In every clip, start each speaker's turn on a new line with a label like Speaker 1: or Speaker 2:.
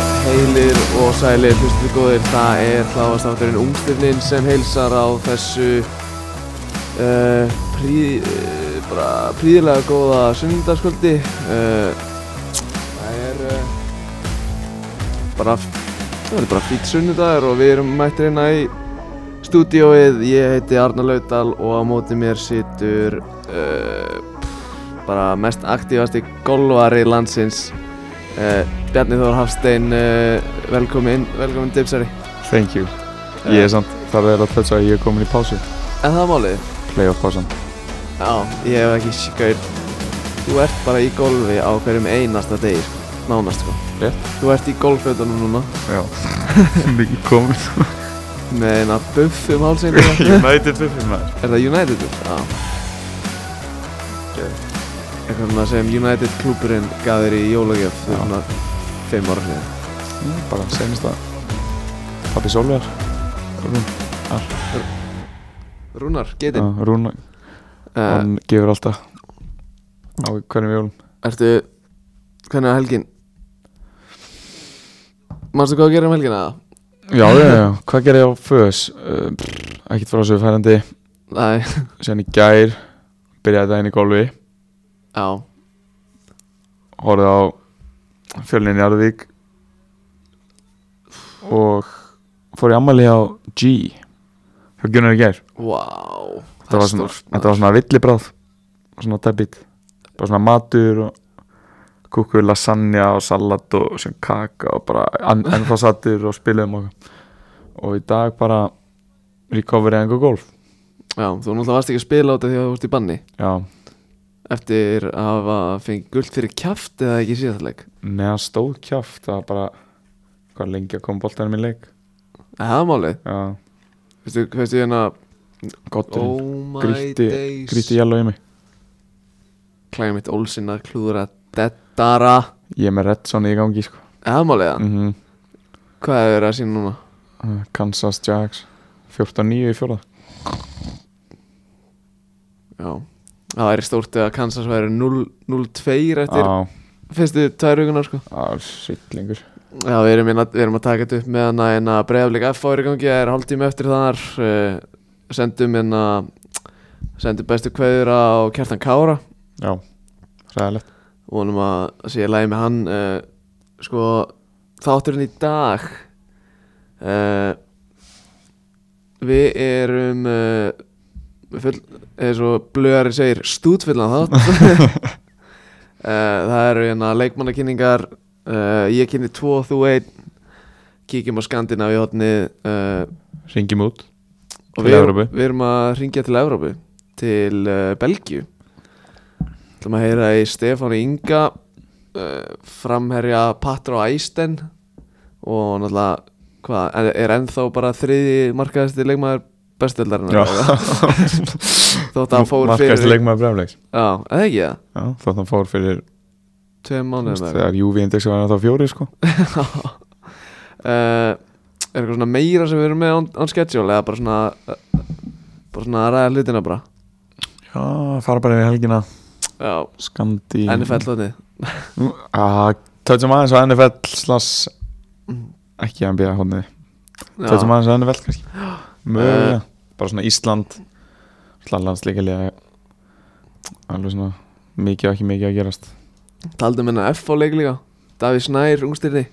Speaker 1: allir og sælir hlustuðu góðir, það er hláðastátturinn Ungstirnin sem heilsar á þessu uh, prí, uh, bara príðilega góða sunnundaskvöldi uh, Það er uh, bara, það er bara fýtt sunnudagur og við erum mættir hérna í stúdíóið, ég heiti Arna Laudal og á móti mér situr uh, bara mest aktífasti golvari landsins uh, Bjarni Þór Hafstein uh, velkomin, velkomin dipsari
Speaker 2: Thank you Ég er samt, það er að þess að ég er komin í pásu
Speaker 1: En það er málið?
Speaker 2: Playoff pásan
Speaker 1: Já, ég hef ekki skaur Þú ert bara í golfi á hverjum einasta degir Nánast sko
Speaker 2: Rétt.
Speaker 1: Þú ert í golffötunum núna
Speaker 2: Já Mikið komin
Speaker 1: Með eina buff um hálsinn Er
Speaker 2: United Buffy maður
Speaker 1: það United? buff? Já
Speaker 2: Ok.
Speaker 1: Eitthvað svona sem United klúburinn gaf þér í jólagjöf
Speaker 2: Já.
Speaker 1: fyrir svona fimm ára hliðin
Speaker 2: Mm, Bara senast að Pappi Solvegar Rún-
Speaker 1: Rúnar,
Speaker 2: Já,
Speaker 1: getinn
Speaker 2: Rún,
Speaker 1: uh,
Speaker 2: hann gefur alltaf Á hvernig við jólum
Speaker 1: Ertu, hvernig var helgin? Manstu hvað að gera um helgina?
Speaker 2: Já, já, já, hvað gerði ég á föðs? Uh, pff, ekkert frá þessu færandi
Speaker 1: Nei,
Speaker 2: Sen í gær Byrjaði daginn í golfi
Speaker 1: já
Speaker 2: Horfði á Fjölnin í Arðvík Og Fór í ammali á G Hjá Gunnar í gær
Speaker 1: Vá
Speaker 2: þetta var svona, þetta var svona villibráð svona debit bara svona matur og kúkur, lasagna og salat og sem kaka og bara en, ennþá sattur og spiluðum okkur og í dag bara recovery and go golf
Speaker 1: Já, þú náttúrulega varst ekki að spila á þetta því að þú vart í banni
Speaker 2: já,
Speaker 1: Eftir að hafa fengið guld fyrir kjaft eða ekki síðastleik
Speaker 2: neðan stóð kjáft það var bara hvað lengi að koma boltanum í leik
Speaker 1: Það er málið
Speaker 2: já,
Speaker 1: Veistu, veistu hérna
Speaker 2: gott
Speaker 1: Oh
Speaker 2: oh,
Speaker 1: my
Speaker 2: Grýtti-
Speaker 1: days
Speaker 2: gríti jælu í mig
Speaker 1: Klæði mitt Olsinn að klúðra Dettara
Speaker 2: ég er með Redsoni í gangi sko.
Speaker 1: Það er málið það
Speaker 2: mm
Speaker 1: Hvað er verið að sína núna?
Speaker 2: Eh, Kansas Jacks 14-9 í fjóla
Speaker 1: Já Það væri stórt eða Kansas væri 0-2 eftir
Speaker 2: á,
Speaker 1: fyrstu tvær hugunar sko
Speaker 2: á sittlingur
Speaker 1: Já, við erum, inna, við erum að taka þetta upp með hana en að breyðafleika F ári gangi, það er hálftími eftir þar uh, sendum en að sendum bestu kveður á Kjartan Kára
Speaker 2: já, ræðilegt
Speaker 1: og honum að sé lægi með hann uh, sko, þátturinn í dag uh, við erum uh, full, eins og blöðari segir stútfullan þátt uh, það eru hérna leikmannakynningar uh, ég kynni tvo og þú einn kíkjum á Skandinavi hotni uh,
Speaker 2: Ringjum út
Speaker 1: og
Speaker 2: Til
Speaker 1: við,
Speaker 2: Evrópu.
Speaker 1: við erum að ringja til Evrópu til uh, Belgíu ætlum að heyra í Stefáni Inga uh, framherja Patra og Æsten og náttúrulega hvað, en- er ennþá bara þriði markaðasti leikmaður
Speaker 2: Já
Speaker 1: bestöldarinnar þótt að hann fór
Speaker 2: Markaðist
Speaker 1: fyrir já,
Speaker 2: leikmaður brefleiks
Speaker 1: eða ekki það,
Speaker 2: Já, þótt hann fór fyrir
Speaker 1: tveim mánuðum eða eitthvað.
Speaker 2: Þegar UV index var hann þá fjóri sko
Speaker 1: uh, er eitthvað svona meira sem við erum með on, on schedule eða bara svona uh, bara svona að ræða hlutina bara
Speaker 2: Já, fara bara yfir helgina
Speaker 1: já,
Speaker 2: Skandi
Speaker 1: NFL þóttið
Speaker 2: Töðum Mm, ah, aðeins á NFL slass
Speaker 1: Mm.
Speaker 2: Ekki NBA hóðni Töðum aðeins á NFL kannski Mögulega
Speaker 1: Eh.
Speaker 2: Bara svona Ísland Lallandsleikilega eh, Alveg svona Mikið og ekki mikið að gerast
Speaker 1: Taldum hérna F á leik líka Davíð Snær, ungstyrni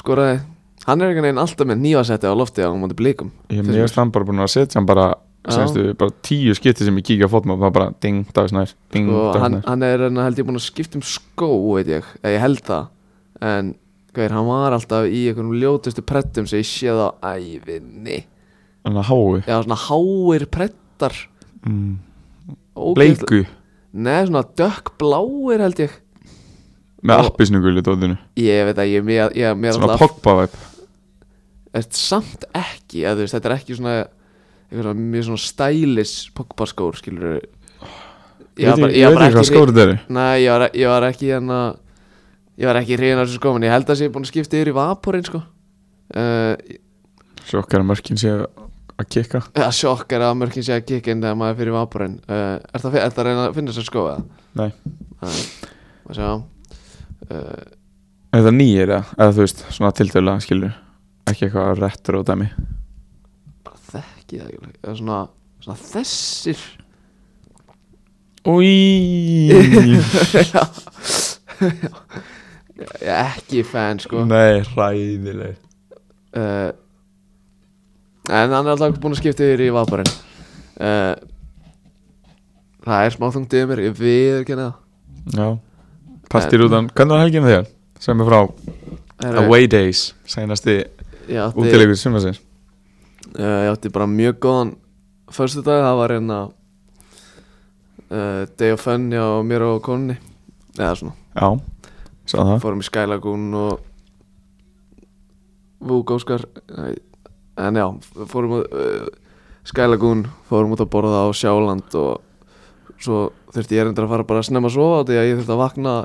Speaker 1: Skoraði Hann er einhvern veginn alltaf með nývasetti á lofti á móti blíkum
Speaker 2: Ég er
Speaker 1: Finnst
Speaker 2: mjög
Speaker 1: mér.
Speaker 2: slann bara búin að setja hann bara
Speaker 1: Já.
Speaker 2: Senstu bara tíu skipti sem ég kíkja á fótmál Það var bara ding, dagisnær Ding,
Speaker 1: Og Sko, hann,
Speaker 2: dagisnær
Speaker 1: hann er hérna held ég búinn að skipta um skó veit ég Eða ég held það En hver, hann var alltaf í einhvernum ljótustu prettum sem ég séð á ævinni
Speaker 2: Hann að háu
Speaker 1: Já, svona háir prettar
Speaker 2: mm.
Speaker 1: Ógeðslega-
Speaker 2: Bleiku
Speaker 1: Nei, svona dökkbláir held ég
Speaker 2: með
Speaker 1: Og-
Speaker 2: appisnugul í dóðinu
Speaker 1: Ég veit að ég, mér, ég, mér
Speaker 2: svona pogba-væp
Speaker 1: er samt ekki að þú veist, þetta er ekki svona eitthvað svona mjög svona stælis Pogba skór, skilur
Speaker 2: ég veit ekki- ég veit ekki hvað skórið eru
Speaker 1: Nei, ég var, ég var ekki hérna ég var ekki hrein á þessu skóm en ég held að sé búin að skipta yfir í vaporinn sko uh,
Speaker 2: sjokkar að mörkin sé að kikka
Speaker 1: að sjokk er að mörkin sé að kikka inn þegar maður er fyrir vaporinn uh, er það sko, að reyna að finna þessu skó eða?
Speaker 2: Nei.
Speaker 1: Nei, maður sjá uh,
Speaker 2: Þetta nýjir eða, eða þú veist, svona tiltölulega skilur Ekki eitthvað retro dæmi
Speaker 1: bara þekki það ekki alveg. eða svona, svona þessir
Speaker 2: Új
Speaker 1: ég er ekki fan sko uh,
Speaker 2: Nei, ræðileg
Speaker 1: en hann er alltaf búin að skipta yfir í vaparinn uh, það er smá þungt yfir mér ég viður kenna
Speaker 2: Já, partir út hann Hvernig var helginu þegar? Segð mér frá
Speaker 1: það Herru,
Speaker 2: Away Days, senasti
Speaker 1: Eh, ég átti,
Speaker 2: útilegur sumarsins
Speaker 1: uh, ég átti bara mjög góðan förstu dag, það var hérna uh, day of fun hjá mér og konni eða svona
Speaker 2: Já, sá það
Speaker 1: fórum í Skylagoon og Vúk Óskar nei, en já, fórum að uh, Skylagoon, fórum út að borða á Sjáland og svo þurfti ég reyndar að fara bara að snemma að sofa því að ég þurfti að vakna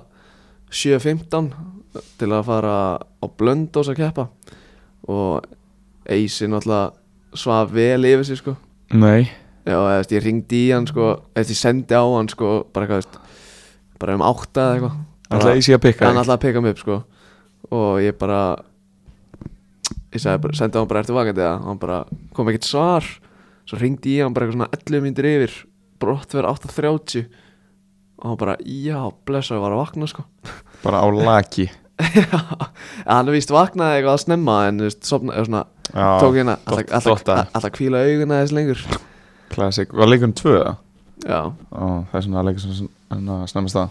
Speaker 1: 7.15 til að fara á Blöndós að keppa og Eisi náttúrulega svaf vel yfir sig sko
Speaker 2: Nei,
Speaker 1: Já, eða, veist, ég ringdi í hann sko, eða ég sendi á hann sko, bara eitthvað, veist, bara um átta eða eitthvað
Speaker 2: alltaf easy að pikka
Speaker 1: hann
Speaker 2: þig.
Speaker 1: alltaf að peka mig upp sko og ég bara ég sagði bara, sendi á hann bara ertu vakandi eða hann bara kom ekkert svar svo ringdi ég hann bara eitthvað svona 11 myndir yfir brottver 8.30 og hann bara, já, blessa ég var að vakna sko
Speaker 2: Bara á laki
Speaker 1: en hann er víst vaknaði eitthvað að snemma en þú veist, sopna, eða svona,
Speaker 2: Já,
Speaker 1: tók hérna alltaf,
Speaker 2: dott-
Speaker 1: alltaf,
Speaker 2: dottaði.
Speaker 1: alltaf, alltaf kvíla auguna þess lengur
Speaker 2: Classic, var leikurinn tvö það?
Speaker 1: já,
Speaker 2: Ó, það er svona leikur sem svona snemmast það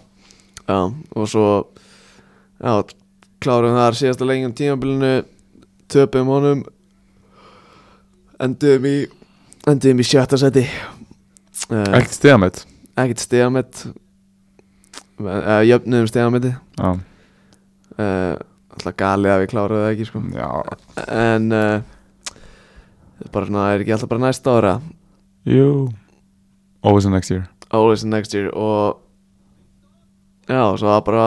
Speaker 1: já, og svo já, klárum þar síðasta lengjum tímabilinu töpum honum endum í endum í sjötta seti uh,
Speaker 2: Ekkert stigamett
Speaker 1: ekkert stegamett uh, jöfnum stegametti
Speaker 2: Já,
Speaker 1: uh, alltaf galið að við kláruðum það ekki sko.
Speaker 2: já,
Speaker 1: en uh, bara svona, er ekki alltaf bara næsta ára
Speaker 2: jú Always the next year
Speaker 1: always the next year og já, svo það bara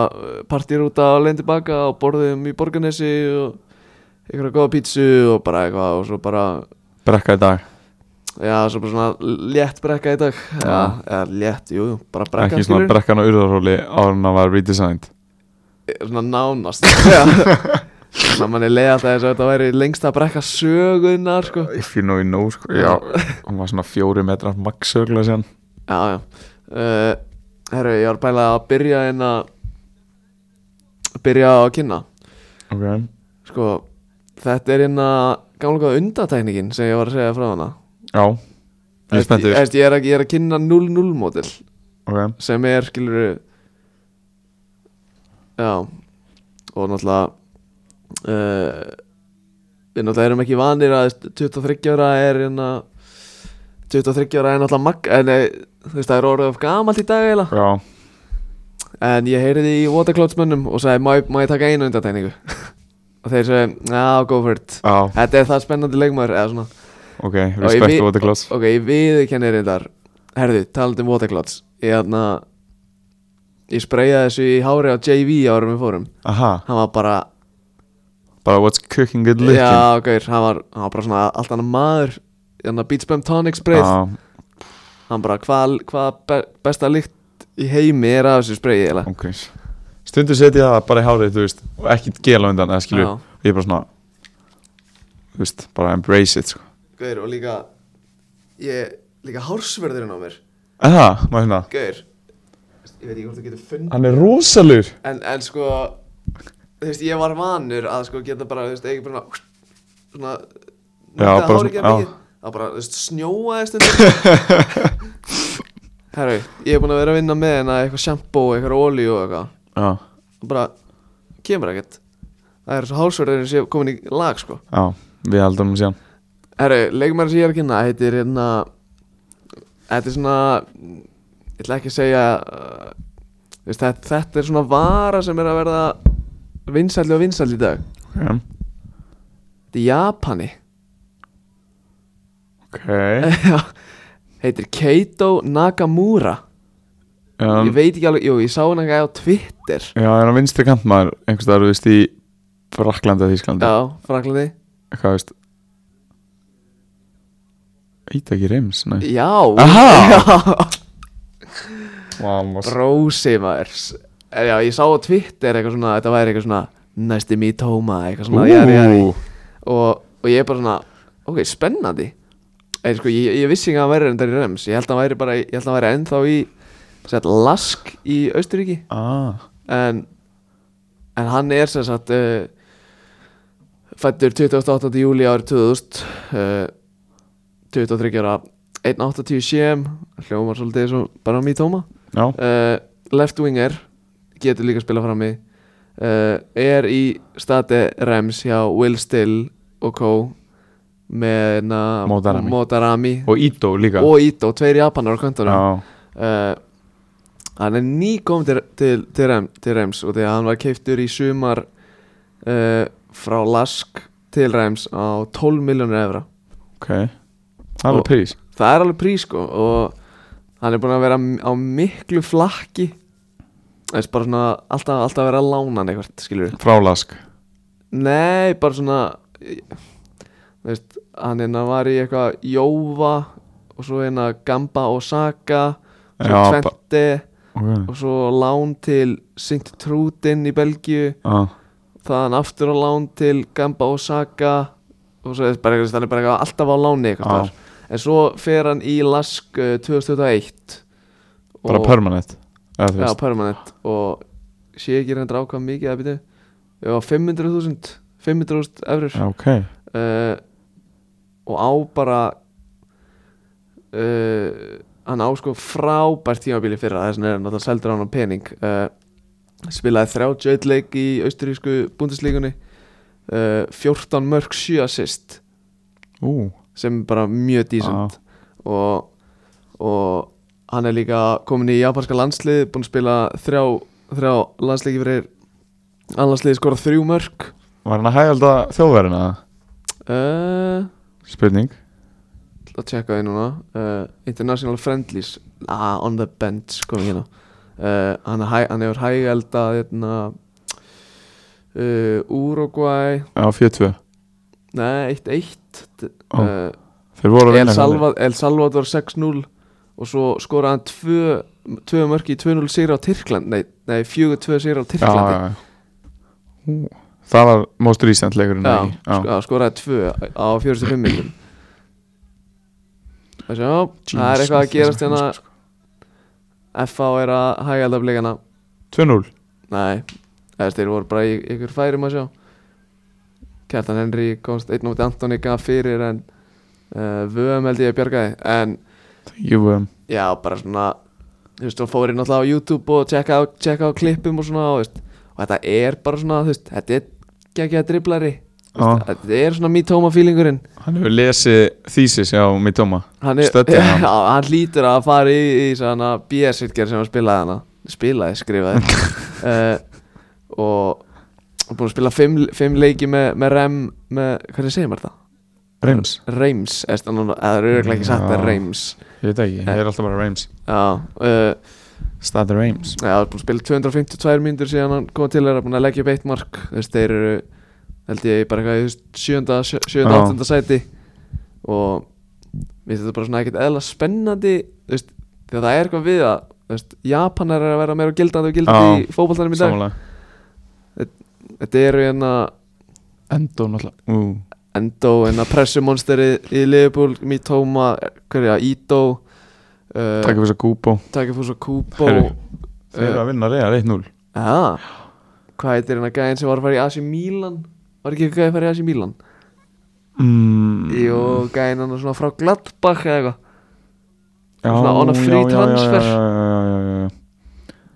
Speaker 1: partýr út að leiðin tilbaka og borðum í Borganesi og einhverja góða pítsu og bara eitthvað og svo bara,
Speaker 2: Brekka í dag,
Speaker 1: já, svo bara svona létt brekka í dag, já,
Speaker 2: Já.
Speaker 1: eða létt, jú, jú, bara brekka,
Speaker 2: ekki svona
Speaker 1: skilurðu?
Speaker 2: brekkan á urðarhóli áður en það var redesigned
Speaker 1: svona nánast svona manni leiði alltaf þess að þetta væri lengsta brekka sögunar, sko
Speaker 2: If you know you know, sko Já, hún var svona fjóri metrar max ögla síðan
Speaker 1: Já, já uh, Herru, ég var að pæla að byrja en að byrja að kynna
Speaker 2: Ok,
Speaker 1: Sko, þetta er hérna gamla góða undatækningin sem ég var að segja frá hana
Speaker 2: já Ég er spenntur
Speaker 1: Eftir, ég, er að, ég er að kynna 0-0 mótil
Speaker 2: Ok,
Speaker 1: sem er, skilur Já og náttúrulega uh, við náttúrulega erum ekki vanir að 23 ára er hérna 23 ára er náttúrulega mag en eh, þú veist það er orðið of gamalt í dag eiginlega
Speaker 2: já
Speaker 1: en ég heyriði í Watercloudsmönnum og sagði má, ég- má ég taka einu undatækningu og þeir sagði, já, go for it
Speaker 2: Já,
Speaker 1: Þetta er það spennandi leikmaður eða svona
Speaker 2: ok,
Speaker 1: ég
Speaker 2: respect
Speaker 1: vi-
Speaker 2: to the class
Speaker 1: Ok, ég viðkenni reyndar Herðu, talandi um waterclots Ég aðna Ég spreyjaði þessu í hári á JV árum við fórum
Speaker 2: Aha,
Speaker 1: Hann var bara
Speaker 2: bara what's cooking good looking
Speaker 1: Já, ok, hann var, hann var bara svona allt annar maður Þannig að Beach Bum Tonic spreyð
Speaker 2: Já,
Speaker 1: Hann bara, hvað hva be, besta lykt í heimi er af þessu spreyið eiginlega?
Speaker 2: ok Stundu setja það bara í hárið, þú veist Og ekki gela undan, eða skilju
Speaker 1: Já.
Speaker 2: Ég er bara svona Þú veist, bara embrace it, sko
Speaker 1: Gaur, og líka Ég, líka hársverðurinn á mér
Speaker 2: En það, maður hérna
Speaker 1: Gaur Ég veit ekki hvort þú getur fundið
Speaker 2: Hann er rosalur
Speaker 1: en, en sko þú veist, ég var vanur að sko geta bara, þú veist, ekki bara svona
Speaker 2: Já,
Speaker 1: nuddaði
Speaker 2: bara
Speaker 1: hárið ekki
Speaker 2: svona-
Speaker 1: að
Speaker 2: já.
Speaker 1: mikið. það bara, þú veist, snjóaði stundum herru, ég er búin að vera að vinna með hérna eitthvað shampoo, eitthvað olíu og eitthvað
Speaker 2: Já,
Speaker 1: og bara, kemur ekkert það er svo hálsverðurinn sem komin í lag sko
Speaker 2: já, við haldum hann síðan
Speaker 1: herru, leikmæri sem ég er að kynna heitir hérna þetta er svona ég ætla ekki að segja uh, þú veist, þetta, þetta er svona vara sem er að verða vinsæli og vinsæli í dag
Speaker 2: Ok,
Speaker 1: Þetta er Japani
Speaker 2: okay.
Speaker 1: Heitir Keito Nakamura
Speaker 2: Um,
Speaker 1: Ég veit ekki alveg, jú, ég sá hann eitthvað á Twitter
Speaker 2: Já, hann er á vinstri kant maður einhvers staðar, þú veist, í Fraklandi að Þísklandi
Speaker 1: Já, Fraklandi
Speaker 2: Hvað veist Íta ekki reims, nei
Speaker 1: Já,
Speaker 2: Aha!
Speaker 1: já
Speaker 2: Vamos
Speaker 1: Brósi maður S- eh, Já, ég sá á Twitter eitthvað svona Þetta væri eitthvað svona næsti me tóma eitthvað svona jari, jari. Og, og ég er bara svona ok, spennandi Eða, sko, ég, ég vissi ekki að hann væri reyndar í Rems ég held að hann væri, bara, ég held að hann væri ennþá í sagt, Lask í Austuríki
Speaker 2: ah,
Speaker 1: en, en hann er sem sagt uh, fættur 28. júli árið 2000 uh, 23 ára 1.80 CM hljómar svolítið svo bara mjög tóma
Speaker 2: Já,
Speaker 1: uh, left winger getur líka að spila fram í uh, er í stati Rams hjá Will Still og Co með na-
Speaker 2: Motarami.
Speaker 1: Motarami
Speaker 2: og Ító líka
Speaker 1: og Ito, tveir japanar á kantunum
Speaker 2: Já,
Speaker 1: uh, hann er nýkom til, til, til, Rem, til Rams og því að hann var keiftur í sumar uh, frá Lask til Rams á 12 miljónir evra
Speaker 2: ok Það er alveg
Speaker 1: Og-
Speaker 2: prís
Speaker 1: það er alveg prís sko og hann er búin að vera m- á miklu flakki þess bara svona alltaf, alltaf að vera að lána hann eitthvað skilur við
Speaker 2: Frálask
Speaker 1: nei bara svona þú veist hann hérna var í eitthvað Jóva og svo hérna Gamba og Saka svo
Speaker 2: Já, ba-
Speaker 1: Tvente
Speaker 2: Ok
Speaker 1: og svo lán til Sint Trúdin í Belgíu
Speaker 2: ah,
Speaker 1: þaðan aftur á lán til Gamba Osaka og svo er bara eitthvað, hann er bara eitthvað alltaf á láni
Speaker 2: Já.
Speaker 1: eitthvað þar. en svo fer hann í Lask uh, 2021
Speaker 2: Bara
Speaker 1: Og-
Speaker 2: permanent eða þú
Speaker 1: já,
Speaker 2: veist.
Speaker 1: permanent og sé ekki reyndar ákvað mikið að byrja já, 500.000 500.000 eurur
Speaker 2: Já, ok
Speaker 1: uh, og á bara uh, hann á sko frábært tímabili fyrra þess vegna er hann náttúrulega seldur á hann á pening uh, spilaði 31 leik í austurísku búndislíkunni uh, 14 mörg 7 assist
Speaker 2: Ú, ah.
Speaker 1: sem er bara mjög dísund og, og hann er líka komin í japanska landslið búin að spila þrjá, þrjá landsleiki fyrir annarsliði skorað þrjú mörg
Speaker 2: var hann að hægjalda þjóðverðina?
Speaker 1: uh,
Speaker 2: Spurning
Speaker 1: að tjekka því núna uh, International Friendlies ah, on the bench komið hérna uh, hann, er hæ, hann hefur hægælda hérna, uh, Uruguay
Speaker 2: Já, 42
Speaker 1: nei, 1-1
Speaker 2: Ó,
Speaker 1: uh,
Speaker 2: Þeir voru
Speaker 1: El,
Speaker 2: að vinna hvernig?
Speaker 1: Salva, El Salvador 6-0 og svo skoraði hann tvö, tvö mörki í 2-0 sigra á Tyrkland nei, nei 4-2 sigra á
Speaker 2: Já,
Speaker 1: Tyrklandi
Speaker 2: já, já Ú, Það var most recent leikurinn
Speaker 1: Já, sko.
Speaker 2: ekki?
Speaker 1: sk- já, skoraði tvö á 45 minnum Það sjá, það er eitthvað að gerast hérna FH er að hægælda blikana
Speaker 2: 2-0
Speaker 1: Nei, eða þeir voru bara í í ykkur færum að sjá Kjartan Henry komst einn og Antoni gaf fyrir en uh, vöðum held ég að bjargaði en
Speaker 2: Jú, um,
Speaker 1: já, bara svona þú veist, hún fór inn alltaf á YouTube og tjekka á, tjekka á klippum og svona og, þú veist, og þetta er bara svona, þú veist, þetta er geggja driblari Þú
Speaker 2: ah.
Speaker 1: veist, þetta er svona mítóma fílingurinn
Speaker 2: hann hefur lesið þýsis á Mitoma
Speaker 1: hann, er,
Speaker 2: Studdi hann.
Speaker 1: Já, hann lítur að fara í, í svona BS-hilger sem hann spilaði hana spilaði, skrifaði uh, og og búin að spila fimm, fimm leiki með, með Rem með, hvernig segir maður það?
Speaker 2: Reims,
Speaker 1: Reims, eða það eru örugglega ekki sagt
Speaker 2: Já.
Speaker 1: að Reims
Speaker 2: ég veit ekki, ég er alltaf bara Reims
Speaker 1: Já, uh,
Speaker 2: Stad Reims
Speaker 1: Já, það er búin að spila 252 mínútur síðan hann kom til þeirra, búin að leggja upp eitt mark þú veist, þeir eru, held ég, bara eitthvað í, þú veist, sjönda, sjö- sjönda,
Speaker 2: Já.
Speaker 1: áttunda sæti og mér finnst þetta bara svona ekkert eðla spennandi þú veist, þegar það er eitthvað við að þú veist, Japanar er að vera meira gildandi og gildandi
Speaker 2: Já.
Speaker 1: í fótboltanum í dag
Speaker 2: samanlega
Speaker 1: þetta eru hérna
Speaker 2: Endo náttúrulega Ú,
Speaker 1: Endo, hérna pressumonsteri í Liverpool, Mitoma, hverja, Ito uh,
Speaker 2: takk fyrir þess að Kubo
Speaker 1: Takifús og Kubo
Speaker 2: Heyrðu. Þeir eru að vinna reyðar 1-0 Ah.
Speaker 1: Já Hvað heitir hérna gæðin sem var að fara í AC Milan Var ekki eitthvað að fara í AC Milan
Speaker 2: mm,
Speaker 1: Jú, gæðin hann svona frá Gladbach eða eitthvað
Speaker 2: já,
Speaker 1: svona on a free
Speaker 2: já, já, já,
Speaker 1: transfer.
Speaker 2: já, já, já, já, já.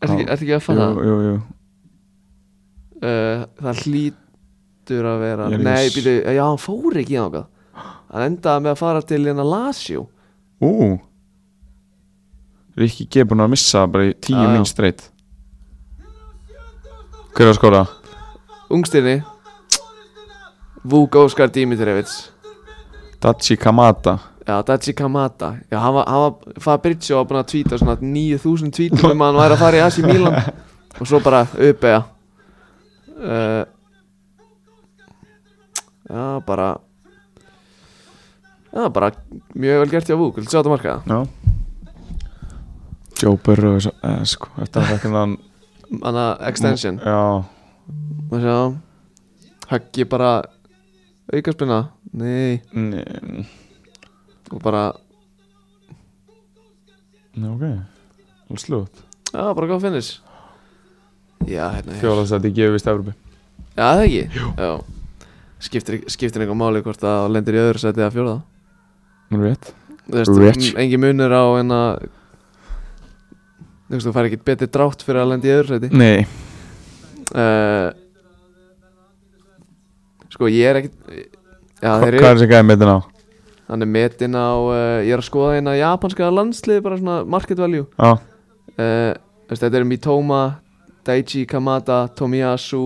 Speaker 1: Ertu ekki,
Speaker 2: Já.
Speaker 1: ertu ekki að fatta það?
Speaker 2: Jú, jú, jú.
Speaker 1: Uh, það hlýtur að vera
Speaker 2: Ég er ekki
Speaker 1: Nei,
Speaker 2: viss.
Speaker 1: býtu, já, hann fór ekki í þangað Hann endaði með að fara til hérna Lazio
Speaker 2: Ú Rikki G búin að missa bara í tíu
Speaker 1: Já, já.
Speaker 2: minn streitt Hver er að skora?
Speaker 1: Ungstirni Vuk Óskar Dimitrevits
Speaker 2: Dachi Kamata
Speaker 1: Já, Dachi Kamata Já, hann var, hann var Fabrizio var búin að tvíta svona 9000 tvítum um að hann væri að fara í AC Milan og svo bara upp eða uh, Já, bara Já, bara mjög vel gert hjá Vúk, viltu sjá þetta markaða?
Speaker 2: Já Joe Burrow er svo, eh, sko, Þetta er ekki hann
Speaker 1: Þannig að extension
Speaker 2: Já
Speaker 1: Má sjá Höggi bara Aukaspinna Nei
Speaker 2: Nei,
Speaker 1: Og bara
Speaker 2: nei, ok Alveg slútt
Speaker 1: Já, bara góð finish Já, hérna hér.
Speaker 2: Fjóðarsætti gefur vist Evropi
Speaker 1: Já, það ekki Jú Já Skiptir, skiptir einhver máli hvort að það lendir í öðru seti eða fjórða
Speaker 2: Nú er rétt
Speaker 1: Þú veist,
Speaker 2: Rich.
Speaker 1: m- engin munur á en að Þú veist, þú fær ekkert betri drátt fyrir að lenda í öðru seti
Speaker 2: Nei Mm.
Speaker 1: uh, Sko, ég er ekkert Já, þeir
Speaker 2: Hva, Hvað er
Speaker 1: eru
Speaker 2: þessi gæði með þetta ná?
Speaker 1: Hann er metinn á uh, Ég er að skoða eina japanska landslið bara svona market value
Speaker 2: Já,
Speaker 1: uh, veist, Þetta eru Mitoma Daichi Kamada, Tomiyasu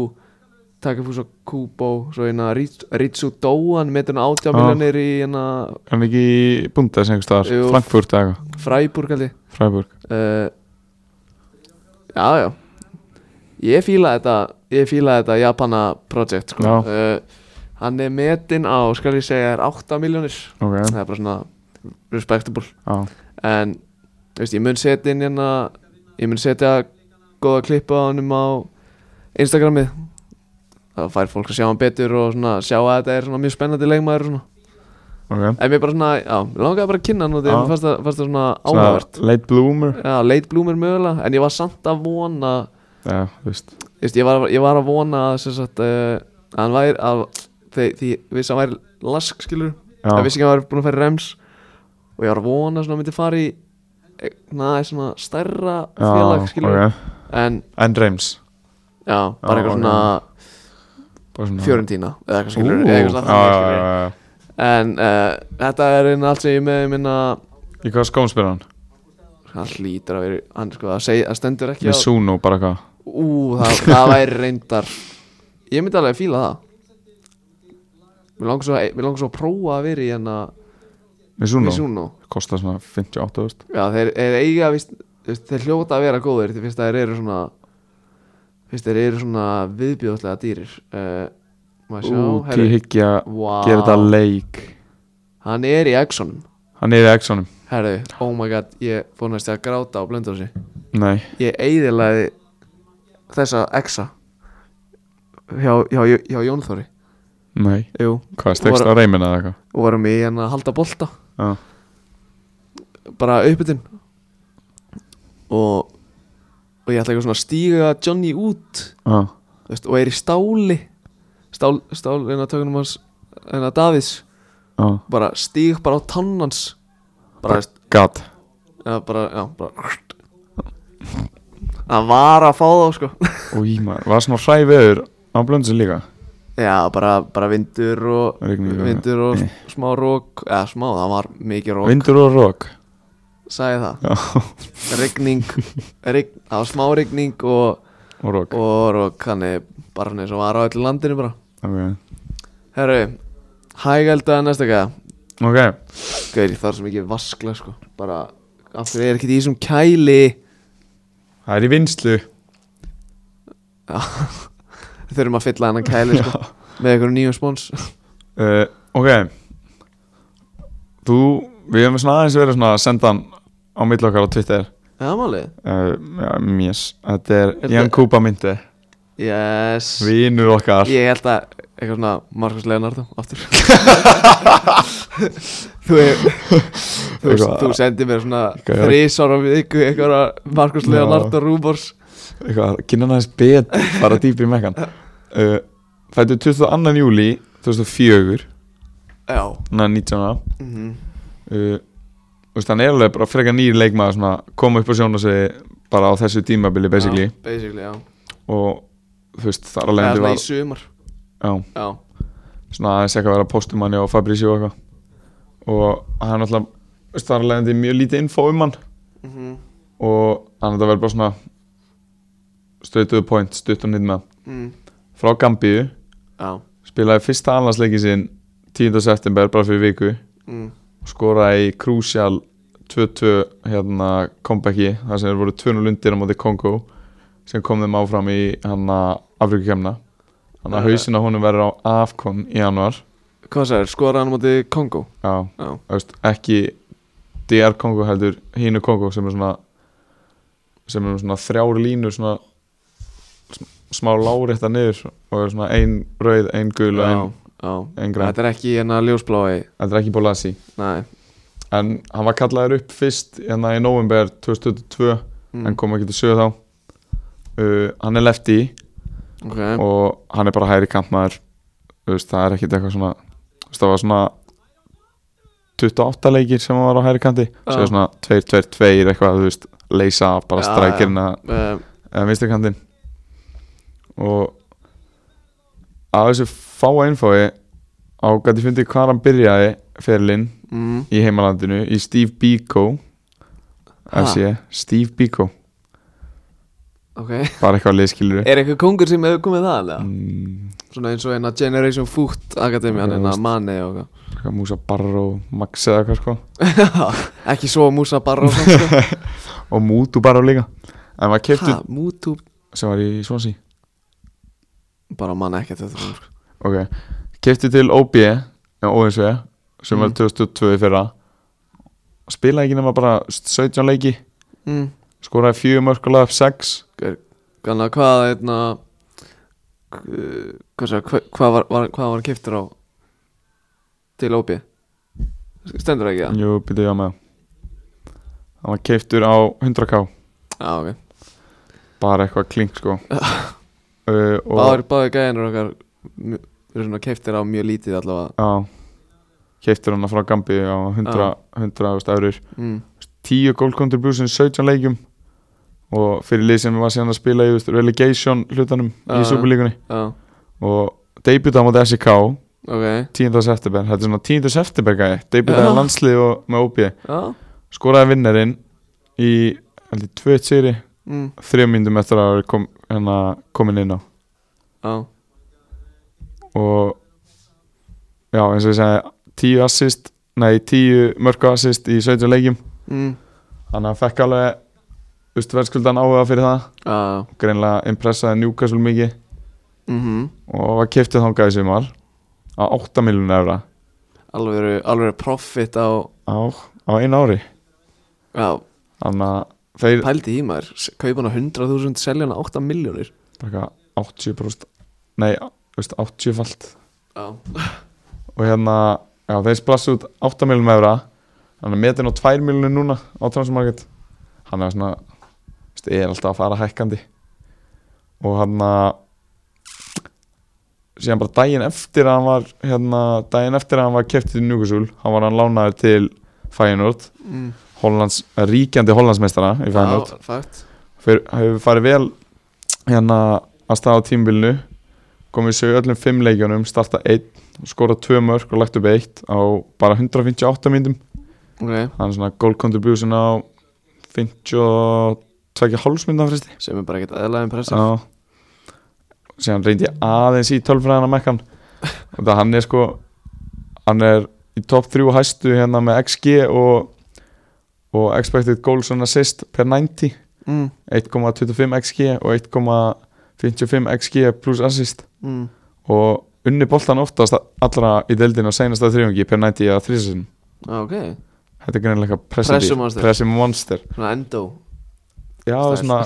Speaker 1: Takafusa Kubo Svo eina Rits- Ritsu Doan Metur hann átjá
Speaker 2: Ah.
Speaker 1: miljonir í hérna
Speaker 2: hann er ekki í Bundes einhvers staðar
Speaker 1: Jú.
Speaker 2: Frankfurt eða eitthvað
Speaker 1: Fræburg held ég
Speaker 2: Freiburg
Speaker 1: uh, Já, já Ég fíla þetta Ég fíla þetta Japana project sko.
Speaker 2: Já.
Speaker 1: uh, Hann er metinn á Skal ég segja er 8 miljonir
Speaker 2: Ok
Speaker 1: Það er bara svona respectable
Speaker 2: Já
Speaker 1: en þú veist, ég mun setja inn hérna ég mun setja góða klippa á honum á Instagramið það fær fólk að sjá hann betur og svona, sjá að þetta er svona mjög spennandi leikmaður og svona.
Speaker 2: Ok
Speaker 1: en mér bara svona, já, mig langaði bara að kynna hann og því
Speaker 2: Já.
Speaker 1: að mér fannst það- fannst það svona
Speaker 2: Svona
Speaker 1: áhugavert
Speaker 2: Late bloomer
Speaker 1: já, late bloomer mögulega, en ég var samt að vona
Speaker 2: Já, þú veist
Speaker 1: þú veist, ég, var, ég var að vona að sem sagt, uh, að hann væri að því, því viss að hann væri lask skilur
Speaker 2: Já,
Speaker 1: ég vissi ekki að hann var búin að færa rems og ég var að vona svona að hann myndi fara í na, svona stærra félag
Speaker 2: já,
Speaker 1: skilur
Speaker 2: ok
Speaker 1: en
Speaker 2: En Reims
Speaker 1: já, bara
Speaker 2: Já,
Speaker 1: eitthvað
Speaker 2: ok.
Speaker 1: svona
Speaker 2: Bara svona
Speaker 1: fjörentína eða eitthvað skilur,
Speaker 2: Ú,
Speaker 1: eða eitthvað svona
Speaker 2: já,
Speaker 1: þannig
Speaker 2: já,
Speaker 1: skilur
Speaker 2: já, já.
Speaker 1: en uh, þetta er einn allt sem ég er með minna
Speaker 2: Í hvað skóm spyrir hann?
Speaker 1: hann hlýtur að vera, hann sko að segja að stendur ekki á,
Speaker 2: Mizuno bara hvað
Speaker 1: ú, það, það væri reyndar ég myndi alveg að fíla það mér langar svo, mér langar svo að prófa að vera í hérna
Speaker 2: Mizuno
Speaker 1: Mizuno
Speaker 2: Kostar svona 58 þú veist.
Speaker 1: Já, þeir er eiga vist, vist, þeir hljóta að vera góðir því fyrst að þeir eru svona fyrst þeir eru svona viðbjóðslega dýrir uh, maður sjá,
Speaker 2: Ú,
Speaker 1: herri,
Speaker 2: ég hyggja
Speaker 1: wow.
Speaker 2: Gera þetta leik
Speaker 1: hann er í Exxon
Speaker 2: Hann er í Exxonum
Speaker 1: herru, oh my god, ég fór næst að gráta á blöndósi,
Speaker 2: Nei
Speaker 1: ég eiðilaði þessa Exa hjá, hjá, hjá Jónþóri
Speaker 2: Nei
Speaker 1: jú,
Speaker 2: Hvað, stekst á
Speaker 1: Voru-
Speaker 2: reymina eða eitthvað?
Speaker 1: og varum í hérna að halda bolta
Speaker 2: Já
Speaker 1: bara uppbytun og og ég ætla eitthvað svona að stíga Johnny út
Speaker 2: Já
Speaker 1: Þú veist, og er í stáli stál, stál en að tökunum hans en að Davids
Speaker 2: Já
Speaker 1: bara stíg bara á tann hans bara, þú veist,
Speaker 2: Gat
Speaker 1: eða bara, já, bara hann var að fá þá sko
Speaker 2: Új, maður Var svona hræ veður Á blöndsum líka
Speaker 1: já, bara, bara vindur og
Speaker 2: Rigning og-
Speaker 1: vindur og
Speaker 2: Nei.
Speaker 1: smá rók eða smá, það var mikið rók
Speaker 2: Vindur og rók
Speaker 1: sagði það,
Speaker 2: Já
Speaker 1: rigning rign, það var smá rigning og,
Speaker 2: Og rók
Speaker 1: og rók hann er bara svona eins og var á öllu landinu bara
Speaker 2: Ok
Speaker 1: herru, hægælda næsta gæða
Speaker 2: Ok
Speaker 1: Gauðir, það er svo mikið vaskla sko Bara, af hverju er ekkert í þessum kæli
Speaker 2: Það er í vinslu
Speaker 1: Við þurfum að fylla hennan kæli sko Með einhverjum nýjum spons
Speaker 2: uh, Ok Þú Við hefum svona aðeins verið svona að senda hann Á milli okkar á Twitter
Speaker 1: Já, málið
Speaker 2: uh, já, Yes Þetta
Speaker 1: Þetta-
Speaker 2: er Jan Kúpa myndi
Speaker 1: Yes
Speaker 2: Vínur okkar
Speaker 1: Ég held að eitthvað svona Markus Leonardo aftur Þú er Þú, veist,
Speaker 2: Eitthvað-
Speaker 1: þú sendir mér svona
Speaker 2: Eitthvað-
Speaker 1: þrísar á viku einhverja Markus
Speaker 2: Já.
Speaker 1: Leonardo Rúbors
Speaker 2: Eitthvað Kynna hann aðeins betur Fara dýpi í mekkan uh, Fættu 22. júli 2004
Speaker 1: Já
Speaker 2: Þannig að 19 ára
Speaker 1: mm
Speaker 2: uh, þú veist, hann er alveg bara frekar nýr leikmaður svona, koma upp á sjónasviði bara á þessu tímabili basically
Speaker 1: já, Basically, já
Speaker 2: og þú veist, þar
Speaker 1: Það er
Speaker 2: alveg endi
Speaker 1: svona í
Speaker 2: var
Speaker 1: sumar
Speaker 2: já,
Speaker 1: Já
Speaker 2: svona aðeins ekki að vera postumanni á Fabrici og eitthvað og hann alltaf, þú veist, þar alveg endi mjög lítið info um hann
Speaker 1: mm
Speaker 2: og hann þetta verður bara svona stöðtuðu point, stutt og nýtt með
Speaker 1: mm.
Speaker 2: frá Gambíu,
Speaker 1: Já
Speaker 2: spilaði fyrsta anlandsleikin sinn 10. september bara fyrir viku
Speaker 1: mm.
Speaker 2: og skoraði í Crucial 2-2 hérna comebacki þar sem þeir voru 2-0 undir á móti Kongo sem kom þeim áfram í hann Afrikakemna þannig að
Speaker 1: Nei.
Speaker 2: hausin á honum verður á Afcon í januar
Speaker 1: Hvað sagður, skoraði hann á móti Kongo?
Speaker 2: já,
Speaker 1: Já
Speaker 2: veist, ekki DR Kongo heldur hínu Kongo sem er svona sem er svona þrjár línu svona, svona smá lárétta niður og er svona ein rauð, ein gul og
Speaker 1: já,
Speaker 2: ein,
Speaker 1: já.
Speaker 2: ein græn
Speaker 1: Þetta er ekki hérna ljósblái
Speaker 2: Þetta er ekki Bólasi
Speaker 1: Nei,
Speaker 2: En hann var kallaður upp fyrst hérna í november 2022
Speaker 1: mm.
Speaker 2: Hann kom ekki til sögu þá uh, Hann er lefti
Speaker 1: ok
Speaker 2: og hann er bara hægri kantmaður Þú veist, Það er ekkit eitthvað svona þú veist, Það var svona 28 leikir sem hann var á hægri kanti Svo
Speaker 1: Já.
Speaker 2: er svona 2-2-2 eitthvað þú veist, Leysa af bara
Speaker 1: Já, já.
Speaker 2: strækirna
Speaker 1: uh,
Speaker 2: eða vinstri kantinn og að þessu fáa infói á gæti fundið hvað hann byrjaði ferlinn
Speaker 1: mm.
Speaker 2: í heimalandinu í Steve Biko
Speaker 1: Ha?
Speaker 2: FC, Steve Biko
Speaker 1: Ok
Speaker 2: bara eitthvað liðskilur
Speaker 1: Er eitthvað kongur sem hefur komið það alveg?
Speaker 2: mm,
Speaker 1: Svona eins og hérna Generation Foot Akademian,
Speaker 2: Já,
Speaker 1: hérna
Speaker 2: veist.
Speaker 1: Mane og eitthvað
Speaker 2: eitthvað Musa Barro, Max eða eitthvað sko
Speaker 1: Ekki svo Musa Barra og svona sko.
Speaker 2: og Mutu Barro líka en maður keftu
Speaker 1: Ha, Mútu
Speaker 2: sem var í Swansea
Speaker 1: Bara manna ekkert þetta sko.
Speaker 2: ok, keftu til OB eða OSV sem var
Speaker 1: Mm.
Speaker 2: 2002 í fyrra spilaði ekki nema bara 17 leiki
Speaker 1: mm.
Speaker 2: skoraði fjögur mörg og laði upp 6
Speaker 1: Ganna hvað hérna uh, Hvað sér, hvað, hvað var, var, hvað var kiptur á Til OB Stendur ekki það?
Speaker 2: Jú, byrjuðu ég á með það. Hann var keiftur á 100k
Speaker 1: Já, ok
Speaker 2: Bara eitthvað klink sko uh, og,
Speaker 1: Báður, báður gæðinur okkar mj- eru svona keiftir á mjög lítið allavega
Speaker 2: Já Keiftur hann frá Gambi á 100
Speaker 1: Já.
Speaker 2: 100.000 eurur
Speaker 1: mm.
Speaker 2: 10 goal contribution, 17 leikjum Og fyrir lið sem var síðan að spila í þú veist, relegation hlutanum
Speaker 1: Já,
Speaker 2: í
Speaker 1: já.
Speaker 2: Superlíkunni
Speaker 1: Já,
Speaker 2: Og debut á móti SK
Speaker 1: ok
Speaker 2: 10. september, þetta er svona 10. september gæði Debutaði
Speaker 1: Já.
Speaker 2: á landslið og með OB
Speaker 1: Já,
Speaker 2: Skoraði vinnarinn í heldur 2 sýri
Speaker 1: mm.
Speaker 2: þrjum myndum eftir að vera kom, hérna, komin inn á
Speaker 1: já,
Speaker 2: og já eins og ég segi tíu assist, nei tíu mörku assist í 17 leikjum
Speaker 1: mm.
Speaker 2: þannig að hann fekk alveg þú veist, verðskuldan áhuga fyrir það
Speaker 1: já,
Speaker 2: greinlega impressaði Newcastle mikið
Speaker 1: mhm
Speaker 2: og var kiftið þangað í sumar á 8 miljónu efra
Speaker 1: Alveg, alveg profit á
Speaker 2: á, á einu ári
Speaker 1: Já,
Speaker 2: þannig að þeir
Speaker 1: pældi í maður s- Kaupa hana 100.000, selja hana 8 miljónir
Speaker 2: taka 80% nei, þú veist, 80 falt
Speaker 1: Já,
Speaker 2: og hérna já, þeir splassu út 8 miljonum evra hann er metin á 2 miljonum núna á transmarket hann er svona þú veist, er alltaf að fara hækkandi og hann að síðan bara daginn eftir að hann var hérna, daginn eftir að hann var keftið í Newcastle hann var hann lánaður til Feyenoord
Speaker 1: mm.
Speaker 2: Hollands, ríkjandi Hollandsmeistara í Feyenoord
Speaker 1: já fakt
Speaker 2: Fyr, hefur farið vel hérna að staða á tímbilinu komið sér öllum fimm leikjunum starta einn, skorað tvö mörg og lagt upp eitt á bara 158 myndum
Speaker 1: Ok,
Speaker 2: hann er svona goal contribution á 52,5 myndum fristi
Speaker 1: sem er bara ekkert eðlaðin pressa
Speaker 2: Já síðan reyndi ég aðeins í tölfræðina mekkan og það hann er sko hann er í topp 3 hæstu hérna með XG og og expected goals and assist per 90
Speaker 1: mm.
Speaker 2: 1,25 xg og 1,55 xg pluss assist
Speaker 1: Mm.
Speaker 2: og unni boltan oftast allra í deildin á seinasta þriðungi per 90 eða þrísasinn
Speaker 1: Já, ok
Speaker 2: þetta er greinlega
Speaker 1: Pressum
Speaker 2: pressum,
Speaker 1: monster.
Speaker 2: pressum monster
Speaker 1: Svona endó
Speaker 2: já,
Speaker 1: Stærð.
Speaker 2: svona,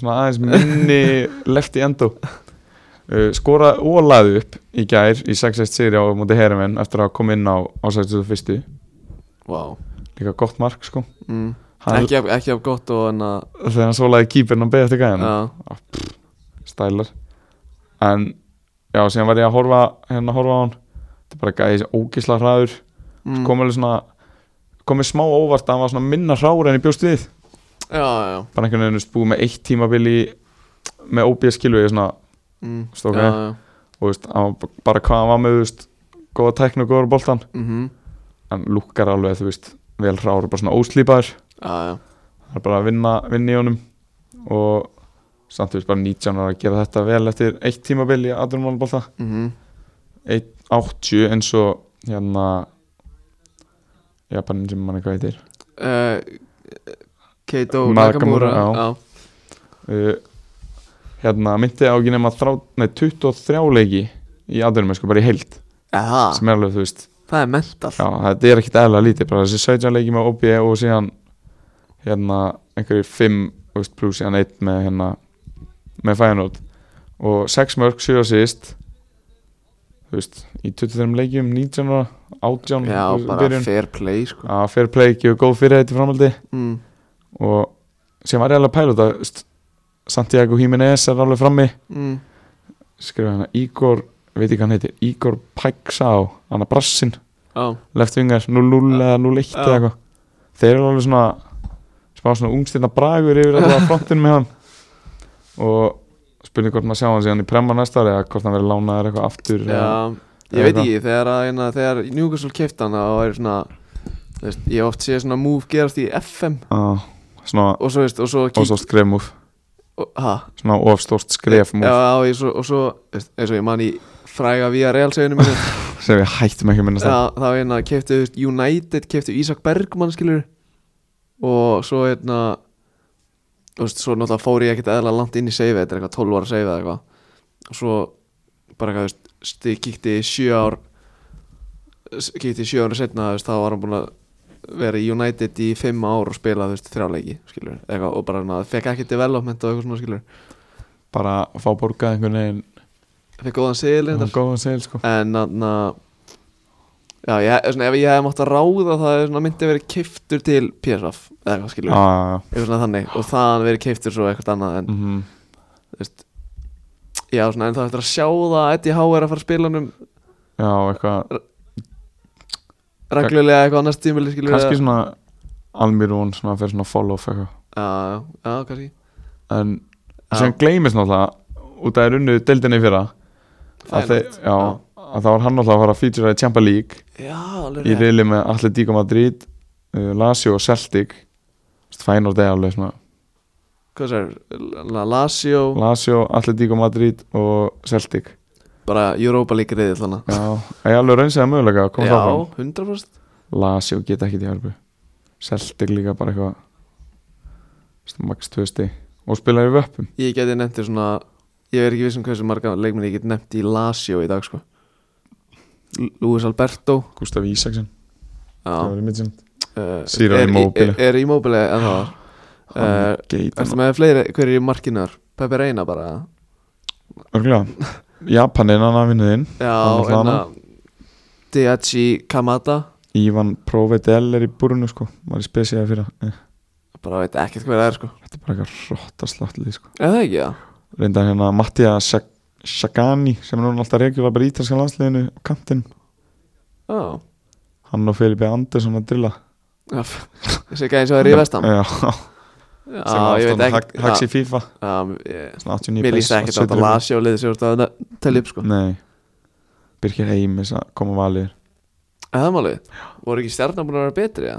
Speaker 2: svona aðeins minni left í endó uh, skora og laði upp í gær í 6-1 sigri á móti Herumenn eftir að koma inn á á 61.
Speaker 1: Vá
Speaker 2: líka gott mark sko
Speaker 1: mm.
Speaker 2: hann,
Speaker 1: Ekki af- ekki af gott og en að
Speaker 2: þegar hann svolaði kýpirn og beði eftir gæðan
Speaker 1: Já,
Speaker 2: stælar en já, síðan var ég að horfa hérna að horfa á hann þetta er bara gæði þessi ógisla hraður
Speaker 1: mm.
Speaker 2: kom alveg svona komið smá óvart að hann var svona minna hráur en ég bjóst við
Speaker 1: Já, já, já
Speaker 2: bara einhvern veginn þú veist, búið með eitt tímabil í með OBS skilu ég svona
Speaker 1: mm.
Speaker 2: Stók,
Speaker 1: Já, já
Speaker 2: og þú veist, hann var b- bara hvað hann var með þú veist, góða tækni og góða boltan
Speaker 1: Mhm.
Speaker 2: en lukkar alveg þú veist vel hráur, bara svona óslýpaður
Speaker 1: Já, já
Speaker 2: það er bara að vinna, vinna í honum og samt þú veist bara 19 ára að gera þetta vel eftir eitt tímabil í aðrunvalbolta
Speaker 1: Mhm.
Speaker 2: 80 eins og hérna Japanin sem manni hvað heitir
Speaker 1: Eh, Keito Nakamura
Speaker 2: Nakamura, já.
Speaker 1: Já,
Speaker 2: uh, hérna myndi á ekki nema þrá, nei, 23 leiki í aðurum sko bara í heild
Speaker 1: Aha,
Speaker 2: sem er alveg þú veist
Speaker 1: það er mental
Speaker 2: já, þetta er ekkit eðla lítið bara þessi 17 leiki með OB og síðan hérna einhverjir 5 veist, pluss síðan 1 með hérna með Feyenoord og 6 mörg, 7 assist þú veist, í 23 leikjum 19 ára, 18
Speaker 1: Já,
Speaker 2: þú veist,
Speaker 1: bara
Speaker 2: byrjun.
Speaker 1: fair play sko.
Speaker 2: Já, fair play, gefur góð fyrirheit í framhaldi
Speaker 1: mm.
Speaker 2: og sem var ég alveg að pæla þetta þú veist, Santiago Jiménez er alveg frammi
Speaker 1: Mm.
Speaker 2: skrifa hana Igor, veit ekki hvað hann heitir Igor Paxá, hann að brassin
Speaker 1: Já,
Speaker 2: leftvingar, 0-0 eða 0-1 eða
Speaker 1: Já.
Speaker 2: eitthvað þeir eru alveg svona smá svona ungstirna bragur yfir alltaf frontinu með hann og spurning hvort maður sjá hann síðan í premma næsta ári eða hvort hann verið lánaður eitthvað aftur
Speaker 1: já,
Speaker 2: eða-
Speaker 1: ég veit
Speaker 2: eitthvað.
Speaker 1: ekki þegar, að, hérna, þegar Newcastle kefti hann þá er svona þú veist, ég oft sé svona move gerast í FM
Speaker 2: Já, Ah, svona
Speaker 1: og svo veist og svo kík,
Speaker 2: ofstórt skrefmúf
Speaker 1: og, ha,
Speaker 2: svona ofstórt
Speaker 1: já,
Speaker 2: skrefmúf
Speaker 1: já, ég, svo, og svo veist, eins og ég man í fræga via realseginu minni
Speaker 2: sem við hættum ekki að minnast á.
Speaker 1: Já, þá hérna keftu United, keftu Ísak Bergmann skilur og svo hérna þú veist, svo náttúrulega fór ég ekkert eðla langt inn í save þetta er eitthvað 12 ára save eða eitthvað og svo bara eitthvað, þú veist, þið kíkti sjö ár s- kíkti sjö ára setna, þú veist, þá var hann búin að vera í United í 5 ár og spila, þú veist, þrjáleiki, skilur eitthvað, og bara, na, fekk ekki development og eitthvað svona, skilur
Speaker 2: bara að fá borgað einhvern veginn
Speaker 1: fekk góðan sigil,
Speaker 2: og
Speaker 1: hérna
Speaker 2: góðan segil sko
Speaker 1: en þarna já, ég, svona, ef ég hefði mátt að ráða það er svona myndi verið keiftur til PSF eða eitthvað skilur,
Speaker 2: Já,
Speaker 1: eitthvað svona þannig og þaðan verið keiftur svo eitthvað annað en,
Speaker 2: Ah, mhm.
Speaker 1: já, svona, en það eftir að sjá það að Eddie Howe er að fara að spila hann um
Speaker 2: já, eitthvað
Speaker 1: reglulega eitthvað annars tímili skilur
Speaker 2: kannski
Speaker 1: eða-
Speaker 2: svona Almirún svona fyrir svona follow-off eitthvað
Speaker 1: já, já, já, kannski
Speaker 2: en
Speaker 1: Já.
Speaker 2: sem gleymist náttúrulega út af runnu deildinni í fyrra að, þeir,
Speaker 1: Feyenoord.
Speaker 2: já, að það var hann náttúrulega að fara að featura í Champions League
Speaker 1: já, alveg
Speaker 2: í
Speaker 1: rétt.
Speaker 2: reyli með Atletico Madrid uh, Lazio og Celtic Fænor degi alveg svona
Speaker 1: hvað sér, La- Lazio
Speaker 2: Lazio, Atletico Madrid og Celtic
Speaker 1: bara Europa League reyði þannig
Speaker 2: Já, ég alveg raunsaði mögulega að komast
Speaker 1: já,
Speaker 2: áfram
Speaker 1: 100%
Speaker 2: Lazio geta ekki í Evropu Celtic líka bara eitthvað Veistu, Max 2 stig og spilaði í vöppum
Speaker 1: ég geti nefnt þér svona ég er ekki viss um hversu marga leikmenn ég get nefnt í Lazio í dag sko Lu- Luis Alberto
Speaker 2: Gustaf
Speaker 1: já,
Speaker 2: Ísaksen, það var í mitt sinn
Speaker 1: uh,
Speaker 2: Ciro
Speaker 1: er,
Speaker 2: Immobile. Ah.
Speaker 1: er, er Immobile en það var Eh, Ertu
Speaker 2: Geitan
Speaker 1: með fleiri, hver er í markinar? Pepe Reina bara
Speaker 2: Örgulega Japaninn hann að vinnuðinn
Speaker 1: Já, hérna,
Speaker 2: Hann er
Speaker 1: en
Speaker 2: þaðan.
Speaker 1: að DHG Kamada
Speaker 2: Ívan Provedel er í búrunu sko Var í Eh. spesiða fyrir Þetta
Speaker 1: bara veit ekkert hver það er sko
Speaker 2: er bara eitthvað rottasláttið sko
Speaker 1: Er það ekki það?
Speaker 2: Reynda hérna Mattia Shagani sem er núna alltaf regjula bara í ítalska landsliðinu á kantinn
Speaker 1: Já,
Speaker 2: Hann og Felipe Andersson að drilla
Speaker 1: Já, f- ég sé ekki eins og það er í vestam Já,
Speaker 2: Já, sem
Speaker 1: ég veit
Speaker 2: hag,
Speaker 1: ekkert
Speaker 2: Hags í FIFA
Speaker 1: Já, ég-
Speaker 2: Svona 89
Speaker 1: Mér líst ekkert á þetta Lazio liðið sem þú ert að telja upp sko
Speaker 2: Nei Birkir Heimis að koma valir
Speaker 1: Er það málið? Voru ekki stjarnar búin að vera betri, já?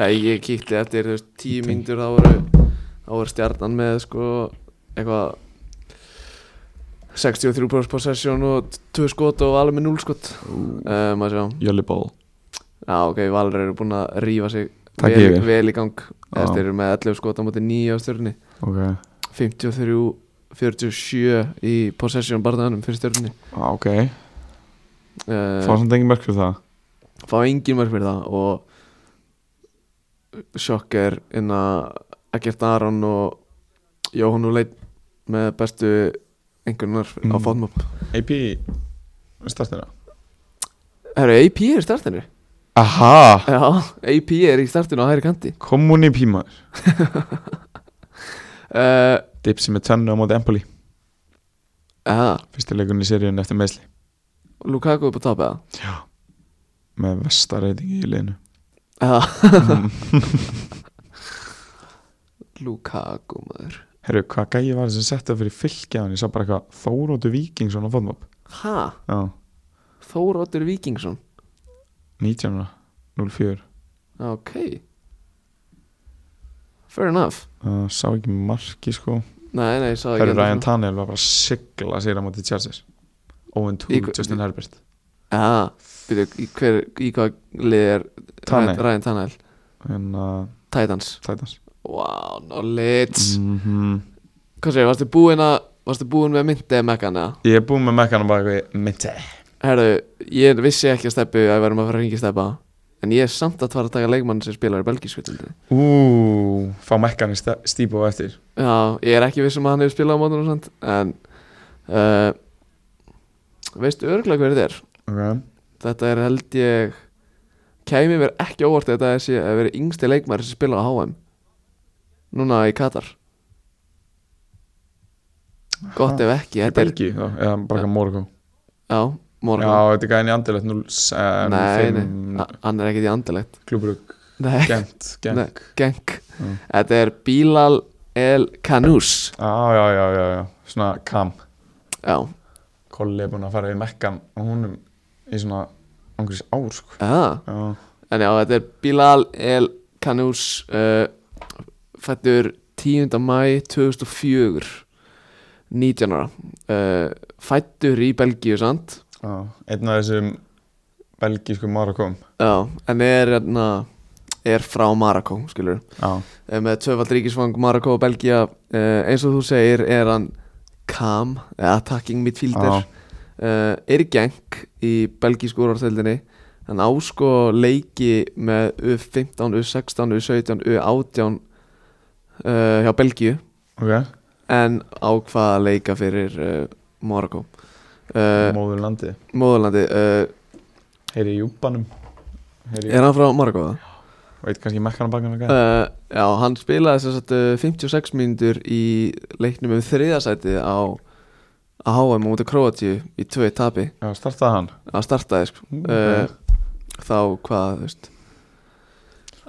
Speaker 1: Já, ég, ég kíkti eftir, þú veist, tíu mínútur þá voru, þá voru stjarnan með, sko, eitthvað 63% possession og 2 skot og valur með 0 skot um, að sjá,
Speaker 2: Jölliball
Speaker 1: já, ok, valur eru búin að rífa sig
Speaker 2: Takk
Speaker 1: vel,
Speaker 2: yfir.
Speaker 1: vel í gang
Speaker 2: Já.
Speaker 1: eftir eru með 11 skot á móti 9 á stjörnni
Speaker 2: Ok
Speaker 1: 53 47 í possession barðanum fyrir stjörnni
Speaker 2: Á, Ok
Speaker 1: um,
Speaker 2: Fá samt engin mörkur það
Speaker 1: fá engin mörg fyrir það og sjokk er inn að Egert Aron og Jóhann Úleit með bestu einhvernar á
Speaker 2: Mm.
Speaker 1: fótmop
Speaker 2: AP Startina
Speaker 1: Herru, AP er í startinu
Speaker 2: Aha
Speaker 1: Já, AP er í startinu á hægri kanti
Speaker 2: Kommuni pímar
Speaker 1: uh,
Speaker 2: Dipsi með tönnu á móti Empoli
Speaker 1: aha,
Speaker 2: Fyrsti leikunni í seríun eftir meðsli
Speaker 1: Lukaku upp á top eða
Speaker 2: Með vestarreitingi í liðinu
Speaker 1: Aha. Lukaku maður
Speaker 2: Herru, hvað gæi var það sem setti það fyrir fylgjaðan Ég sá bara eitthvað Þórótu Víkingsson á fótmop
Speaker 1: Ha,
Speaker 2: Já,
Speaker 1: Þóróttur Víkingsson
Speaker 2: 19 ára, 04
Speaker 1: Ok Fair enough
Speaker 2: uh, Sá ekki marki sko
Speaker 1: Nei, nei, ég sá ekki
Speaker 2: Herru,
Speaker 1: endur
Speaker 2: Ryan
Speaker 1: svona.
Speaker 2: Tannehill var bara að sigla sér á móti Chargers Owen 2,
Speaker 1: Í hva-
Speaker 2: Justin Herbert
Speaker 1: Já, byrju, í, hver, í hvað lið er
Speaker 2: Tannehill.
Speaker 1: Ryan Tannehill?
Speaker 2: En uh,
Speaker 1: Titans
Speaker 2: Titans
Speaker 1: Wow, knowledge
Speaker 2: mm
Speaker 1: Mhm. Hvað segir, varstu búinn að Varstu búinn með myndið mekkan eða?
Speaker 2: Ég er búinn með mekkanum bara eitthvað í Mitte
Speaker 1: Herru, ég vissi ekki að steppu að við verðum að fara að ringi steppa En ég er samt að fara að taka leikmann sem spilar í sko, belgísku tildri
Speaker 2: Ú, fá mekkanum stípa á eftir
Speaker 1: Já, ég er ekki viss um að hann hefur spilað á mótunum samt En uh, Veistu örgulega hver þetta er?
Speaker 2: Ok
Speaker 1: Þetta er held ég Kæmi mér ekki óvart ef þetta sé að vera yngsti leikmæri sem spila á HM Núna í Katar Gott ef ekki
Speaker 2: Í
Speaker 1: Þetta er,
Speaker 2: Belgíu þá, eða bara Morgo
Speaker 1: já,
Speaker 2: Já,
Speaker 1: morgun
Speaker 2: þetta er gæðin í Andilegt 0
Speaker 1: Nei, nei,
Speaker 2: 5
Speaker 1: a- hann er ekkert í andilegt
Speaker 2: Klúbrug
Speaker 1: Nei,
Speaker 2: Gent
Speaker 1: Nei.
Speaker 2: Gent
Speaker 1: geng
Speaker 2: Mm.
Speaker 1: Þetta er Bilal El Kanous
Speaker 2: Já, já, já, já, já Svona kam
Speaker 1: Já,
Speaker 2: Kolli er búin að fara í Mekkan og húnum í svona einhvers ár sko.
Speaker 1: já
Speaker 2: Já,
Speaker 1: En já, þetta er Bilal El Kanous uh, Fættur 10. mæ 2004 19 ára uh, Fættur í Belgíu, sant?
Speaker 2: já Einn af þessum belgísku Marokkom
Speaker 1: Já, en er, na, er frá Marakó, skilur
Speaker 2: Já,
Speaker 1: Eh, Með tvöfald ríkisfang Marakó og Belgía uh, Eins og þú segir er hann Kam, eða attacking midfielder
Speaker 2: já,
Speaker 1: uh, er í geng í belgísku úrvartöldinni hann á sko leiki með U15, U16, U17, U18 uh, hjá Belgíu
Speaker 2: ok
Speaker 1: en ákvað að leika fyrir uh, Morakó uh,
Speaker 2: Móður landi
Speaker 1: Móðurlandi, uh,
Speaker 2: Heyri í júbanum Heyri í
Speaker 1: er hann frá Morakó það?
Speaker 2: Veit kannski Mekkan á bakana gæði
Speaker 1: Uh, já, hann spilaði sem sagt uh, 56 mínútur í leiknum um þriðasætið á á HM á móti Kroatíu í tvö tapi
Speaker 2: Já, startaði hann
Speaker 1: að startaði sko uh, þá hvað, þú veist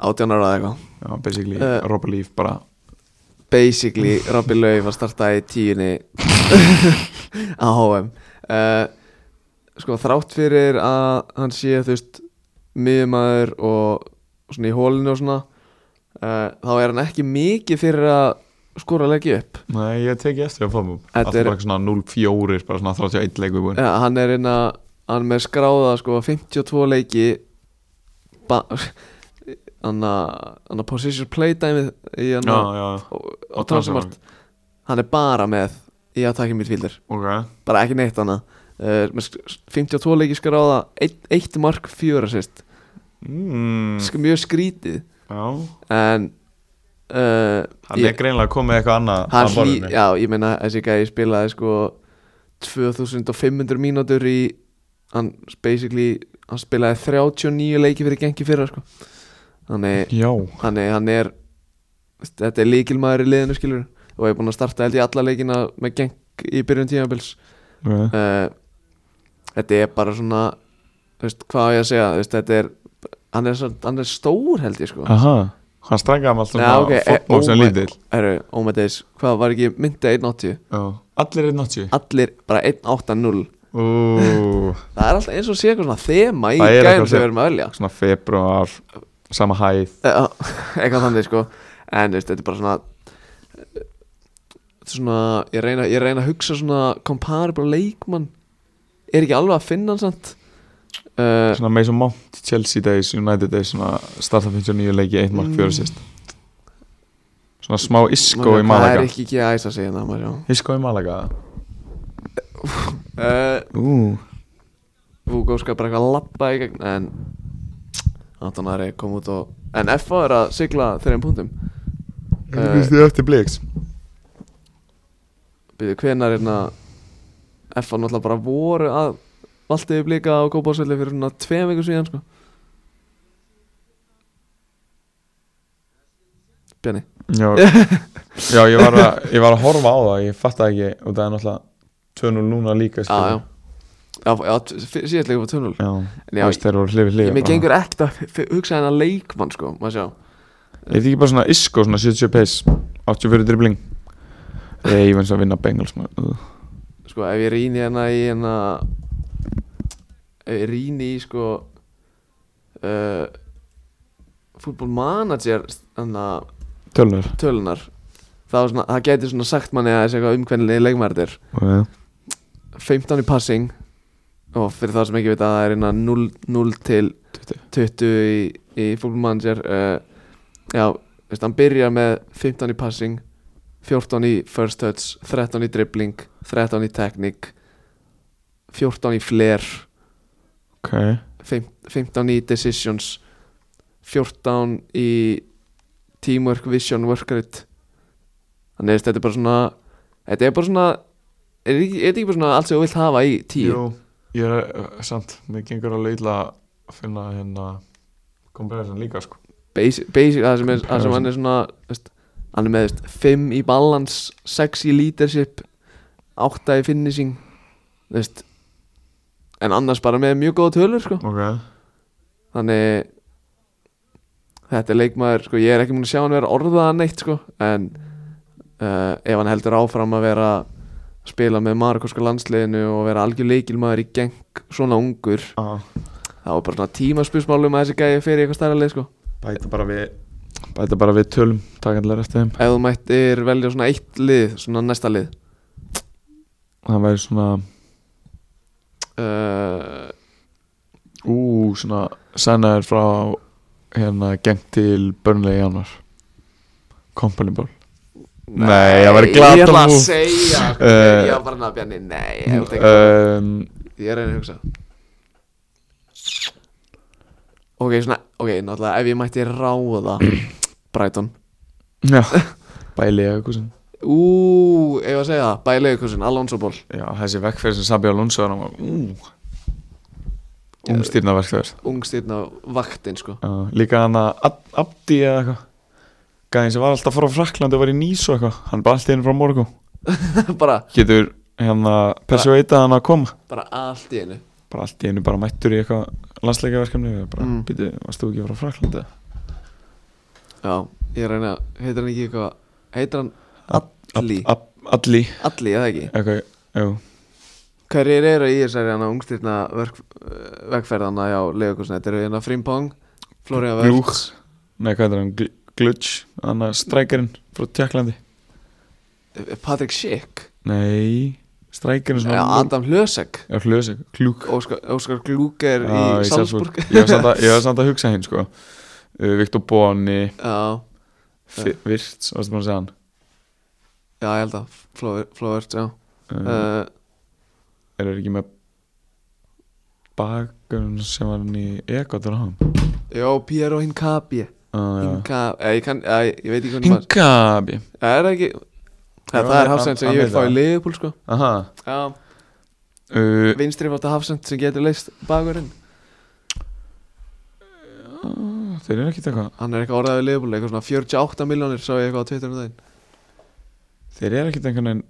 Speaker 1: 18 ára eða eitthvað
Speaker 2: Já, basically
Speaker 1: eh,
Speaker 2: Robba Líf bara
Speaker 1: basically Robby Lau var startað í tíunni á HM uh, sko þrátt fyrir að hann sé þú veist miðumæður og svona í hólinu og svona uh, þá er hann ekki mikið fyrir að skora leggja upp
Speaker 2: Nei, ég teki eftir að fóðum
Speaker 1: Þetta
Speaker 2: Alltaf
Speaker 1: er-
Speaker 2: bara eitthvað svona 0-4 bara svona 31 leikur búin
Speaker 1: ja, Eh, hann er inna, hann er með skráða sko 52 leiki hann að position play dæmið í hann
Speaker 2: Já, já,
Speaker 1: og,
Speaker 2: Og
Speaker 1: og transmart hann er bara með í að taka mitt fíldur
Speaker 2: ok
Speaker 1: bara ekki neitt annað uh, með sk- 52 leiki skráða eitt, eitt mark fjóra sérst
Speaker 2: mm,
Speaker 1: mm. mjög skrítið
Speaker 2: Já,
Speaker 1: en uh,
Speaker 2: hann er greinlega komið eitthvað annað
Speaker 1: hann
Speaker 2: að
Speaker 1: hlý,
Speaker 2: borðinu.
Speaker 1: já ég meina þessi gæði spilaði sko 2500 mínútur í hann basically hann spilaði 39 leiki fyrir gengi fyrra sko þannig
Speaker 2: Já,
Speaker 1: hann er, hann er þetta er líkilmaður í liðinu skilur og er búin að starta held í alla leikina með geng í byrjun tímabils
Speaker 2: ok
Speaker 1: uh, þetta er bara svona þú veist, hvað á ég að segja þú veist, þetta er hann er, svo, hann er stór held ég sko
Speaker 2: Aha, hann strækkaði hann allt svona
Speaker 1: Já, ok, eh,
Speaker 2: fótból sem
Speaker 1: oh my-
Speaker 2: lítill
Speaker 1: Heru, ómættis, hvað var ekki myndið 1.80
Speaker 2: Já. Allir er 90
Speaker 1: allir bara 1.80
Speaker 2: Ú,
Speaker 1: það er alltaf eins og sé eitthvað svona þema í
Speaker 2: Það er
Speaker 1: gæðum
Speaker 2: eitthvað
Speaker 1: sem
Speaker 2: sem-
Speaker 1: við erum að velja
Speaker 2: Svona februar, sama hæð
Speaker 1: Já, eitthvað þannig sko en veist, þetta er bara svona þetta er svona, ég reyna, ég reyna að hugsa svona comparable leikmann er ekki alveg að finna hann samt uh,
Speaker 2: Svona Mason Mount, Chelsea days, United days Svona starta 59 leiki, 1 mark,
Speaker 1: Mm.
Speaker 2: 4 assist Svona smá isko í
Speaker 1: það er
Speaker 2: Malaga
Speaker 1: ekki ekki að æsa sig hérna maður sjá.
Speaker 2: Isko í Malaga
Speaker 1: uh,
Speaker 2: Ú,
Speaker 1: Vúgó skal bara eitthvað lappa í gegn en Antonari kom út og en FA er að sigla þreim punktum Eh.
Speaker 2: Þú finnst þið eftir blíks
Speaker 1: byrju hvenar hérna FA náttúrulega bara voru að valdi við blika á góðbásvelli fyrir svona tveim vikur síðan sko Bjarni
Speaker 2: Já, já ég, var að, ég var að horfa á það Ég fatt ekki og það er náttúrulega 2-0 núna líka sko.
Speaker 1: Já, Ah, já Já, já t- f- síðast leikur var 2-0
Speaker 2: já.
Speaker 1: En já,
Speaker 2: þú veist þeir voru hlifið
Speaker 1: ég-
Speaker 2: hlifið
Speaker 1: Mér gengur ekkert að f- f- hugsa hennar leikmann sko Má sjá
Speaker 2: Er þetta ekki bara svona isko, svona 70 pace 84 dribbling Þegar ég finnst að vinna Bengals maður. Ugh.
Speaker 1: Sko, ef ég rýni hérna í hérna Ef ég rýni í sko uh, Football manager Þannig að
Speaker 2: Tölur
Speaker 1: tölunar það, var svona, það gæti svona sagt manni að þessi eitthvað um umkvennilega leikmærdir
Speaker 2: okay.
Speaker 1: 15 í passing og fyrir það sem ekki veit að það er innan 0, 0 til
Speaker 2: 20.
Speaker 1: 20 í, í fólkmanager uh, já, veist, hann byrjar með 15 í passing 14 í first touch 13 í dribbling, 13 í teknik 14 í flair
Speaker 2: ok
Speaker 1: 15 í decisions 14 í teamwork, vision, work rate þannig að þetta er bara svona þetta er bara svona er ekki- er þetta ekki bara svona allt sem þú vilt hafa í tíu?
Speaker 2: Jú, ég er uh, samt, mér gengur alveg illa að finna hérna kompression líka sko
Speaker 1: Basic, basic það sem, er, það sem hann er svona veist, hann er með veist, 5 í balance 6 í leadership 8 í finishing veist, en annars bara með mjög góða tölur sko.
Speaker 2: Ok,
Speaker 1: þannig þetta er leikmaður sko, ég er ekki múin að sjá hann vera orðaðan neitt sko, en uh, ef hann heldur áfram að vera að spila með margurska landsliðinu og vera algjör leikilmaður í geng svona ungur
Speaker 2: ah,
Speaker 1: þá er bara svona tímaspursmálum að þessi gæði fyrir eitthvað stærra leið sko.
Speaker 2: bæta bara við Bæta bara við tölum, takanlega eftir þeim
Speaker 1: ef þú mættir velja svona eitt lið svona næsta lið
Speaker 2: Það væri svona,
Speaker 1: uh,
Speaker 2: ú, svona Sennaður frá hérna geng til Burnley í januar Company Ball Nei, það væri
Speaker 1: ég
Speaker 2: glata
Speaker 1: ætla að
Speaker 2: move.
Speaker 1: segja sko,
Speaker 2: Eh,
Speaker 1: ég var bara nafn Bjarni, nei ég, held ekki.
Speaker 2: um,
Speaker 1: ég er að reyna að hugsa ok, svona ok, náttúrulega ef ég mætti ráða Brighton
Speaker 2: Já, bæli eða eitthvað sem
Speaker 1: ú, ef ég var að segja það, bælega kursin Alonso Ball,
Speaker 2: Já, þessi vekkferð sem Sabi Alonso er hann var Ú Umstýrna verkferð
Speaker 1: ungstýrna vaktin sko
Speaker 2: Já, Líka hann að Ab- Abdi eða eitthvað Gæðin sem var alltaf að fara frá Frakland og var í Nýs og eitthvað Hann bara alltaf inn frá morgun
Speaker 1: bara,
Speaker 2: Getur hérna persuveita hann að koma
Speaker 1: bara allt í einu
Speaker 2: Bara allt í einu bara mættur í eitthvað landsleikaverkefni og ég Bara,
Speaker 1: Mm.
Speaker 2: mm. býtu, varst þú ekki frá Frakland eða?
Speaker 1: já, ég er að reyna, heitir hann ekki eitthvað heitir hann Alli
Speaker 2: Ab, Alli,
Speaker 1: Alli, eða ekki
Speaker 2: eitthvað, jú
Speaker 1: Hverjir eru í þessari hana ungstyrna vegferðana hjá Leokursna? Þetta eru hérna Frimpong, Florian
Speaker 2: Glúk
Speaker 1: Vörts
Speaker 2: Nei, hvað er hann, Gl- Glutch Hann að strækjarinn frá Tjekklandi
Speaker 1: Patrick Schick,
Speaker 2: Nei, strækjarinn
Speaker 1: eh, Adam Hlösek
Speaker 2: Já, hlöðs ekki, klúk
Speaker 1: Óskar, Óskar Glúker í
Speaker 2: Já, í Salzburg.
Speaker 1: Salzburg
Speaker 2: Ég var samt að- ég var samt að hugsa hinn sko uh, Viktor Bóni,
Speaker 1: Já,
Speaker 2: Virts, varstu maður að segja hann
Speaker 1: já, ég held að Flóverts, já
Speaker 2: uh,
Speaker 1: uh,
Speaker 2: Er það ekki með bakgrunn sem var hann í Ekotur á Ah, hann
Speaker 1: Jó, Piero Hinkabi Hinkabi, eh, ég, kann, eh, ég veit ekki hvernig maður
Speaker 2: Hingabi
Speaker 1: Er það ekki Eh,
Speaker 2: Jú,
Speaker 1: Það er
Speaker 2: hann-
Speaker 1: Hafsend sem
Speaker 2: hann
Speaker 1: ég vil
Speaker 2: veit
Speaker 1: fá í
Speaker 2: það.
Speaker 1: Leopold sko
Speaker 2: Aha
Speaker 1: Já,
Speaker 2: uh,
Speaker 1: vinstri fóttu Hafsend sem getur leist bakurinn
Speaker 2: Þeir eru ekkert eitthvað
Speaker 1: Hann er eitthvað orðaðið Leopold, eitthvað svona 48 miljónir sá ég eitthvað á Twitter um daginn
Speaker 2: Þeir eru ekkert einhvern veginn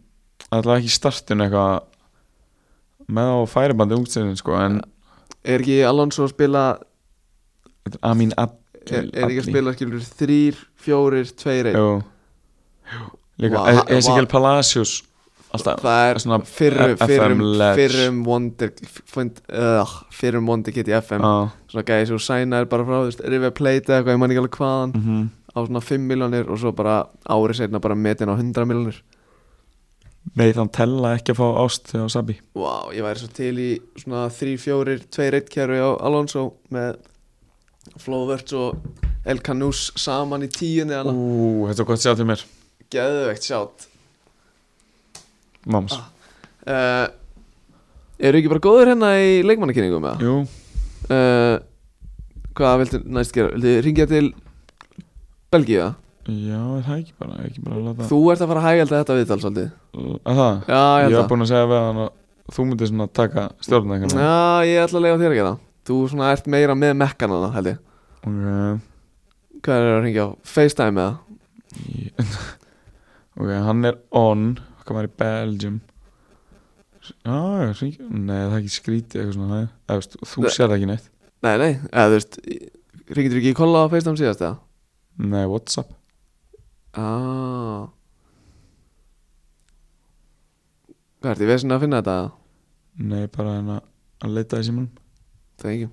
Speaker 2: Alltaf ekki í startun eitthvað Með á færibandi ungstæðin sko En
Speaker 1: Er ekki Alonso að spila
Speaker 2: Amin Ab
Speaker 1: Er, er ekki að spila skilur þrýr, fjórir, tveir, einn
Speaker 2: Jú Líka
Speaker 1: Vá,
Speaker 2: E- Ezekiel
Speaker 1: vá.
Speaker 2: Palacios Alltaf
Speaker 1: Það er
Speaker 2: svona
Speaker 1: fyrrum,
Speaker 2: F-
Speaker 1: fyrrum,
Speaker 2: FM ledge.
Speaker 1: fyrrum Wonder fund, uh, Fyrrum Wonder Kitty FM
Speaker 2: Já
Speaker 1: Svona gæði svo sænaður bara frá þú veist, River Plate eða eitthvað, ég man ekki alveg hvaðan
Speaker 2: Mhm.
Speaker 1: Á svona 5 miljonir og svo bara ári setna bara metin á 100 miljonir
Speaker 2: Nei, þann tella ekki að fá ást á Sabi
Speaker 1: Vá, ég væri svo til í svona 3, 4, 2 reittkerfi á Alonso Með Flóverts og El Canús saman í tíunni hana
Speaker 2: Ú, þetta er gott sjá til mér
Speaker 1: Geðveikt sjátt
Speaker 2: Máms
Speaker 1: Ah. uh, Eru ekki bara góður hérna í leikmannakynningum með
Speaker 2: Jú,
Speaker 1: það? Eh, hvað viltu næst gera? Viltu ringja til Belgíu?
Speaker 2: já, er það ekki bara ekki bara að láta
Speaker 1: Þú ert að fara að hægælda þetta viðtal svolítið
Speaker 2: Að það?
Speaker 1: Já, ég
Speaker 2: Ég
Speaker 1: held
Speaker 2: var
Speaker 1: það
Speaker 2: búin að segja við hann að þú myndir svona taka stjórn eitthvað
Speaker 1: Já, ég ætla að lega þér að gera það. Þú svona ert meira með mekkanana, held ég
Speaker 2: Ok,
Speaker 1: Hvað er að ringja á? FaceTime með það?
Speaker 2: Í- ok, hann er on Hvað maður í Belgium Já, hringi Nei, það er ekki skrítið eitthvað svona hæ? Eða, veist, Þú
Speaker 1: Nei.
Speaker 2: sér það ekki neitt
Speaker 1: Nei, nei, eða þú veist Ringir ekki í kolla á FaceTime síðast eða?
Speaker 2: Nei, Whatsapp
Speaker 1: Ah. Hvað ert í vesinu að finna þetta?
Speaker 2: Nei, bara hann að að leita í símanum
Speaker 1: Það er ekki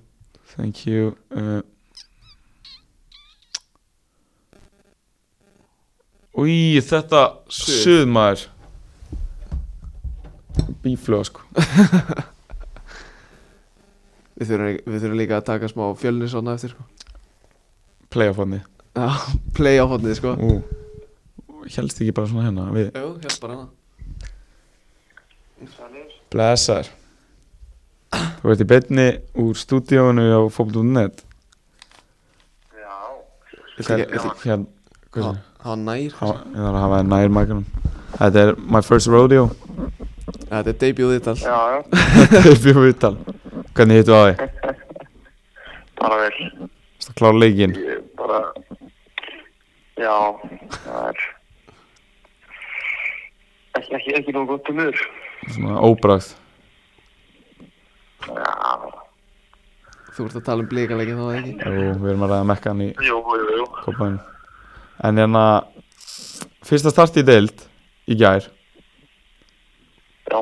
Speaker 2: Thank you uh, Új, þetta
Speaker 1: Suð.
Speaker 2: Suðmaður Bíflöð sko
Speaker 1: Við þurfum, við þurfum líka að taka smá fjölni svona eftir sko.
Speaker 2: Playoffandi
Speaker 1: Já, play á hotnið sko
Speaker 2: Ú Hélst ekki bara svona hérna við
Speaker 1: Jú, hjálpar hana
Speaker 2: Blessar Þú ert í beinni úr stúdíóinu á fólk.net
Speaker 3: Já,
Speaker 1: Viltu
Speaker 2: Hér,
Speaker 1: ekki, viltu
Speaker 2: hér, Hérna, hvað
Speaker 1: ekki
Speaker 2: er
Speaker 1: Há nær
Speaker 2: það? Ég þarf að hafa þér nær mækunum Þetta er my first rodeo
Speaker 1: Já, Þetta er debut viðtal
Speaker 3: já, já,
Speaker 2: Bjó viðtal Hvernig hittu á því?
Speaker 3: bara vel,
Speaker 2: Varstu að klára leikinn?
Speaker 3: ég bara, já, það er, ekki, ekki, ekki nóg gott um þur.
Speaker 2: Svona óbragð
Speaker 3: Já,
Speaker 1: Þú ert að tala um blíkalegin þá ekki
Speaker 2: Jú, við erum að ræða mekkan í
Speaker 3: jú, jú, jú,
Speaker 2: koppaðinu En hérna Fyrsta start í deild Í gær
Speaker 3: já,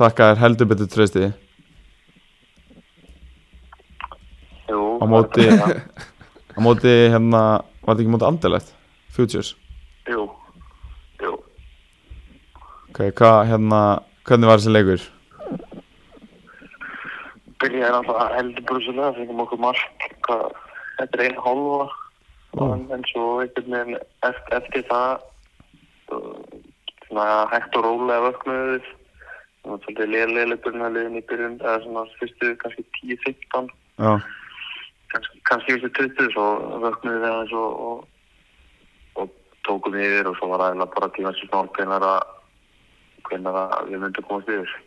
Speaker 2: Þakka þér heldur betur treysti
Speaker 3: jú.
Speaker 2: Á móti Á móti hérna Var þetta ekki móti andelegt? Futures
Speaker 3: Jú, jú,
Speaker 2: Ok, hvað hérna Hvernig var þessi leikur?
Speaker 3: byrjaði náttúrulega heldur brusulega, fengum okkur mark, hvað, þetta er einu hálfa, en, en svo einhvern veginn eftir, eftir það, uh, svona hægt og rólega vöknuðu við, það var svolítið lélega byrjunarliðin í byrjun, eða svona fyrstu kannski 10-15,
Speaker 2: Já
Speaker 3: kannski, kannski fyrstu 20, svo vöknuðu við aðeins og, og, og tókum yfir og svo var aðeins bara tíma sem snort hvenar að, hvenar að við myndum komast yfir.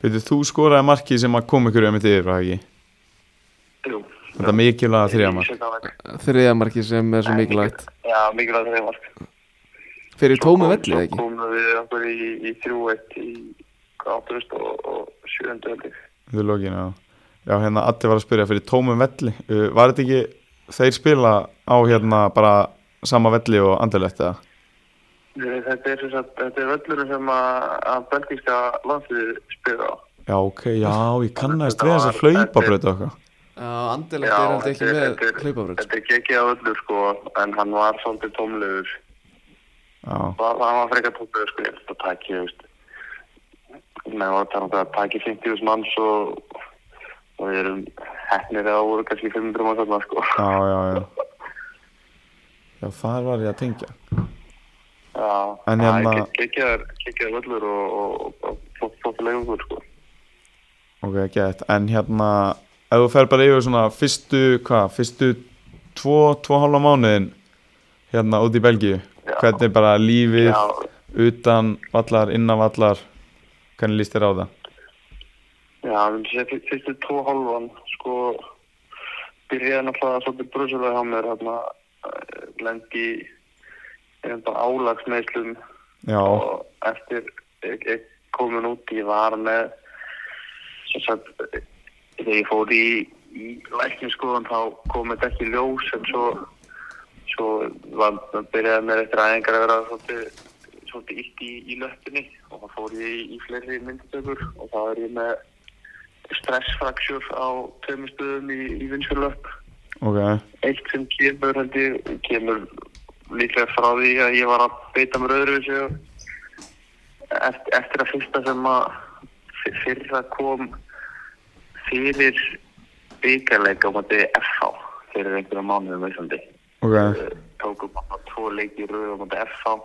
Speaker 2: Veitir, þú skoraði markið sem að kom ykkur um þetta yfir, var það ekki?
Speaker 3: Jú.
Speaker 2: Þetta mikilvæga þrjámar.
Speaker 3: mark.
Speaker 1: Þriðja marki sem er svo mikilvægt
Speaker 3: Já, mikilvægt þriðja mark.
Speaker 1: Fyrir tómi
Speaker 3: Svo-
Speaker 1: vellið
Speaker 3: Svo
Speaker 1: ekki
Speaker 3: komum við okkur í, í 3-1 í átturist og, og sjöndu öllu.
Speaker 2: Þú lókin, já. Já, hérna, Addi var að spyrja fyrir tómum velli. Uh, var þetta ekki þeir spila á hérna bara sama velli og andalegt eða?
Speaker 3: Þetta er, sem sagt- þetta er völlurinn sem að, að belgíska landslið spila á.
Speaker 2: Já, ok, já, ég kannast við þess að hlaupabröta okkar.
Speaker 1: Já, andilegt er held ekki með hlaupafröð
Speaker 3: Þetta er gekkið á völlur sko, en hann var svolítið tómlegur.
Speaker 2: Já,
Speaker 3: Það það var frekar tómlegur sko, ég held að taki, þú veist. Nei, það var þannig að taki 50.000 manns og, og við erum hefnir eða voru kannski 500 manns þarna sko.
Speaker 2: já, já, já. Já, þar var ég að tengja.
Speaker 3: Já,
Speaker 2: En
Speaker 3: það er
Speaker 2: hérna-
Speaker 3: ke- geggjaðar geggjaðar völlur og, og, og, og flott leifungur sko.
Speaker 2: Ok, gett. En hérna, ef þú fer bara yfir svona fyrstu, hvað, fyrstu tvo, tvo hálfa mánuðin hérna út í Belgíu,
Speaker 3: Já.
Speaker 2: hvernig bara lífið,
Speaker 3: Já,
Speaker 2: utan vallar, innan vallar hvernig líst þér á það?
Speaker 3: já, við séum fyr- fyrstu tvo hálfan sko byrjaði náttúrulega svolítið brusulega hjá mér hérna lendi enda álagsmeislum
Speaker 2: Já,
Speaker 3: og eftir ég, ég komin út ég var með sem sagt þegar ég fór í, í lækniskoðan þá kom þetta ekki í ljós en svo, svo var, byrjaði mér eftir aðeingar að vera svolítið, svolítið illt í, í löttinni og þá fór ég í, í fleiri myndatökur og þá er ég með stressfraksjur á tveimur stöðum í, í vinsjulöpp
Speaker 2: ok
Speaker 3: eitt sem kemur held ég, kemur líklega frá því að ég var að beita mér öðru þessu eftir, eftir að fyrsta sem að fyr- fyrra kom fyrir byggarleika á móti FH fyrir einhverja mánuðum á Íslandi
Speaker 2: ok,
Speaker 3: tókum bara tvo leiki í röð á móti FH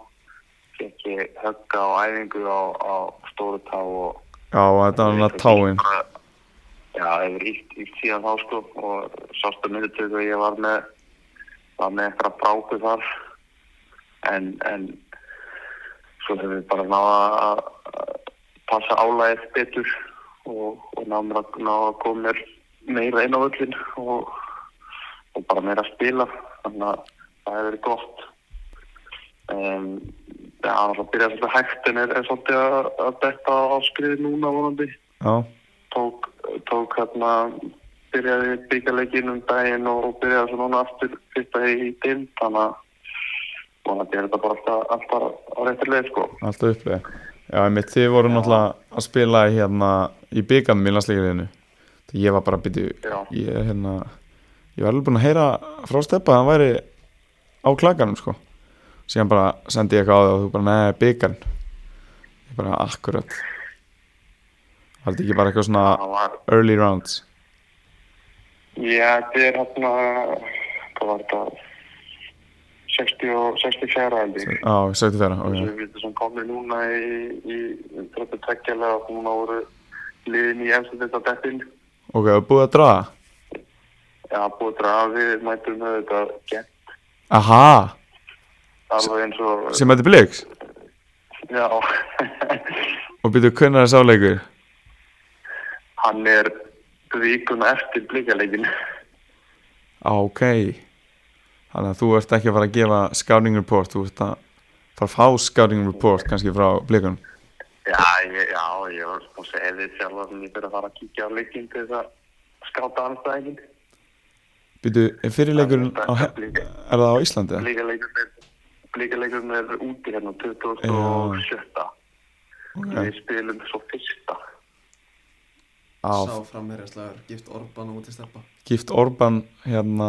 Speaker 3: fekk ég högga á æfingu á, á stóru tá og
Speaker 2: já þetta var hann að táin
Speaker 3: Já, það hefur ítt, ítt síðan þá sko og sástu myndutöku að ég var með var með eitthvað bráku þar en, en svo hefur við bara náða að að passa álæðið betur og, og náðum að, ná að koma mér meira inn á öllin og, og bara meira að spila þannig að það hefur verið gott um, Já, það byrjaði svolítið hægt en er, er svolítið að, að detta á skriði núna vonandi
Speaker 2: já,
Speaker 3: tók, tók hérna byrjaði byggjarleikin um daginn og byrjaði svo núna aftur fyrsta í dimm þannig að vonandi er þetta bara alltaf, alltaf á réttir leið sko
Speaker 2: alltaf upplöði já, einmitt, þið voru náttúrulega að spila í, hérna í byggarnum í landsleikirinu ég var bara að byrja
Speaker 3: Já.
Speaker 2: ég er hérna ég var alveg búinn að heyra frá steppa að hann væri á klakanum sko síðan bara sendi ég eitthvað á það og þú bara neði byggarn ég bara akkurat var þetta ekki bara eitthvað
Speaker 3: það
Speaker 2: svona
Speaker 3: var,
Speaker 2: early rounds
Speaker 3: já þetta er hérna hvað var þetta 60 og 64 held ég
Speaker 2: á, 74, ok
Speaker 3: þessu við sem komið núna í, í 32 og núna voru liðin í eftir þetta dettin
Speaker 2: Ok, það er búið að draga
Speaker 3: já búið að draga við mætum með þetta gett
Speaker 2: Aha,
Speaker 3: alveg eins og
Speaker 2: sem þetta er blíks
Speaker 3: Já,
Speaker 2: byrju, hvernig er það sáleikur?
Speaker 3: Hann er vikuna eftir blíkaleikin.
Speaker 2: Á, ok Þannig að þú ert ekki að fara að gefa scouting report Þú ert að fara að fá scouting report kannski frá blikunum
Speaker 3: Já, ég, já, ég var búin að segja þið sjálf að ég fyrir að fara að kíkja á leikin til þess að skáta anstæðingin.
Speaker 2: Byrju, er fyrirleikurinn á, er
Speaker 3: Blika-
Speaker 2: það á Íslandi? eða?
Speaker 3: Blíkaleikurinn er, blíkaleikurinn er úti hérna 27.
Speaker 2: Ok.
Speaker 3: Við spilum svo fyrsta.
Speaker 2: Á,
Speaker 1: Sá framherjarslagur, gift Orban og út í steppa
Speaker 2: gift Orban hérna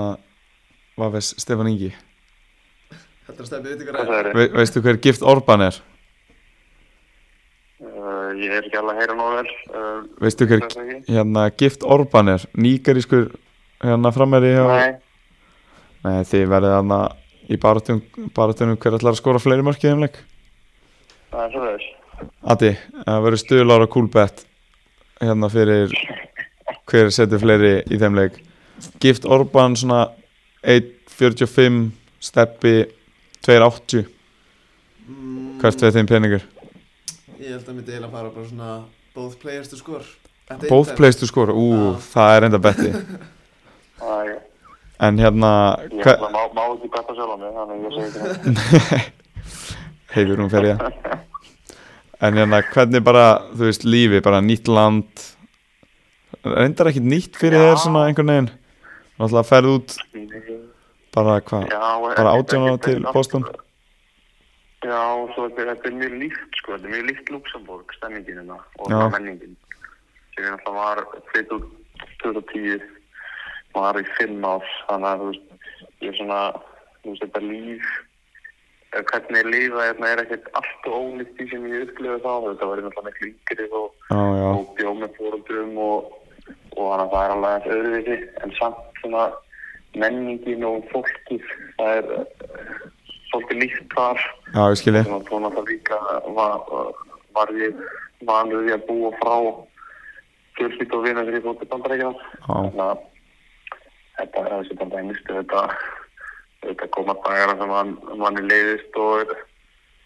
Speaker 2: var veist Stefán Ingi
Speaker 1: Heldur að steppi, veitir
Speaker 3: Hvað
Speaker 1: hvað
Speaker 3: það er?
Speaker 2: Ve, Veistu hver gift Orban er?
Speaker 3: Uh, ég er ekki alveg að heyra nóg vel. Uh,
Speaker 2: Veistu hver
Speaker 3: Hvað sagði ég?
Speaker 2: hérna gift Orban er? Níkarískur hérna framherri hjá
Speaker 3: nei,
Speaker 2: Nei, þið verðið þarna í barátunum barátunum hver ætlar að skora fleiri mörkið heimleik
Speaker 3: það er svo þess.
Speaker 2: Addi, það verður stuðlára kúlbett hérna fyrir hver setur fleiri í þeim leik Gift Orban svona 1.45 steppi 2.80 hvert veð þeim peningur
Speaker 1: Ég held að myndi eiginlega fara bara svona both players to score At the
Speaker 2: Both
Speaker 1: time.
Speaker 2: place to score, ú,
Speaker 1: Já.
Speaker 2: það er enda betti
Speaker 3: Það er...
Speaker 2: en hérna
Speaker 3: Ég
Speaker 2: hva-
Speaker 3: ætla, má, má ekki betta sjálf á mig, þannig að ég segi ekki neitt.
Speaker 2: heiður hún fyrir ég en hérna hvernig bara þú veist lífi, bara nýtt land reyndar ekkit nýtt fyrir
Speaker 3: Já.
Speaker 2: þér svona einhvern veginn náttúrulega ferð út bara hvað,
Speaker 3: Já,
Speaker 2: bara
Speaker 3: ekki-
Speaker 2: 18 ára
Speaker 3: ekki-
Speaker 2: til Boston
Speaker 3: sko. Já, svo þetta er- þetta er mjög líkt, sko, þetta er mjög líkt Luxemburg, stemmingin hérna og
Speaker 2: Já.
Speaker 3: menningin. Sem ég náttúrulega var, flytt út 2010, var í fimm ár, þannig að þú veist, ég er svona, þú veist, þetta líf, eh, hvernig ég lifa hérna er ekkert allt og ólíkt því sem ég upplifið þá, þetta var ég náttúrulega miklu yngri og
Speaker 2: já, já,
Speaker 3: og bjóð með fóruldrum og, og þannig að það er alveg aðeins öðruvísi en samt svona menningin og fólkið það er eh, svolítið líkt þar
Speaker 2: já, ég skilji
Speaker 3: sem að tóna það líka var, var ég vanur því að búa frá fjölskyld og vinna þegar ég fótti bandarækjana þannig að þetta er þessi bandarækjanistu þetta, þetta koma dagar sem mann, manni leiðist og er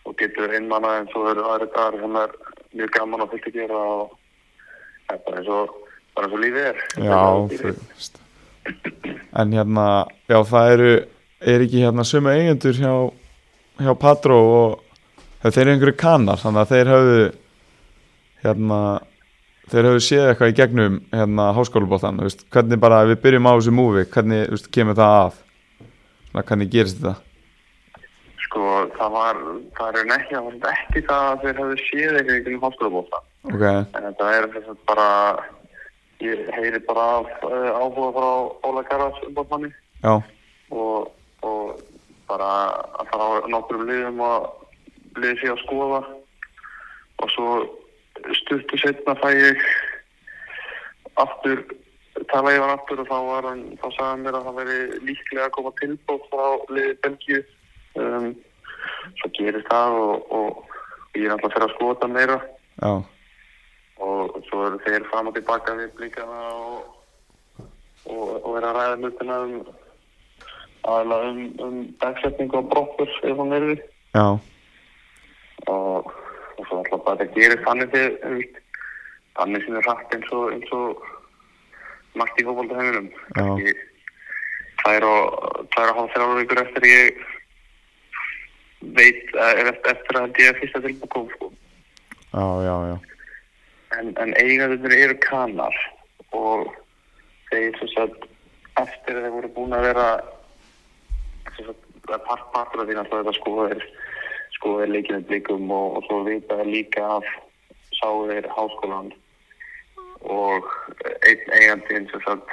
Speaker 3: og getur einmanna en svo eru aðri dagar sem er mjög gaman og fullt að gera og það er bara eins og bara eins og lífið er
Speaker 2: já, þú veist en hérna, já það eru er ekki hérna sömu eigendur hjá hjá Patró og þeir eru einhverju kanar, þannig að þeir höfðu hérna þeir höfðu séð eitthvað í gegnum hérna háskólubóttan, þú veist, hvernig bara ef við byrjum á þessu múfi, hvernig, þú veist, kemur það að svona, hvernig gerist þetta
Speaker 3: sko það var það er ekki, það var ekki það að þeir hefðu séð eitthvað í kringum háskólabóta
Speaker 2: ok,
Speaker 3: en þetta er þess að bara ég heyri bara af, uh, áhuga frá Óla Garðars umbóðmanni
Speaker 2: já,
Speaker 3: og, og bara að fara á nokkrum liðum og liði sig að skoða og svo stuttu setna fæ ég aftur tala ég var aftur og þá var hann þá sagði hann mér að það veri líklega að koma tilbóð frá liði Belgíu um, svo gerist það og, og, og ég er alltaf að fyrir að skoða meira
Speaker 2: já,
Speaker 3: og svo eru þeir fram og tilbaka við blíkana og, og, og er að ræða hlutina um aðalega um, um dagsetningu og brokkur ef hún er við
Speaker 2: já
Speaker 3: og, og svo alltaf bara þetta gerir þannig þegar þú veist, þannig sem er rætt eins og eins og margt í hófalda heiminum
Speaker 2: Já.
Speaker 3: tvær og tvær og hálf þrjá vikur eftir ég veit að eftir, eftir að ég fyrsta tilbúið kom sko
Speaker 2: já, já, já,
Speaker 3: en, en eigendurnir eru kanar og þeir sem sagt eftir að þeir voru búin að vera sem sagt að part partur af því náttúrulega þetta sko er sko er leikinu blikum og, og svo vita þeir líka af sáu þeir háskólan og einn eigandinn sem sagt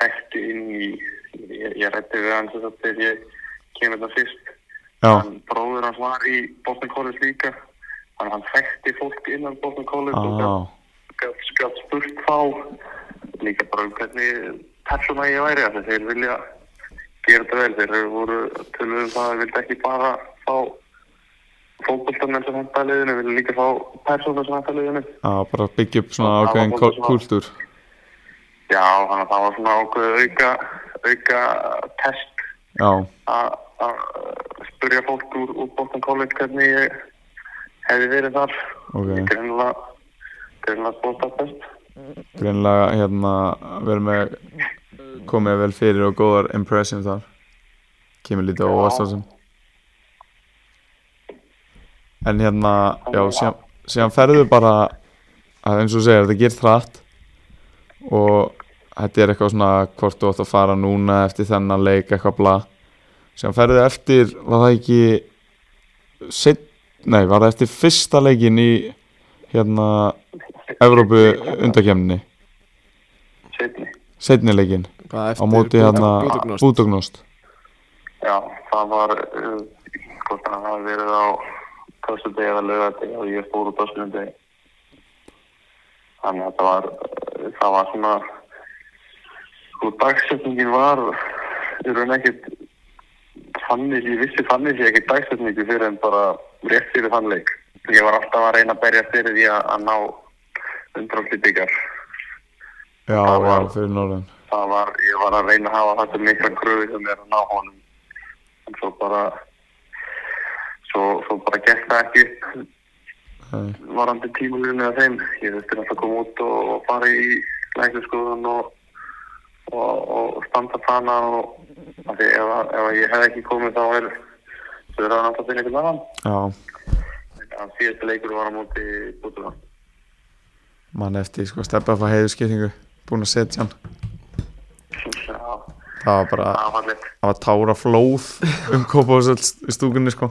Speaker 3: þekkti inn í ég, ég rætti við hann sem sagt þegar ég kemur þetta fyrst
Speaker 2: já,
Speaker 3: hann, bróður hans var í Boston College líka þannig að hann þekkti fólk innan Boston College og
Speaker 2: já,
Speaker 3: gat- gat gat spurt þá líka bara um hvernig persóna ég væri af því þeir vilja gera þetta vel þeir voru tölum um það að þeir vildi ekki bara fá fótboltamenn sem henta að liðinu, vilja líka fá persóna sem henta að liðinu
Speaker 2: já, bara byggja upp svona
Speaker 3: Já, það var
Speaker 2: ákveðin
Speaker 3: svolítið svona-
Speaker 2: kúltúr
Speaker 3: já þannig að það var svona ákveð auka auka test
Speaker 2: já,
Speaker 3: að að spyrja fólk úr, úr Boston College hvernig ég hefði verið þar
Speaker 2: Ok.
Speaker 3: Ég greinlega greinlega spóta best
Speaker 2: Greinlega hérna verið með komið vel fyrir og góðar impressions þar kemur lítið á óvart þar sem en hérna já, síðan, síðan ferðu bara að eins og þú segir, þetta gerð hratt og þetta er eitthvað svona hvort þú átt að fara núna eftir þennan leik eitthvað bla síðan ferðu eftir, var það ekki set, nei, var það eftir fyrsta leikin í hérna Evrópu undakemni
Speaker 3: setni
Speaker 2: setni leikin
Speaker 1: Hvað
Speaker 2: á
Speaker 1: eftir
Speaker 2: móti hérna
Speaker 1: Búdugnost?
Speaker 2: Búdugnost
Speaker 3: Já, það var uh, hvort að það hafi verið á föstudegi eða laugardegi og ég fór út á sunnudegi þannig að það var uh, það var svona sko dagsetningin var í raun ekkert þannig, ég vissi þannig sé ekki dagsetningu fyrir en bara rétt fyrir þann leik ég var alltaf að reyna að berja fyrir því að, að ná undráttlið byggar
Speaker 2: Já,
Speaker 3: Það var-
Speaker 2: já, fyrir norðan
Speaker 3: það var, ég var að reyna að hafa þetta mikla kröfu sem er að ná honum en svo bara svo, svo bara gekk það ekki upp
Speaker 2: Nei.
Speaker 3: varandi tímulunni að þeim ég þurfti náttúrulega að koma út og, og fara í læknaskoðun og, og, og standa fana og af því ef, að- ef að ég hef ekki komið þá er þau eru að náttúrulega að finna einhvern annan
Speaker 2: Já,
Speaker 3: En að síðasta leikur var á móti bútuðan
Speaker 2: mann eftir sko stefna að fá heiðurskiptingu búin að setja hann
Speaker 3: það
Speaker 2: það var bara,
Speaker 3: var leitt
Speaker 2: það var tára flóð um kópásöld í stúkunni sko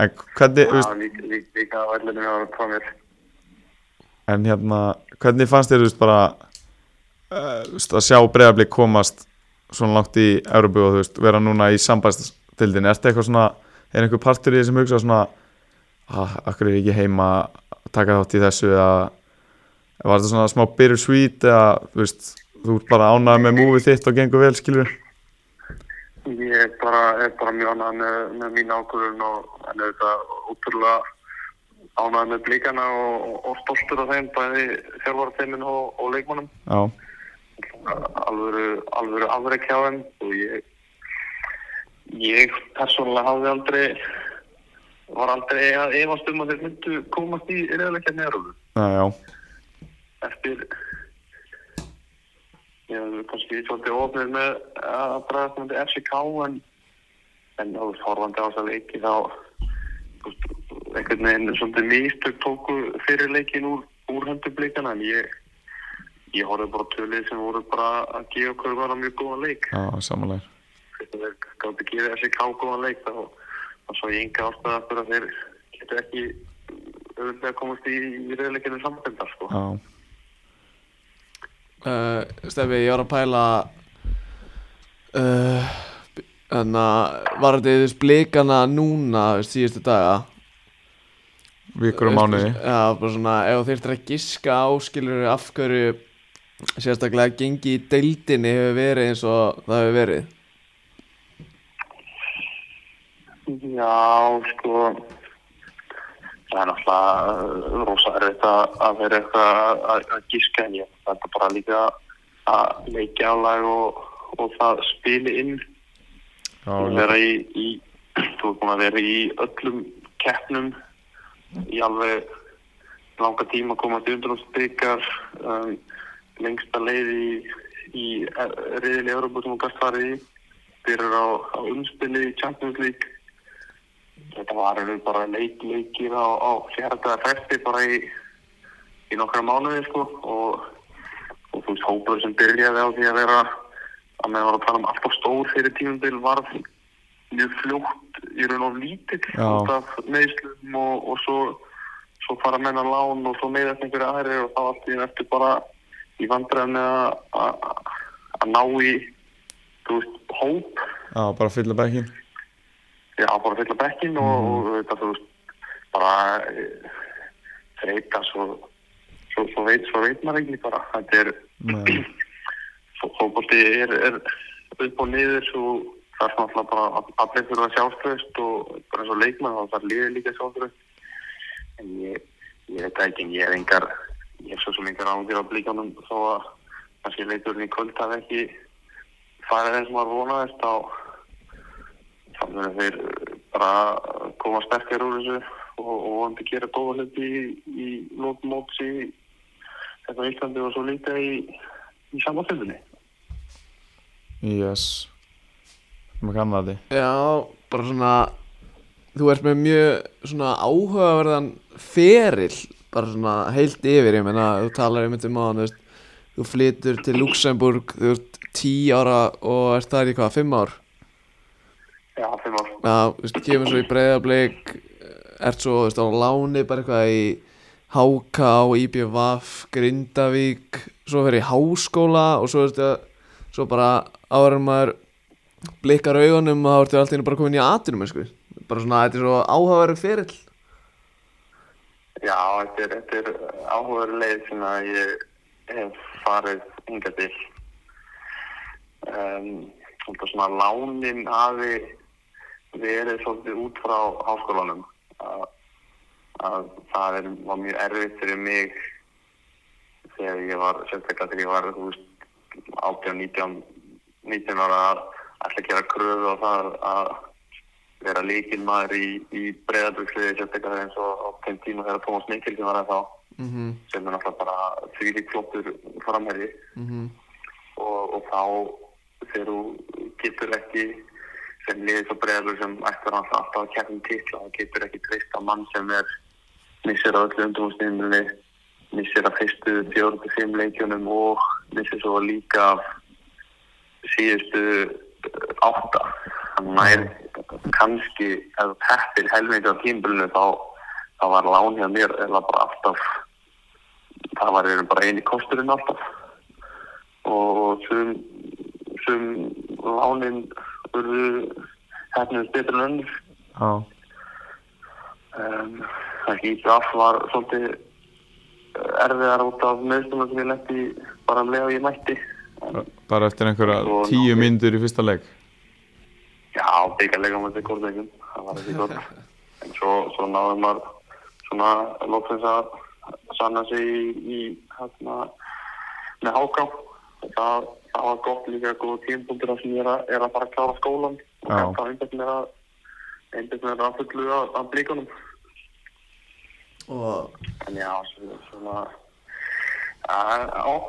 Speaker 2: en hvernig, þú veist,
Speaker 3: það var líka, líka, líka að verðlunum var að koma mér
Speaker 2: en hérna hvernig fannst þér, þú veist, bara eh, þú veist, að sjá breyðablík komast svona langt í Európu og þú veist, vera núna í sambæðstildin, ertu eitthvað svona er einhver partur í þessum hugsa svona ah, akkur er ég ekki heima að taka þátt í þessu eða var þetta svona smá bittersweet eða þú veist, þú ert bara ánægð með múfið þitt og gengur vel, skilur
Speaker 3: Ég er bara, er bara mjög ánægð með, með mín ákvörðun og en auðvitað útrúlega ánægð með blíkana og, og, og stoltur af þeim, bæði þjálfarateiminn og, og leikmannum.
Speaker 2: já,
Speaker 3: Alvöru, alvöru afrek hjá þeim og ég, ég persónulega hafði aldrei, var aldrei að efast um að þeir myndu komast í reyðleikja næröðu.
Speaker 2: já, já,
Speaker 3: Eftir, ég hafði kannski svolítið ofnir með að bræðast með FCK en en á horfandi á þess að leiki þá þú veist, einhvern veginn svolítið mistök tóku fyrir leikin úr, úr höndu blikana en ég ég horfði bara á tölið sem voru bara að gefa okkur bara mjög góðan leik
Speaker 2: já, samanlega
Speaker 3: þegar þeir gáttu að gefa þessi kágóðan leik þá, þá svo ég enga ástæða fyrir að þeir geta ekki auðvitað komast í, í reyðleikinu samfélgar sko.
Speaker 2: já,
Speaker 1: uh, Stefi, ég var að pæla uh, Þannig að hérna, var þetta þess blikana núna þú veist, síðustu daga
Speaker 2: vikur og mánuði
Speaker 1: Já, bara svona ef þeir þurftir að giska áskilur af hverju sérstaklega gengi í deildinni hefur verið eins og það hefur verið
Speaker 3: Já, sko það er náttúrulega uh, rosa erfitt að að vera eitthvað að- að að gíska en ég þetta bara líka að leikja álag og, og það spili inn
Speaker 2: já,
Speaker 3: þú
Speaker 2: já,
Speaker 3: vera í, í þú er búin að vera í öllum keppnum í alveg langa tíma komast í undrumsbyggar um, lengsta leið í, í e, reyðilega Európa sem hún gæst farið í byrjar á, á umspili í Champions League þetta var alveg bara leik, leikir á, á fjárhættaða festi bara í, í nokkra mánuði sko og, og þú veist hópur sem byrjaði á því að vera að meðan var að tala um allt alltaf stór fyrir tímumbil varð mjög fljótt í raun og lítill
Speaker 2: Já.
Speaker 3: út af meðslum og, og svo, svo fara menn að lán og svo meðast einhverja aðri og þá allt í enn eftir bara í vandræðan með að- að að ná í þú veist, hóp
Speaker 2: já, bara fylla bekkin
Speaker 3: Já, bara fylla bekkin og, og þetta, þú veist, bara e, þreita, svo, svo, svo, veit, svo veit maður ekki bara. Þetta er,
Speaker 2: Nei.
Speaker 3: fókbólti er, er upp og niður, svo það er svona alltaf bara að allir þurfa sjálfströðst og bara eins og leikmann, þá þarf liðið líka sjálfströðst. En ég, ég veit það ekki, en ég er engar, ég er svo sem engar ángjur á blíkanum þó að kannski leikurinn í kvöld hafi ekki farið eins og maður vonaðist á þannig að þeir bara koma sterkir úr þessu og, og vonandi gera góða hluti í, í lót móts í þetta Íslandi og svo líka í, í samanfjöldinni.
Speaker 2: Yes Maður kann það því
Speaker 1: Já, bara svona Þú ert með mjög svona áhugaverðan feril bara svona heilt yfir, ég meina þú talar einmitt um áðan, þú veist þú flytur til Luxemburg, þú ert 10 ára og ert þar í hvað, 5 ár
Speaker 3: Já, fimm ár.
Speaker 1: Já, þú veist, kemur svo í breyðarbleik ert svo, þú veist, á láni bara eitthvað í HK, IBVF, Grindavík svo fyrir í háskóla og svo, þú veist, að, svo bara áður en maður blikkar augunum og þá ertu alltaf bara komin í atinum sko. bara svona, þetta er svo áhugaverið ferill
Speaker 3: Já, þetta er, þetta er áhugaður leið sem að ég hef farið hingað til. Um, þetta svona lánin hafi verið svolítið út frá háskólanum. Að, að það er, var mjög erfitt fyrir mig þegar ég var, sérstaklega þegar ég var, þú veist, 18, 19, 19 ára að ætla að gera kröfu á það að vera líkin maður í, í breyðarbyggsliði sérstaklega eins og á þeim tíma þegar Tómas Mikkel sem var að þá
Speaker 1: mm -hmm,
Speaker 3: sem er náttúrulega bara þvíli klóttur framherri
Speaker 1: mm -hmm.
Speaker 3: og, og þá þegar þú getur ekki sem liðið svo breyðarbygg sem ætlar náttúrulega alltaf að kæra um titla þá getur ekki treyst að mann sem er missir á öllu undrúmsnýmli missir að fyrstu fjóru til fimm leikjunum og missir svo líka af síðustu eh, átta þannig að það er kannski ef þú teppir helmingi á tímbilinu þá, þá var lán hjá mér eða bara alltaf það var einu bara eini kosturinn alltaf og, og sum, sum lánin urðu hefnum betur en önnur
Speaker 2: Já,
Speaker 3: um, það ekki all var svolítið eh, erfiðar út af meðstunum sem ég lendi bara um leið og ég mætti en,
Speaker 2: bara- bara eftir einhverja
Speaker 3: Og
Speaker 2: tíu
Speaker 3: náði.
Speaker 2: myndur í fyrsta leik
Speaker 3: já, byggarlega með þetta góðleikum það var ekki gott en svo, svo náðum maður svona lóksins að sanna sig í, í hérna með háká það, það var gott líka góð tímpúndur sem ég er að, er að fara að klára skólan og
Speaker 2: Já.
Speaker 3: þetta einbætt mér að einbætt mér að fullu að, að blíkunum
Speaker 1: og
Speaker 3: En já, svona, svona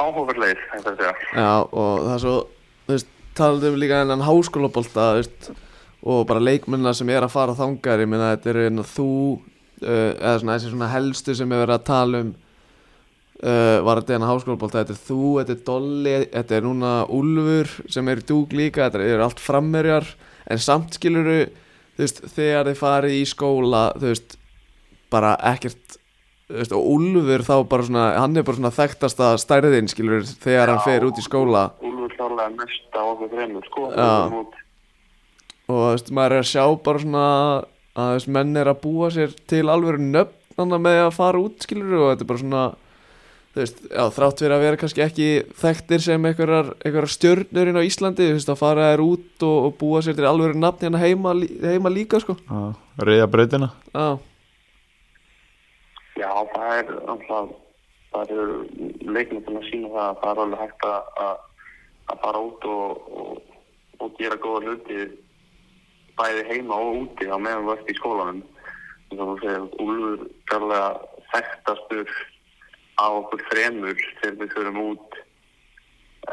Speaker 3: áhugaverleir, þetta er það.
Speaker 1: Já, og það er svo, þú veist, talaðu um líka hennan háskólabólta, þú veist, og bara leikmennina sem er að fara þangar, ég meina þetta eru hérna þú, uh, eða svona þessi svona helstu sem hefur verið að tala um, uh, var þetta hennan háskólabólta, þetta er þú, þetta er Dolly, þetta er núna Úlfur sem er í dúk líka, þetta eru allt frammerjar, en samt skiluru, þú veist, þegar þið farið í skóla, þú veist, bara ekkert, þú veist, og Úlfur þá bara svona, hann er bara svona þekktasta stærðin, skilur, þegar hann
Speaker 3: Já.
Speaker 1: fer út í skóla
Speaker 3: Úlfur klárlega mest á okkur fremur, sko.
Speaker 1: Já. og þú veist, maður er að sjá bara svona að þú veist, menn er að búa sér til alveg nöfnana með að fara út skilur og þetta er bara svona þú veist, já, þrátt fyrir að vera kannski ekki þekktir sem einhverjar, einhverjar stjörnurinn á Íslandi, þú veist, að fara þær út og, og búa sér til alveg nafn hérna heima, lí- heima líka, sko
Speaker 2: Já, reyða brautina
Speaker 1: já,
Speaker 3: Já, það er alltaf, það eru leiknir búin að sína það að það er alveg hægt að, að- að fara út og, og, og gera góða hluti bæði heima og úti á meðan þú ert í skólanum. En þú segir, Úlfur klárlega þekktastur á okkur fremur þegar við förum út.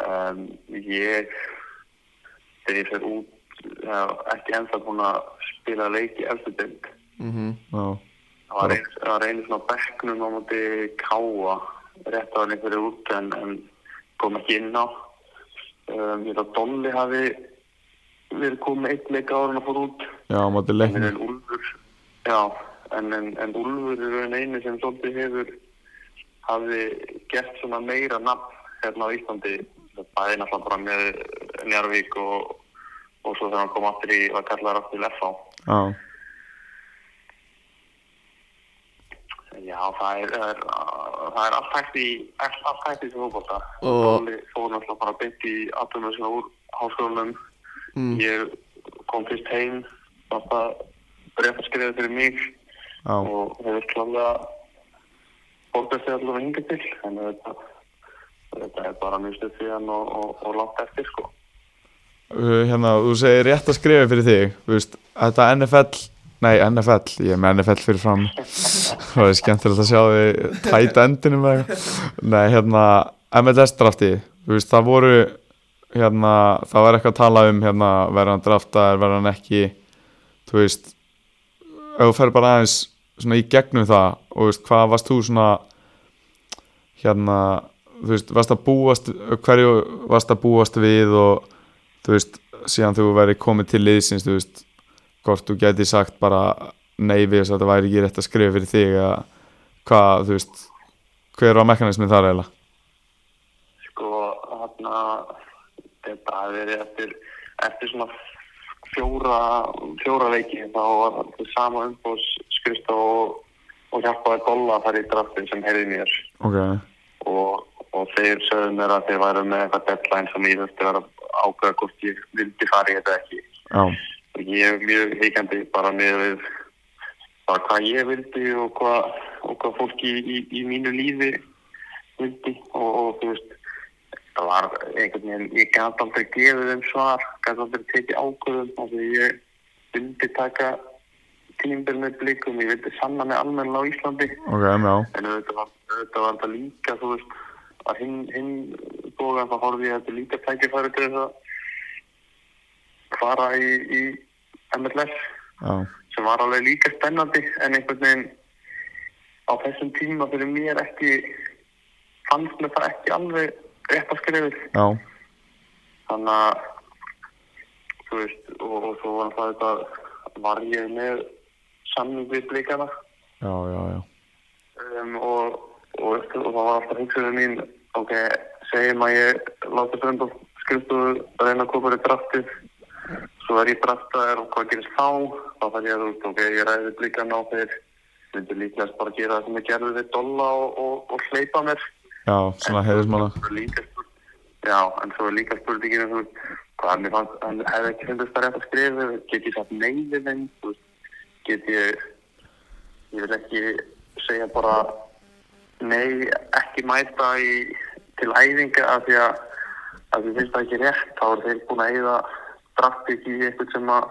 Speaker 3: Um, ég, þegar ég fer út, hef ekki ennþá búin að spila leik í eftir deild.
Speaker 1: mhm,
Speaker 2: Já,
Speaker 3: Það var einu- það var einu svona bekknum á móti káa rétt á hann einhverju út en, en kom ekki inn á um, ég þá Dolly hafi verið komið eitt leik ára hann að fór út
Speaker 2: já, á móti
Speaker 3: en
Speaker 2: leikni
Speaker 3: en Úlfur já, en, en, en Úlfur er einn einu sem svolítið hefur hafi gert svona meira nafn hérna á Íslandi bæði náttúrulega bara með Njárvík og, og svo þegar hann kom aftur í var kallar aftur í FH
Speaker 2: Já,
Speaker 3: Já, það er, það er, það er allt hægt í, allt allt hægt í þessu fókbólta.
Speaker 1: Og-
Speaker 3: Óli fór náttúrulega bara beint í aðdöma sinna úr háskólanum.
Speaker 1: mm,
Speaker 3: Ég kom fyrst heim, náttúrulega breyta skrifið fyrir mig
Speaker 2: já,
Speaker 3: og hefur klálega borgast þig allavega hingað til. Þannig að þetta, þetta er bara mjög stuð síðan og, og, og langt eftir sko.
Speaker 2: Eh, Uh, hérna, þú segir rétt að skrifa fyrir þig þú veist, þetta NFL Nei, NFL, ég er með NFL fyrir fram Það er skemmtilegt að sjá því tæt endinu með eitthvað. Nei, hérna, MLS drafti Þú veist, það voru hérna, það var eitthvað að tala um hérna, verður hann draftaður, verður hann ekki Þú veist ef þú fer bara aðeins svona í gegnum það og þú veist, hvað varst þú svona hérna þú veist, varst að búast hverju varst að búast við og þú veist, síðan þú væri komið til liðsins, þú veist hvort þú geti sagt bara nei við þess að þetta væri ekki rétt að skrifa fyrir þig eða hvað, þú veist hver var mekanismin þar eiginlega
Speaker 3: sko hérna þetta hafi verið eftir eftir svona fjóra fjóra leiki þá var þetta sama umbús skrifta og, og hjálpaði Dolla að fara í draftin sem heyrði mér
Speaker 2: ok,
Speaker 3: og, og þeir sögðu mér að þeir væru með eitthvað deadline sem ég þurfti að vera að ákveða hvort ég vildi fara í þetta eða ekki
Speaker 2: já,
Speaker 3: og ég er mjög heikandi bara með við bara hvað ég vildi og hvað, og hvað fólki í, í, í mínu lífi vildi og, og þú veist það var einhvern veginn, ég gæti aldrei gefið þeim svar, gæti aldrei tekið ákvöðum og því ég vildi taka tímbil með blikum, ég vildi sanna með almenna á Íslandi
Speaker 2: ok, já
Speaker 3: en auðvitað var, auðvitað var þetta líka þú veist að hinn, hinn bóðan þá horfði ég að þetta er líka tækifæri til þess að fara í, í MLS
Speaker 2: já,
Speaker 3: sem var alveg líka spennandi en einhvern veginn á þessum tíma fyrir mér ekki fannst mér það ekki alveg rétt að skrifið
Speaker 2: já,
Speaker 3: þannig að þú veist og, og svo var það þetta var ég með samning við blikana
Speaker 2: já, já, já
Speaker 3: um, og, og, og það var alltaf hugsunum mín ok, segjum að ég láti frönd og skrifstofu að reyna að koma í draftið svo er ég draftaðar og hvað gerist þá þá þarf ég að út, ok, ég ræði blikan á þeir myndi líklegast bara gera það sem ég gerði við dolla og, og, og hleypa mér
Speaker 2: já, svona heiðismanna
Speaker 3: Svo er líka spurning- Já, en svo er líka spurningin um, þú veist, hvað mér fannst, en hefði ekki fundist það rétt að skrifa, get ég satt nei við þeim, þú veist, get ég, ég vil ekki segja bara nei, ekki mæta í, til æfinga af því að, að því finnst það ekki rétt, þá er þeir búin að eyða draft ekki í eitthvað sem að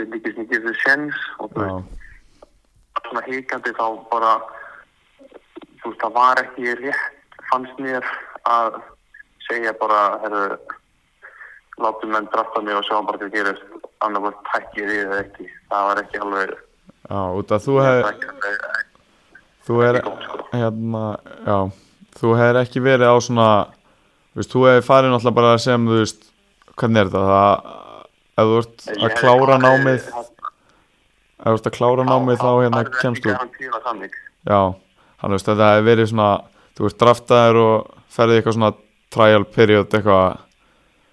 Speaker 3: þeir líkist ekki þessu sjens og þú
Speaker 2: já,
Speaker 3: veist, svona híkandi þá bara þú veist, það var ekki rétt fannst mér að segja bara, herru látum menn drafta mér og sjáum bara hvað gerist annarkvæmt tækki því eða ekki það var ekki alveg
Speaker 2: já, út að þú hefði
Speaker 3: ekki alveg-
Speaker 2: þú er hérna, já þú hefur ekki verið á svona þú veist, þú hefur farið náttúrulega bara sem þú veist, hvernig er þetta það, ef þú ert
Speaker 3: Ég
Speaker 2: að
Speaker 3: hefði
Speaker 2: klára
Speaker 3: aldrei-
Speaker 2: námið ef þú ert að klára námið þá hérna
Speaker 3: Það er
Speaker 2: kemst
Speaker 3: ekki
Speaker 2: þú
Speaker 3: garantíð að samning.
Speaker 2: Já, hann veist þetta hefur verið svona þú ert draftaður og ferði eitthvað svona trial period eitthvað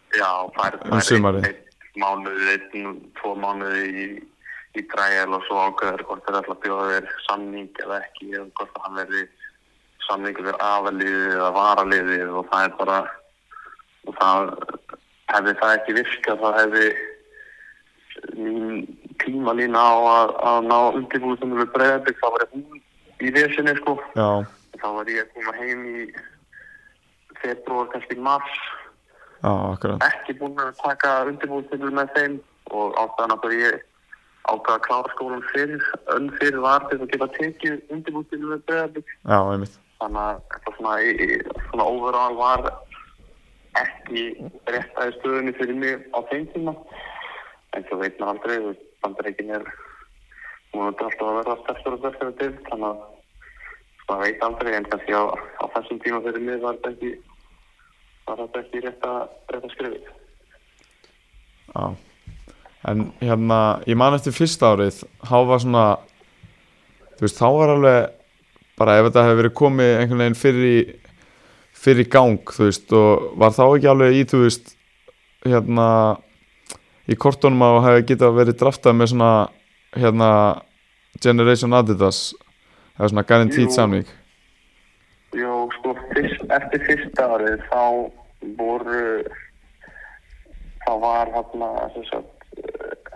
Speaker 3: Já, það er-
Speaker 2: Um sumarið.
Speaker 3: það er einn mánuð, einn, tvo mánuði í, í drægjel og svo ágöður hvort þeir ætla að bjóða þér samning eða ekki eða hvort að hann verði samningur fyrir afaliðið eða varaliðið og það er bara og það hefði það ekki virkað þá hefði mín tímalína á að, að ná undirbúðum við breyðabik þá var ég hún í vesinni sko
Speaker 2: Já,
Speaker 3: þá var ég að koma heim í februar, kannski mars
Speaker 2: já, akkurat
Speaker 3: ekki búin að taka undirbúðstilur með þeim og ástæðan að bara ég ákvaða að klára skólan fyrir, önn fyrir var til að geta tekið undirbúðstilur með breðabík
Speaker 2: Já, einmitt
Speaker 3: þannig að þetta svona, í- í- svona overall var ekki réttaði stöðunni fyrir mig á þeim tíma en svo veit maður aldrei þú veist, bandaríkin er hún er alltaf að vera sterkur og sterkur til þannig að maður veit aldrei en kannski á, á þessum tíma fyrir mig var þetta ekki var þetta ekki rétt að, rétt að skrifið
Speaker 2: Já En hérna, ég man eftir fyrsta árið þá var svona þú veist, þá var alveg bara ef þetta hefur verið komið einhvern veginn fyrir í fyrir í gang, þú veist og var þá ekki alveg í, þú veist hérna í kortunum að hefur getað verið draftað með svona hérna Generation Adidas eða svona guaranteed
Speaker 3: Jú.
Speaker 2: samning
Speaker 3: Jó, sko, fyrst, eftir fyrsta árið þá voru, þá var hann að, þess að, eh,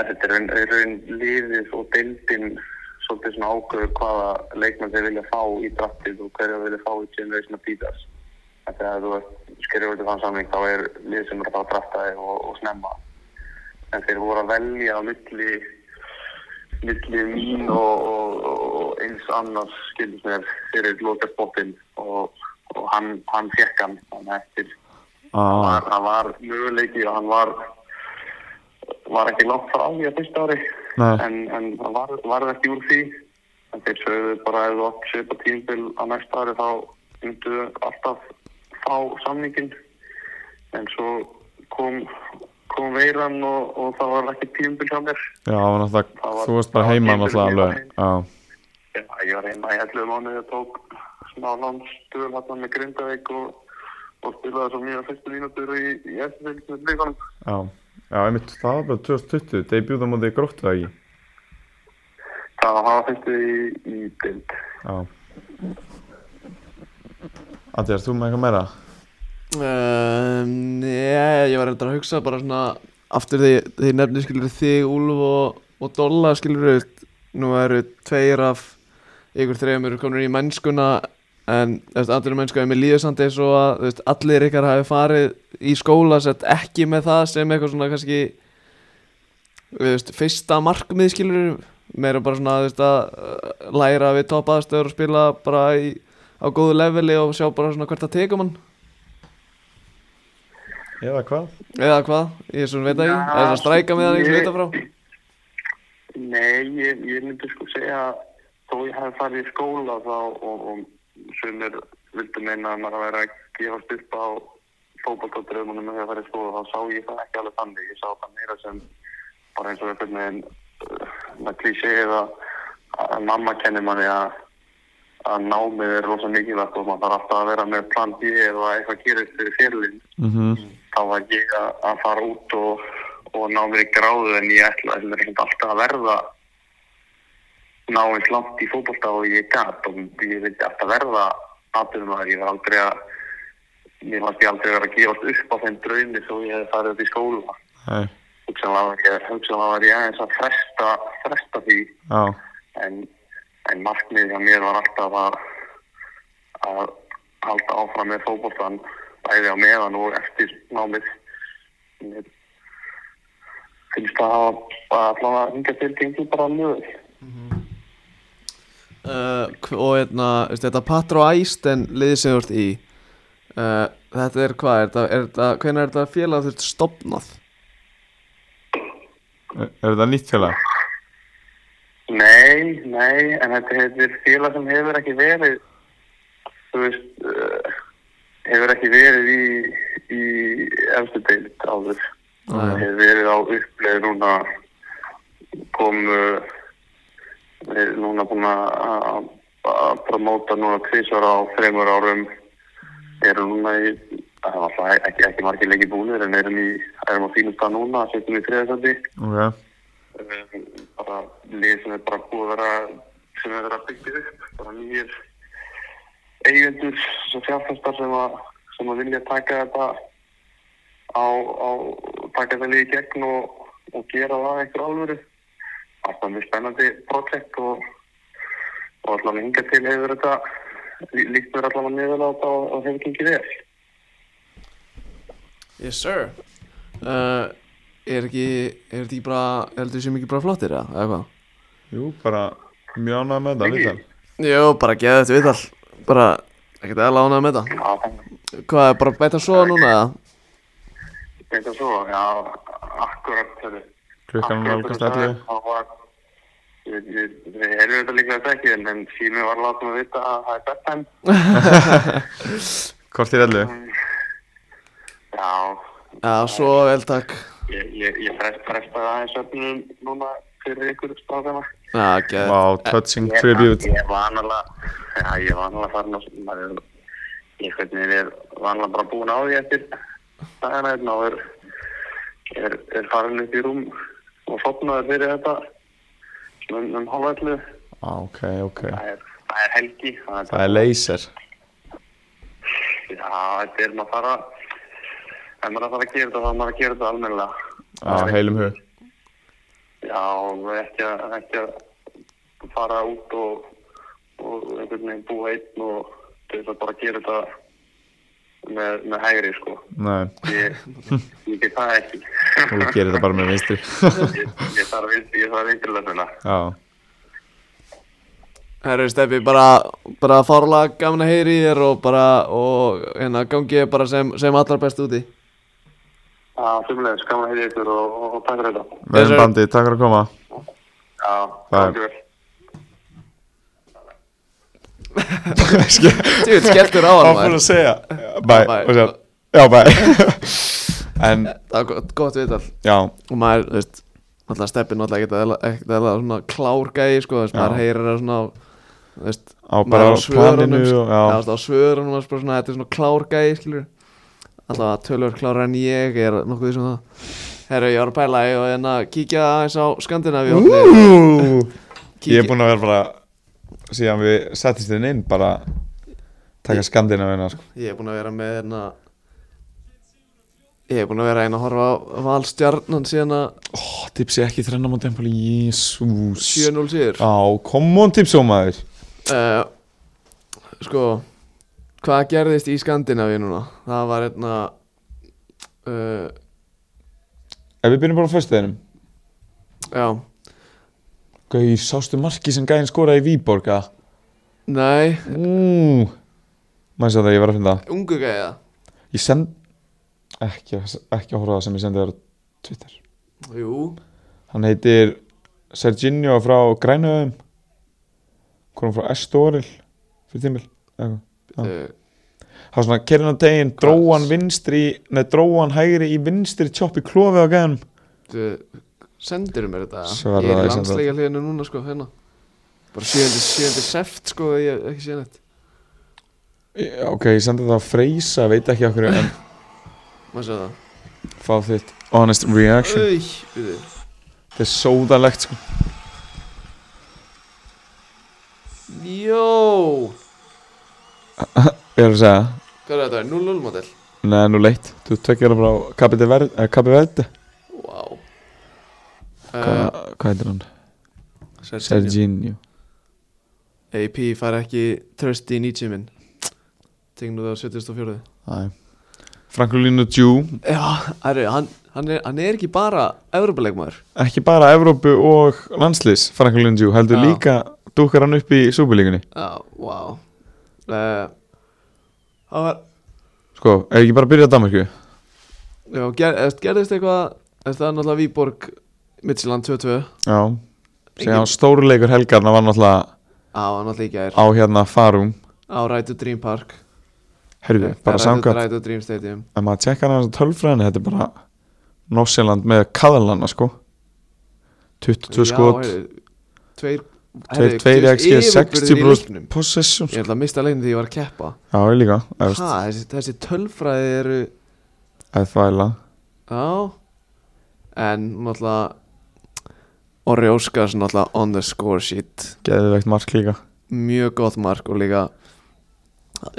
Speaker 3: þetta er raun, í raun liðið og deildin svolítið svona ákveður hvaða leikmenn þeir vilja fá í draftið og hverja þeir vilja fá í generation of Adidas. Þetta er að þú veist, skrifur til þann samling, þá er lið sem er að fá að drafta þig og, og snemma. En þeir voru að velja á milli milli mín og, og, og eins annars skilur mér fyrir lokarspottinn og, og hann, hann fekk hann þannig eftir
Speaker 2: ah,
Speaker 3: var, hann var möguleiki og hann var var ekki langt frá því að fyrsta ári
Speaker 2: Nei.
Speaker 3: en, en hann var, var ekki úr því en þeir sögðu bara ef þú átt svipa tímbil á næsta ári þá myndu alltaf fá samningin en svo kom kom veiran og, og það var ekki tímbil hjá mér
Speaker 2: Já, það var
Speaker 3: Það
Speaker 2: náttúrulega,
Speaker 3: var-
Speaker 2: þú varst bara
Speaker 3: það var
Speaker 2: heima
Speaker 3: tímabil
Speaker 2: náttúrulega
Speaker 3: heima
Speaker 2: alveg Já,
Speaker 3: Já, Hérna, ég var heima í 11 mánuði og tók smá landstöðum hérna með Grindavík og, og spilaði svo mjög fyrstu mínútur í, í eftirfylg með blíkanum.
Speaker 2: já, já, einmitt, það var bara 2020, debut á móti gróttu það ekki
Speaker 3: Það var hafa fyrstu í, í bild.
Speaker 2: Já Andi, er þú með eitthvað meira?
Speaker 1: Um, ég, ég var reyndar að hugsa bara svona aftur því þeir nefnir skilur þig, Úlf og, og Dolla skilur nú eru tveir af ykkur þrejum eru komin í mennskuna en allir mennska er með líðsandi svo að þú veist, allir ykkar hafi farið í skóla sett ekki með það sem eitthvað svona kannski þú veist, fyrsta markmið skilur meira bara svona þú veist, að uh, læra við topp aðstöður og spila bara í, á góðu leveli og sjá bara svona hvert að tegum hann
Speaker 2: Eða hvað?
Speaker 1: Eða hvað, ég svona veit ekki,
Speaker 3: Já,
Speaker 1: það er að stræka með það einhvers
Speaker 3: ég-
Speaker 1: vita frá
Speaker 3: Nei, ég, ég myndi sko segja að þó ég hef farið í skóla þá og, og sumir vildu meina að maður væri að gefast upp á fótballtáttröðumunum með því að farið í skóla þá sá ég það ekki alveg þannig. Ég sá það meira sem bara eins og einhvern veginn uh, með klísi eða að mamma kennir manni að að námið er rosa mikilvægt og maður þarf alltaf að vera með plan B eða eitthvað gerist fyrir fyrirlinn
Speaker 2: Mhm,
Speaker 3: þá var ég að, að fara út og, og ná mér í gráðu en ég ætlaði sem er ekkert alltaf að verða ná eins langt í fótbolta og ég gat og ég vildi alltaf verða aðbyrðumæður, ég var aldrei að mér fannst ég aldrei vera að gefast upp á þeim draumi þó ég hefði farið upp í skóla
Speaker 2: nei,
Speaker 3: hugsanlega var ég, hugsanlega var ég aðeins að fresta, fresta því
Speaker 2: já,
Speaker 3: en, en markmiðið hjá mér var alltaf að, að halda áfram með fótboltan bæði á meðan og eftir námið Mér finnst það að að allavega hingað til gengur bara mjög vel.
Speaker 1: uh, hv- Og hérna, veistu, þetta Patra og Æsten liðið sem þú ert í uh, Þetta er hvað, er þetta, er þetta, hvenær er þetta félag þurft stopnað?
Speaker 2: er, er þetta nýtt félag?
Speaker 3: Nei, nei, en þetta hefur félag sem hefur ekki verið þú veist uh, hefur ekki verið í í efstu deild áður
Speaker 1: Nei.
Speaker 3: hefur verið á uppleið núna komu er núna búin að- að að promóta núna tvísar á þreymur árum eru núna í það var alltaf ekki, ekki margir leikir búinir en erum, í, erum á fínum stað núna setjum í þriðasandi
Speaker 2: Ok,
Speaker 3: um, bara lið sem er bara búið að vera sem er verið að byggja upp bara nýjir eigendur sem fjárfæstar sem að sem að vilja taka þetta á, á taka þetta lið í gegn og, og gera það eitthvað alvöru alltaf mjög spennandi projekt og, og allavega hingað til hefur þetta lí- líkt mér allavega mjög vel á þetta og, og hefur gengið vel
Speaker 1: Yes sir uh, Er ekki, er þetta ekki bara, heldur þú sem ekki bara flottir eða, eða hvað?
Speaker 2: jú, bara mjög ánægð með það,
Speaker 3: Ekki.
Speaker 2: viðtal
Speaker 1: Jó, bara geða þetta viðtal Bara, ekkert eða lánað með þetta
Speaker 3: Já, þannig
Speaker 1: Hvað, er bara bæta svo núna eða?
Speaker 3: Þetta er svo, já, akkurat þeirri.
Speaker 2: Klukkan var nálgast 11.
Speaker 3: Það var, við við- við erum þetta líka þetta ekki, en, en sími var látið að vita að það er bedtime.
Speaker 2: Hvort er ellu?
Speaker 3: Já,
Speaker 1: Já, svo vel takk
Speaker 3: ég, ég, ég frest, frestaði aðeins öfnum núna fyrir ykkur stáðina.
Speaker 1: Já, geða
Speaker 2: Wow, touching tribute
Speaker 3: Ég var annarlega, já, ég var annarlega farin að, maður er, ég hvernig er vanlega bara búin á því eftir dagana einn og er, er, er farin upp í rúm og sopnaður fyrir þetta um, um hálfætlu.
Speaker 2: Á, Ok, ok,
Speaker 3: Það er, það er helgi. þannig
Speaker 2: það
Speaker 3: að-
Speaker 2: er laser
Speaker 3: Já, þetta er maður að fara, ef maður er að fara að gera þetta, þá er maður að gera þetta almennilega.
Speaker 2: Á heilum hug
Speaker 3: Já, og ekki að, ekki að fara út og, og einhvern veginn búa einn og til þess að bara gera þetta með, með hægri sko
Speaker 2: Nei,
Speaker 3: ég, ég get það ekki
Speaker 2: þú gerir þetta bara með vinstri
Speaker 3: ég, ég þarf vinstri- ég þarf vinstrilöfnina
Speaker 2: Já,
Speaker 1: Herru Steppi, bara, bara fárlega gaman að heyri þér og bara, og hérna, gangi ég bara sem, sem allar best úti.
Speaker 3: Já, sumlega, skaman að hefði ykkur og, og, og takk fyrir þetta.
Speaker 1: Yes, sir.
Speaker 2: verðum bandið, takk fyrir að koma
Speaker 3: Já,
Speaker 2: Bye.
Speaker 3: takk fyrir.
Speaker 2: Skil-
Speaker 1: Þú veit, skelltur á hann
Speaker 2: Hann fór
Speaker 1: maður.
Speaker 2: að segja Bæ,
Speaker 1: Bye.
Speaker 2: og segja Já, bæ En,
Speaker 1: Það var gott, gott viðtal.
Speaker 2: já,
Speaker 1: Og maður, þú veist, alltaf Steppi náttúrulega ekkert eðla- ekkert eða svona klárgæði, sko, þú veist,
Speaker 2: Já.
Speaker 1: maður heyrir það svona, þú veist,
Speaker 2: á bara á
Speaker 1: maður
Speaker 2: planinu
Speaker 1: sko.
Speaker 2: og,
Speaker 1: Já, þú
Speaker 2: Já,
Speaker 1: veist, á svörunum var bara svona, þetta er svona klárgæði, skilur Alltaf að tölur klára en ég er nokkuð því sem það Herru, ég var að pæla í og en að hérna kíkja aðeins á Skandinavíu
Speaker 2: Ú, Ég er búinn að vera bara Síðan við settist þinn inn bara Taka skandina við hennar sko.
Speaker 1: Ég er búinn að vera með hérna Ég er búinn að vera einn að horfa á valstjarnan síðan að
Speaker 2: Ó, tipsi ekki þrenna mútið en bara Jésús
Speaker 1: 7-0 síður
Speaker 2: Á, come on tipsi og maður
Speaker 1: uh, Sko Hvað gerðist í Skandinavíu núna? Það var hérna uh,
Speaker 2: Ef við byrjum bara á föstudeginum
Speaker 1: Já
Speaker 2: Gauð, sástu marki sem gæðin skoraði í Víborga
Speaker 1: Nei
Speaker 2: Ú Mæs að það, ég var að finna það
Speaker 1: Ungu gæða
Speaker 2: Ég send Ekki, ekki að horfa á það sem ég sendi þér á Twitter
Speaker 1: Jú
Speaker 2: Hann heitir Serginio frá Grænöðum Hvorum frá Estoril Fyrir tímil eitthvað. Já.
Speaker 1: uh,
Speaker 2: Það var svona kerinn á deginn
Speaker 1: Hvað?
Speaker 2: Dróan vinstri Nei, dróan hægri í vinstri Tjópp í klófi á gæðinum
Speaker 1: uh, Sendiru mér þetta
Speaker 2: Sverða
Speaker 1: Ég er í
Speaker 2: það, ég sendi það.
Speaker 1: landsleika hliðinu núna sko hérna Bara 7. 7. seft sko Ég hef ekki séð neitt
Speaker 2: Já, Ok, ég sendi það á Freysa Veit ekki okkur en
Speaker 1: Maður séð það
Speaker 2: fá þitt Honest reaction
Speaker 1: Új, byrði
Speaker 2: Þetta er sóðalegt sko
Speaker 1: Jó
Speaker 2: Ég er að segja það
Speaker 1: Hvað er þetta? 0-0 model?
Speaker 2: Nei, nú leitt, þú tekjar það bara á Kapi Verde eh, Cape Verde.
Speaker 1: Vá wow.
Speaker 2: Hva, Hvað heitir hann? Serginio
Speaker 1: AP fær ekki tröst í Nietzsche minn Tegnum það á 74
Speaker 2: Franklinu Djú
Speaker 1: Já, herru, hann, hann, er, hann er ekki bara Evropaleikmaður
Speaker 2: Ekki bara Evrópu og landslýs Franklinu Djú, heldur
Speaker 1: Já.
Speaker 2: líka Dúkar hann upp í súbulíkunni
Speaker 1: Já, vá uh, Það var
Speaker 2: Sko, er ekki bara að byrja á Danmarku?
Speaker 1: Já, ger, eða, gerðist eitthvað eða, Það er náttúrulega Víborg Midtjylland 2-2 Já,
Speaker 2: Já Segja
Speaker 1: Engin-
Speaker 2: hann stóruleikur helgarna var náttúrulega
Speaker 1: það var náttúrulega ekki
Speaker 2: á hérna Farum
Speaker 1: Á Rætu Dream Park
Speaker 2: Herðu, bara samkvæmt
Speaker 1: Rætu Dream Stadium
Speaker 2: Ef maður tjekkar hann á tölfræðinni, þetta er bara Norsjaland með kaðalana sko 22
Speaker 1: Já,
Speaker 2: skot
Speaker 1: heyrðu, Tveir
Speaker 2: Tveir,
Speaker 1: heyrðu,
Speaker 2: tveir
Speaker 1: djöfull
Speaker 2: XG,
Speaker 1: yfirburðir í
Speaker 2: 60 brúst
Speaker 1: leiknum.
Speaker 2: possession sko.
Speaker 1: Ég ætla að mista leiðin því ég var að keppa
Speaker 2: Já, ég líka, efst,
Speaker 1: Hæ, þessi, þessi tölfræði eru
Speaker 2: eða þvæla
Speaker 1: Já En náttúrulega Orri Óskars náttúrulega on the score sheet
Speaker 2: Geðveikt mark líka
Speaker 1: Mjög gott mark og líka uh,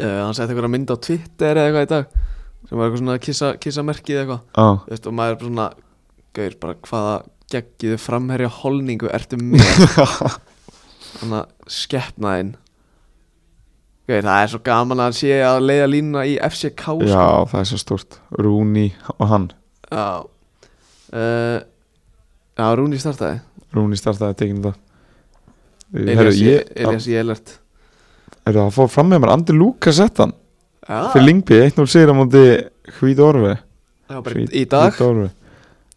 Speaker 1: Hann setti eitthvað mynd á Twitter eða eitthvað í dag Sem var eitthvað svona kissa, kissa merkið eða eitthvað
Speaker 2: Já,
Speaker 1: Þú veist, Og maður er bara svona Gaur bara hvaða geggiðu framherja holningu ertu með Þannig að skepna þinn Gaur, það er svo gaman að hann sé að leiða línuna í FCK sko.
Speaker 2: já það er svo stort Rúni og hann
Speaker 1: Já uh, Já, Rúni startaði
Speaker 2: Rúni startaði að tekinu það
Speaker 1: Elias,
Speaker 2: ég,
Speaker 1: ég, Elias Jelert
Speaker 2: er það fór fram með mér Andi Lúkas sett hann
Speaker 1: Já,
Speaker 2: fyrir Lingby 1-0 sigur á móti Hvít Orfi
Speaker 1: já bara í- í dag
Speaker 2: Hvít Orfi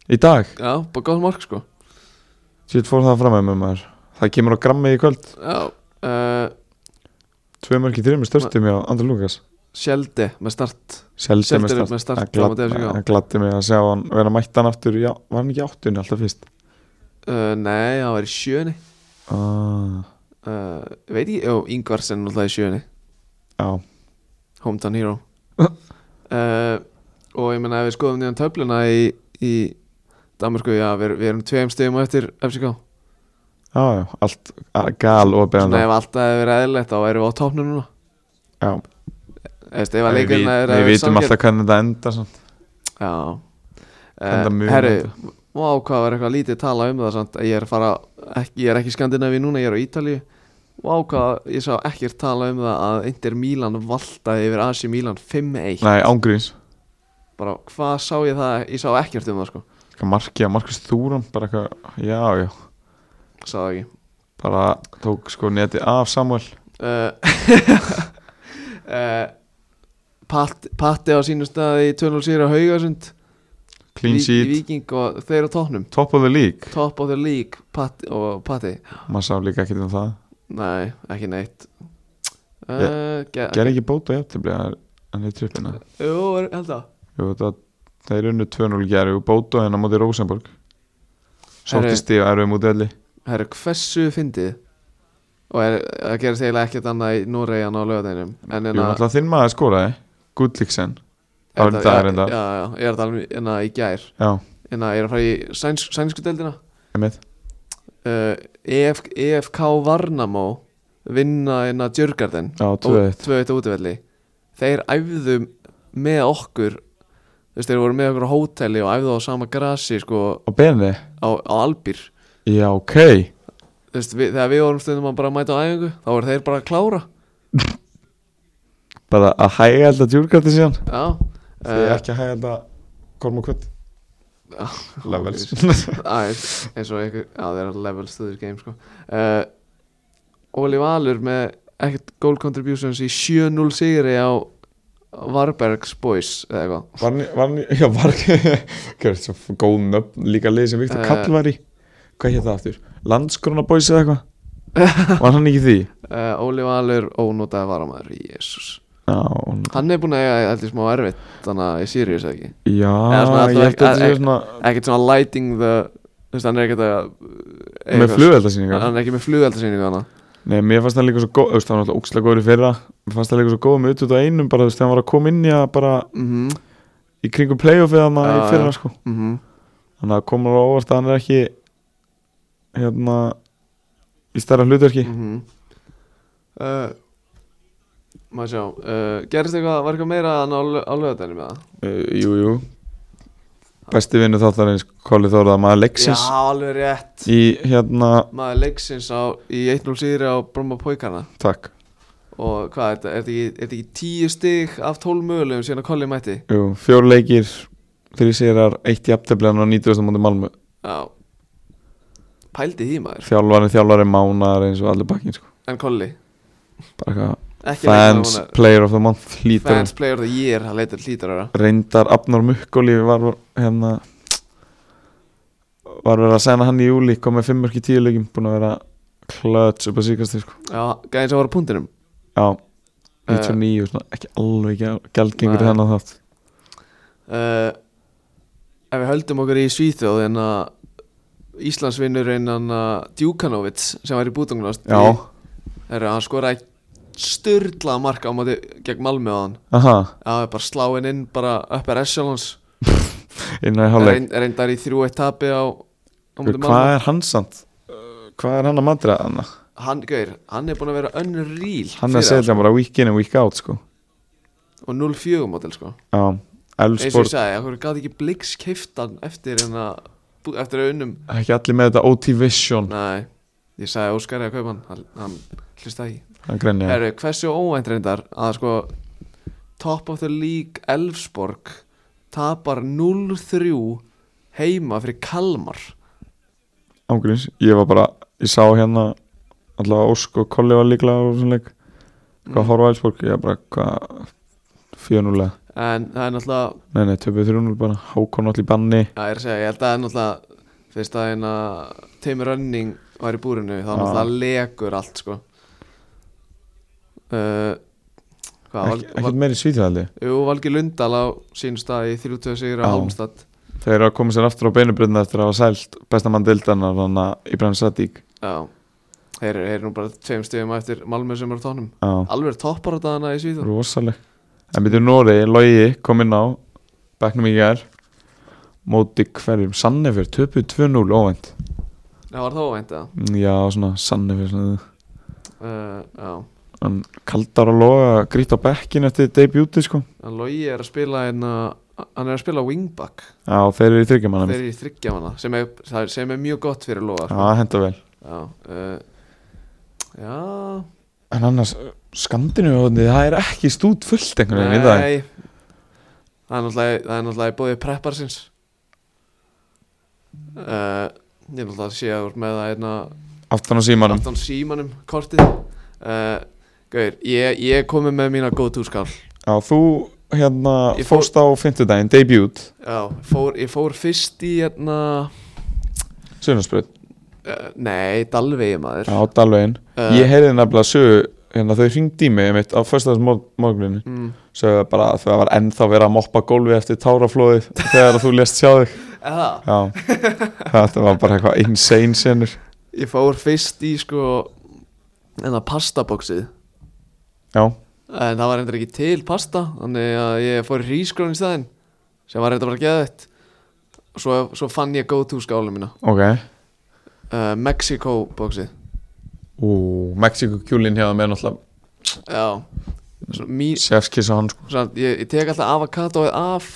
Speaker 2: Í dag,
Speaker 1: Já, bara góð mark sko
Speaker 2: sér fór það fram með mér maður Það kemur á grammi í kvöld
Speaker 1: Já, uh,
Speaker 2: Tvö mörki þrjum störstum hjá Andi Lúkas
Speaker 1: Sjelde með start
Speaker 2: Seldi með
Speaker 1: Seldi
Speaker 2: start
Speaker 1: með start
Speaker 2: Það
Speaker 1: á móti
Speaker 2: glad-
Speaker 1: FCK.
Speaker 2: það gladdi mig að sjá hann vera mættan aftur já, Var hann ekki í áttunni alltaf fyrst?
Speaker 1: uh, Nei, það var í sjöni
Speaker 2: Ah,
Speaker 1: uh, Veit ekki, jú, Ingvarsen náttúrulega í sjöni
Speaker 2: já,
Speaker 1: Hometown Hero uh, Og ég meina ef við skoðum nýjan töfluna í, í Danmarku, já, við, erum- við erum tveim stegum á eftir FCK
Speaker 2: já, já, allt a- gal og
Speaker 1: Svona
Speaker 2: beðan
Speaker 1: ef allt hefði verið eðlilegt þá erum við á topnum núna
Speaker 2: Já,
Speaker 1: Eða, veist, ef að
Speaker 2: Við,
Speaker 1: leikurinn hefði
Speaker 2: við
Speaker 1: verið
Speaker 2: vitum
Speaker 1: sanngjarn-
Speaker 2: alltaf hvernig þetta endar samt.
Speaker 1: Já
Speaker 2: Enda
Speaker 1: uh,
Speaker 2: mjög
Speaker 1: Herri, vá hvað var eitthvað lítið tala um það samt að ég er að fara, ekki, ég er ekki í Skandinavíu núna, ég er á Ítalíu og ákvað ég sá ekkert tala um það að Inter Milan valdaði yfir AC Milan 5-1
Speaker 2: Nei, ángurins
Speaker 1: bara hvað sá ég það, ég sá ekkert um það sko
Speaker 2: Eitthvað markið að Markus Þúram Bara eitthvað, já, já
Speaker 1: sá það ekki
Speaker 2: Bara tók sko neti af Samuel
Speaker 1: uh, uh, Pat, Patti á sínum staði 2-0 sigur á Haugasund
Speaker 2: Clean
Speaker 1: Vík-
Speaker 2: sheet,
Speaker 1: Víking og þeir á tóknum
Speaker 2: top of the league
Speaker 1: Top of the league Patti, og Patti
Speaker 2: Maður sá líka ekkert um það
Speaker 1: Nei, ekki neitt uh, ge
Speaker 2: Gerði ekki bóta jafntefli Hann er trippina
Speaker 1: Jú, er- held að
Speaker 2: Jú, það, það er unnu 2-0 gerði og bóta hennar móti Rosenborg
Speaker 1: Herru.
Speaker 2: Sótti stíf erfið mútið elli
Speaker 1: Herru, hversu fyndið og er, það gerist eiginlega ekkert annað í Núreiðan á lögadeinum en hérna,
Speaker 2: Jú,
Speaker 1: en
Speaker 2: alltaf þinn maður skoraði Gudliksen það var í dag reyndar.
Speaker 1: Já, já, ég er að tala um en að í gær
Speaker 2: Já,
Speaker 1: en að ég er að fara í sænsk, sænsku deildina
Speaker 2: einmitt
Speaker 1: uh, EF, EFK Varnamó vinna hérna en að Djörgarden
Speaker 2: Já, 2-1
Speaker 1: 2-1 á útivelli þeir æfðu með okkur þú veist, þeir voru með okkur á hóteli og æfðu á sama grasi sko
Speaker 2: Og Benni
Speaker 1: á, á Albir
Speaker 2: Já, ok
Speaker 1: þú veist, við, þegar við vorum stundum að bara mæta á æfingu þá voru þeir bara að klára
Speaker 2: Bara að hæga alltaf djúrgætti síðan
Speaker 1: Já
Speaker 2: Þið er
Speaker 1: eh,
Speaker 2: ekki að hæga alltaf Korm og kvöld
Speaker 1: Já.
Speaker 2: Levels
Speaker 1: Aðeins, Eh, eins og einhver, já það er level stuður game sko uh, Óli Valur með ekkert goal contributions í 7-0 sigri á Varbergs boys eða eitthvað
Speaker 2: Var hann, í- var hann, í- já var Hvað er svo góð nöfn Líka leið sem Viktor
Speaker 1: Eh.
Speaker 2: Kall var í Hvað hétt það aftur? Landskrona eða eitthvað Var hann ekki í því?
Speaker 1: uh, Óli Valur ónótaði varamæður, jésus
Speaker 2: Já, hún-
Speaker 1: Hann er búin að eiga heldur smá erfitt þannig að ég sýri þess ekki
Speaker 2: já
Speaker 1: Eða svona,
Speaker 2: ég held að þetta
Speaker 1: eh,
Speaker 2: sé
Speaker 1: eh,
Speaker 2: svona
Speaker 1: Ekkert svona lighting the, þú veist hann er ekkert að eh,
Speaker 2: Með
Speaker 1: eitthvað-
Speaker 2: flugeldasýningar
Speaker 1: Hann er ekki með flugeldasýningu hana
Speaker 2: Nei, mér fannst það líka svo góð þú veist, Það var alltaf ókslega góður í fyrra Mér fannst það líka svo góð með utut á einum Bara þú veist, þegar hann var að koma inn í að bara
Speaker 1: mm -hmm.
Speaker 2: Í kringum playoffið hann í
Speaker 1: Já,
Speaker 2: fyrra
Speaker 1: já.
Speaker 2: sko Þannig að komur á óvart að hann er ekki hérna í stærra hlutverki
Speaker 1: mm -hmm. uh, maður sjá uh, gerist eitthvað, var eitthvað meira en á, lö- á löðatæni með það?
Speaker 2: uh, Jú, jú Besti vinnu þáttarins Kolli Þórða maður leiksins
Speaker 1: já, alveg rétt
Speaker 2: í hérna,
Speaker 1: maður leiksins á, í 1-0 síðri á Bromma Póikana
Speaker 2: takk
Speaker 1: og hvað, er þetta- er þetta ekki, er þetta ekki tíu stig af 12 mögulegum síðan að Colli mætti
Speaker 2: jú, Fjór leikir, þrý sérar eitt jafntefliðan á 90. múti Malmö
Speaker 1: já pældi því maður,
Speaker 2: Þjálfari, þjálfari, mánar eins og allir bakkin sko.
Speaker 1: en Colli
Speaker 2: bara eitthvað,
Speaker 1: ekki
Speaker 2: fans,
Speaker 1: leikmaður, hún er-
Speaker 2: player of the month hlítar
Speaker 1: fans
Speaker 2: hann.
Speaker 1: player of the year, hann leitur hlítur að vera
Speaker 2: reyndar Abnor Mukkoli var var, hérna var verið að segna hann í júli kom með 5 mörki tíu leikim búin að vera klöts upp að síkast sko.
Speaker 1: já, gæðin sem var á pundinum
Speaker 2: Já, 99, svona, ekki alveg gælgengur
Speaker 1: Eh. Nei.
Speaker 2: þennan þátt
Speaker 1: uh, ef við höldum okkur í Svíþjóð en að Íslandsvinnur einan að Djúkanovits sem var í bútungunast
Speaker 2: Já,
Speaker 1: Heru, hann skoraði styrla marka á móti gegn Malmö á hann
Speaker 2: aha,
Speaker 1: það er bara sláinn inn bara upp er Echelons
Speaker 2: inn á í
Speaker 1: Reyn-
Speaker 2: hálfleik
Speaker 1: reyndar í 3-1 tapi á, á móti
Speaker 2: Hvað
Speaker 1: Malmö
Speaker 2: er hans samt? Uh, Hvað er hann að madra hann?
Speaker 1: hann, gaur, hann er búin að vera unreal
Speaker 2: Hann er að
Speaker 1: fyrir það,
Speaker 2: segja bara week in and week out sko
Speaker 1: sko. og 0-4 mótil sko.
Speaker 2: Já,
Speaker 1: eins og ég
Speaker 2: Elfsborg,
Speaker 1: sagði, hann gaf ekki bliks keiftan eftir en að eftir að unnum
Speaker 2: ekki allir með þetta OT Vision
Speaker 1: Nei, ég sagði Óskari að kaupa hann hann, hann hlusta ekki
Speaker 2: Hann grenja
Speaker 1: Herru, hversu óvænt reyndar að sko Top of the League Elfsborg tapar 0-3 heima fyrir Kalmar
Speaker 2: ángurins Ég var bara, ég sá hérna allavega Ósk og Kolli var líklega og svona leik Hvað mm. horfa á Elfsborg? Ég bara, hvað 4-0 eða?
Speaker 1: en það er náttúrulega,
Speaker 2: Nei, nei, 2-3-0 bara Hákon allir í banni
Speaker 1: það er að segja, ég held að það er náttúrulega fyrst að hérna Tim Running var í búrinu þá
Speaker 2: Já.
Speaker 1: náttúrulega legur allt sko uh, hvað, Val,
Speaker 2: Ekki-
Speaker 1: Val,
Speaker 2: Ekkert meiri svíþjóðaldi
Speaker 1: Jú, Valgi Lundal á sínum stað í 32 sigur á
Speaker 2: Já.
Speaker 1: Halmstad
Speaker 2: Þeir eru að koma sér aftur á beinubröðna eftir að hafa sælt bestamann deildarnar þannig að Ibrahim Sadík
Speaker 1: Já Þeir eru- þeir eru nú bara tveim stöðum eftir Malmö sem eru á tónum
Speaker 2: á
Speaker 1: Alveg toppar á dagana í Svíþjóð
Speaker 2: rosaleg En byrju Nóri, Logi kom inn á Becknum í gær Móti hverjum, Sannefjör, töpu 2-0 óvænt
Speaker 1: Það var þá veint að
Speaker 2: Já, svona Sannefjör svona.
Speaker 1: uh, Já
Speaker 2: En kaldar að loga, grýtt á bekkin eftir debutið sko
Speaker 1: En Logi er að spila en Hann er að spila wingback
Speaker 2: Já, þeir eru í þryggjumann
Speaker 1: Þeir
Speaker 2: einmitt.
Speaker 1: eru í þryggja manna sem er, það er- sem er mjög gott fyrir Loga
Speaker 2: Já, henda vel
Speaker 1: sko. eh, Já uh, Já,
Speaker 2: En annars, skandinu það er ekki stút fullt einhvern veginn í dag
Speaker 1: nei Það er náttúrulega, það er náttúrulega í bóði prepparsins uh, Ég er náttúrulega að sé að þú ert með það hérna einna
Speaker 2: Aftan á símanum
Speaker 1: aftan símanum kortið uh, Gauir, ég, ég komið með mína go to skál
Speaker 2: Já, þú hérna
Speaker 1: Ég fór-
Speaker 2: fórst á fimmtudaginn, debut
Speaker 1: Já, fór, ég fór fyrst í hérna
Speaker 2: Sunnarsprutt
Speaker 1: uh, Nei, Dalvegi maður
Speaker 2: Já, Dalvegin
Speaker 1: Eh.
Speaker 2: Ég heyrði nefnilega sögu hérna, þau hringdi í mig mitt á föstaðs morguninu
Speaker 1: Mm.
Speaker 2: sögðu bara að það var ennþá verið að moppa gólfi eftir táraflóðið þegar þú lést sjá þig
Speaker 1: Eða,
Speaker 2: Já, þetta var bara eitthvað insane senur
Speaker 1: ég fór fyrst í sko enna pastaboxið
Speaker 2: Já,
Speaker 1: En það var endur ekki til pasta Þannig að ég fór í hrísgrón í staðinn Sem var reynda bara geðvægt svo, svo fann ég go to skálum mína
Speaker 2: ok
Speaker 1: uh, Mexico boxið
Speaker 2: Ú, Mexiko kjúlin hefða með náttúrulega
Speaker 1: Já Svo mý,
Speaker 2: Sefskissa hann sko
Speaker 1: svona, ég, ég tek alltaf avokadóið af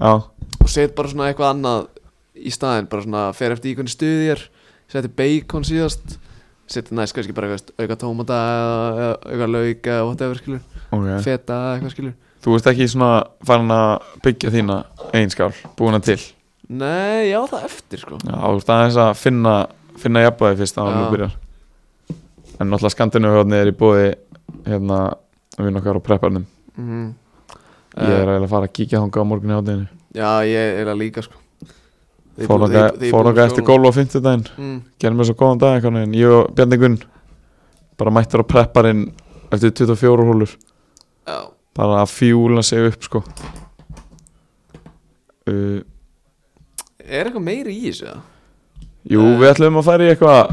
Speaker 2: Já,
Speaker 1: Og set bara svona eitthvað annað Í staðinn, bara svona fer eftir í hvernig stuð ég er Seti bacon síðast Seti næst kannski bara eitthvað, auka tómata eða, eða auka lauk eða whatever skilur
Speaker 2: ok
Speaker 1: Feta eða eitthvað skilur
Speaker 2: Þú ert ekki svona farin að byggja þína einskál, búin að til
Speaker 1: Nei, já það eftir sko
Speaker 2: Já, þú ert aðeins að finna, finna jafnbæði fyrst að hann
Speaker 1: Já.
Speaker 2: byrjar En náttúrulega skandinu er í bóði hérna við nokkar á prepparnum Mhm.
Speaker 1: mm.
Speaker 2: Ég
Speaker 1: Eh.
Speaker 2: er eiginlega að fara að kíkja þangað á morgunni á deginu
Speaker 1: Já, ég er að líka sko Þeir
Speaker 2: Fór
Speaker 1: búið-
Speaker 2: nokkað-
Speaker 1: þeir- þeir
Speaker 2: fór
Speaker 1: búið
Speaker 2: nokkað
Speaker 1: skóla.
Speaker 2: eftir gólf á fimmtudaginn
Speaker 1: mm,
Speaker 2: Gerðum mér svo góðan dag einhvern veginn Ég og Bjarni Gunn Bara mættur á prepparinn eftir 24 hólur
Speaker 1: Já,
Speaker 2: Bara að fjúla sig upp sko uh,
Speaker 1: er eitthvað meiri í þessu eða?
Speaker 2: Jú,
Speaker 1: Eh.
Speaker 2: við ætlum að fara í eitthvað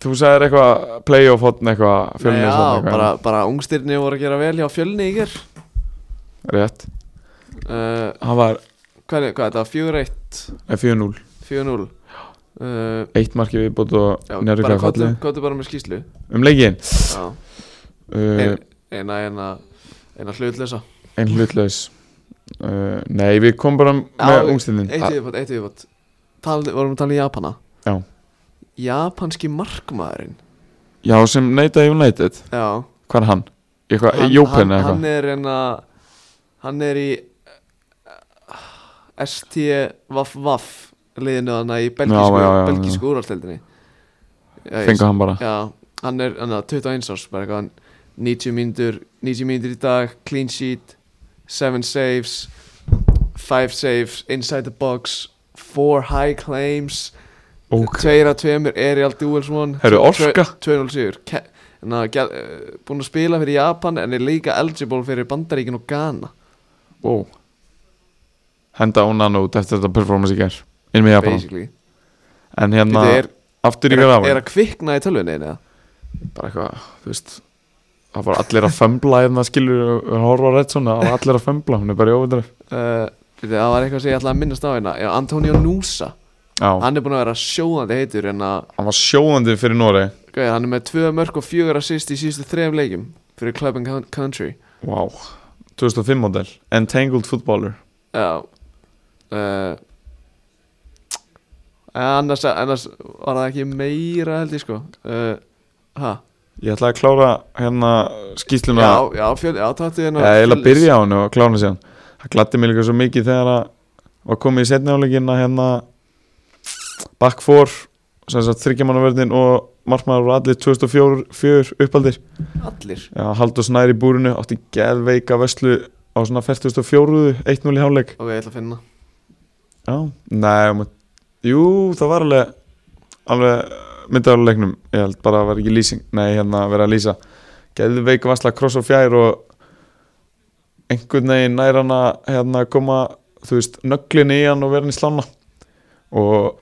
Speaker 2: Þú sagðir eitthvað playoff hotn eitthvað Fjölnir
Speaker 1: Já,
Speaker 2: hotn eitthvað
Speaker 1: bara, bara ungstirni voru að gera vel hjá fjölni í ger
Speaker 2: Rétt
Speaker 1: uh,
Speaker 2: Það var
Speaker 1: Hvað er hvað er þetta? 4-1
Speaker 2: 4-0
Speaker 1: 4-0 uh,
Speaker 2: Eitt markið við bótt og
Speaker 1: Já,
Speaker 2: nærið
Speaker 1: bara
Speaker 2: hvað
Speaker 1: kottu,
Speaker 2: fallið
Speaker 1: kottu bara með skýslu
Speaker 2: Um leikinn
Speaker 1: Já,
Speaker 2: uh,
Speaker 1: ein, eina, eina, eina hlutlösa
Speaker 2: Einn hlutlaus uh, Nei, við komum bara
Speaker 1: Já,
Speaker 2: með ungstinnin
Speaker 1: Eitt yfirbót, eitt yfirbót Tal, Vorum að tala í Japana
Speaker 2: Já.
Speaker 1: Japanski markmaðurinn
Speaker 2: Já, sem neytaði United
Speaker 1: Já
Speaker 2: Hvað er hann? Eitthvað,
Speaker 1: hann,
Speaker 2: Eh, Jópen
Speaker 1: hann,
Speaker 2: eða eitthvað
Speaker 1: hann er en að hann er í eh, ST Vaff Vaff liðinu hann í belgísku,
Speaker 2: Já, já, já, já.
Speaker 1: belgísku úrvalstildinni Já, ég-
Speaker 2: Fengu hann bara
Speaker 1: já, hann er hann er 21 árs bara eitthvað hann 90 mínútur 90 mínútur í dag, clean sheet 7 saves 5 saves, inside the box 4 high claims
Speaker 2: Ok.
Speaker 1: Tveir af tveimur Aerial Duels One
Speaker 2: Heyrðu,
Speaker 1: Tvö-
Speaker 2: Orka?
Speaker 1: 2-0 sigur Ke- hérna, gæl- eh, Búin að spila fyrir Japan En er líka eligible fyrir Bandaríkin og Ghana
Speaker 2: wow. Henda ónan út eftir þetta performance í gær Inn með Japan
Speaker 1: Basically
Speaker 2: En hérna,
Speaker 1: Þetta er,
Speaker 2: aftur í
Speaker 1: er,
Speaker 2: grafin
Speaker 1: er að kvikna í tölvunni eða?
Speaker 2: Bara eitthvað, þú veist Það var allir að fömbla hérna skilur og horfa á Redson Það var allir að fömbla, hún er bara í ofundræf
Speaker 1: Uh, byrju, það var eitthvað sem ég ætlaði að minnast á hérna Já, Antonio Nusa
Speaker 2: Já, hann,
Speaker 1: Hann er búin að vera sjóðandi heitur hérna En að,
Speaker 2: var sjóðandi fyrir Nóri
Speaker 1: gauði, hann er með tvö mörg og fjögur assist í síðustu þrejum leikjum Fyrir Club and Coun- Country
Speaker 2: Vá, 2005 model Entangled footballer
Speaker 1: Já uh, eh, annars, annars var það ekki meira held ég sko uh, Hæ?
Speaker 2: Ég ætlaði að klára hérna skýsluna
Speaker 1: Já, já, fjöl, já, tattu hérna
Speaker 2: Ég ætla að byrja á henni og klára henni síðan Það gladdi mig líka svo mikið þegar að var komið í setni áleikina hérna back four sem sagt þryggjamanavörðin og markmaður voru allir 2004 fjör uppaldir
Speaker 1: Allir
Speaker 2: Já, Haldur Snær í búrinu átti geðveika vöslu á svona 44 1-0 í háleik
Speaker 1: Ok, ég ætla að finna
Speaker 2: Já, nei, um, jú, það var alveg alveg myndaður leiknum, ég held bara að vera ekki lýsing nei, hérna að vera að lýsa geðveik vassla kross og fjær og einhvern veginn nær hann að hérna koma, þú veist nöglin í hann og vera hann í slána og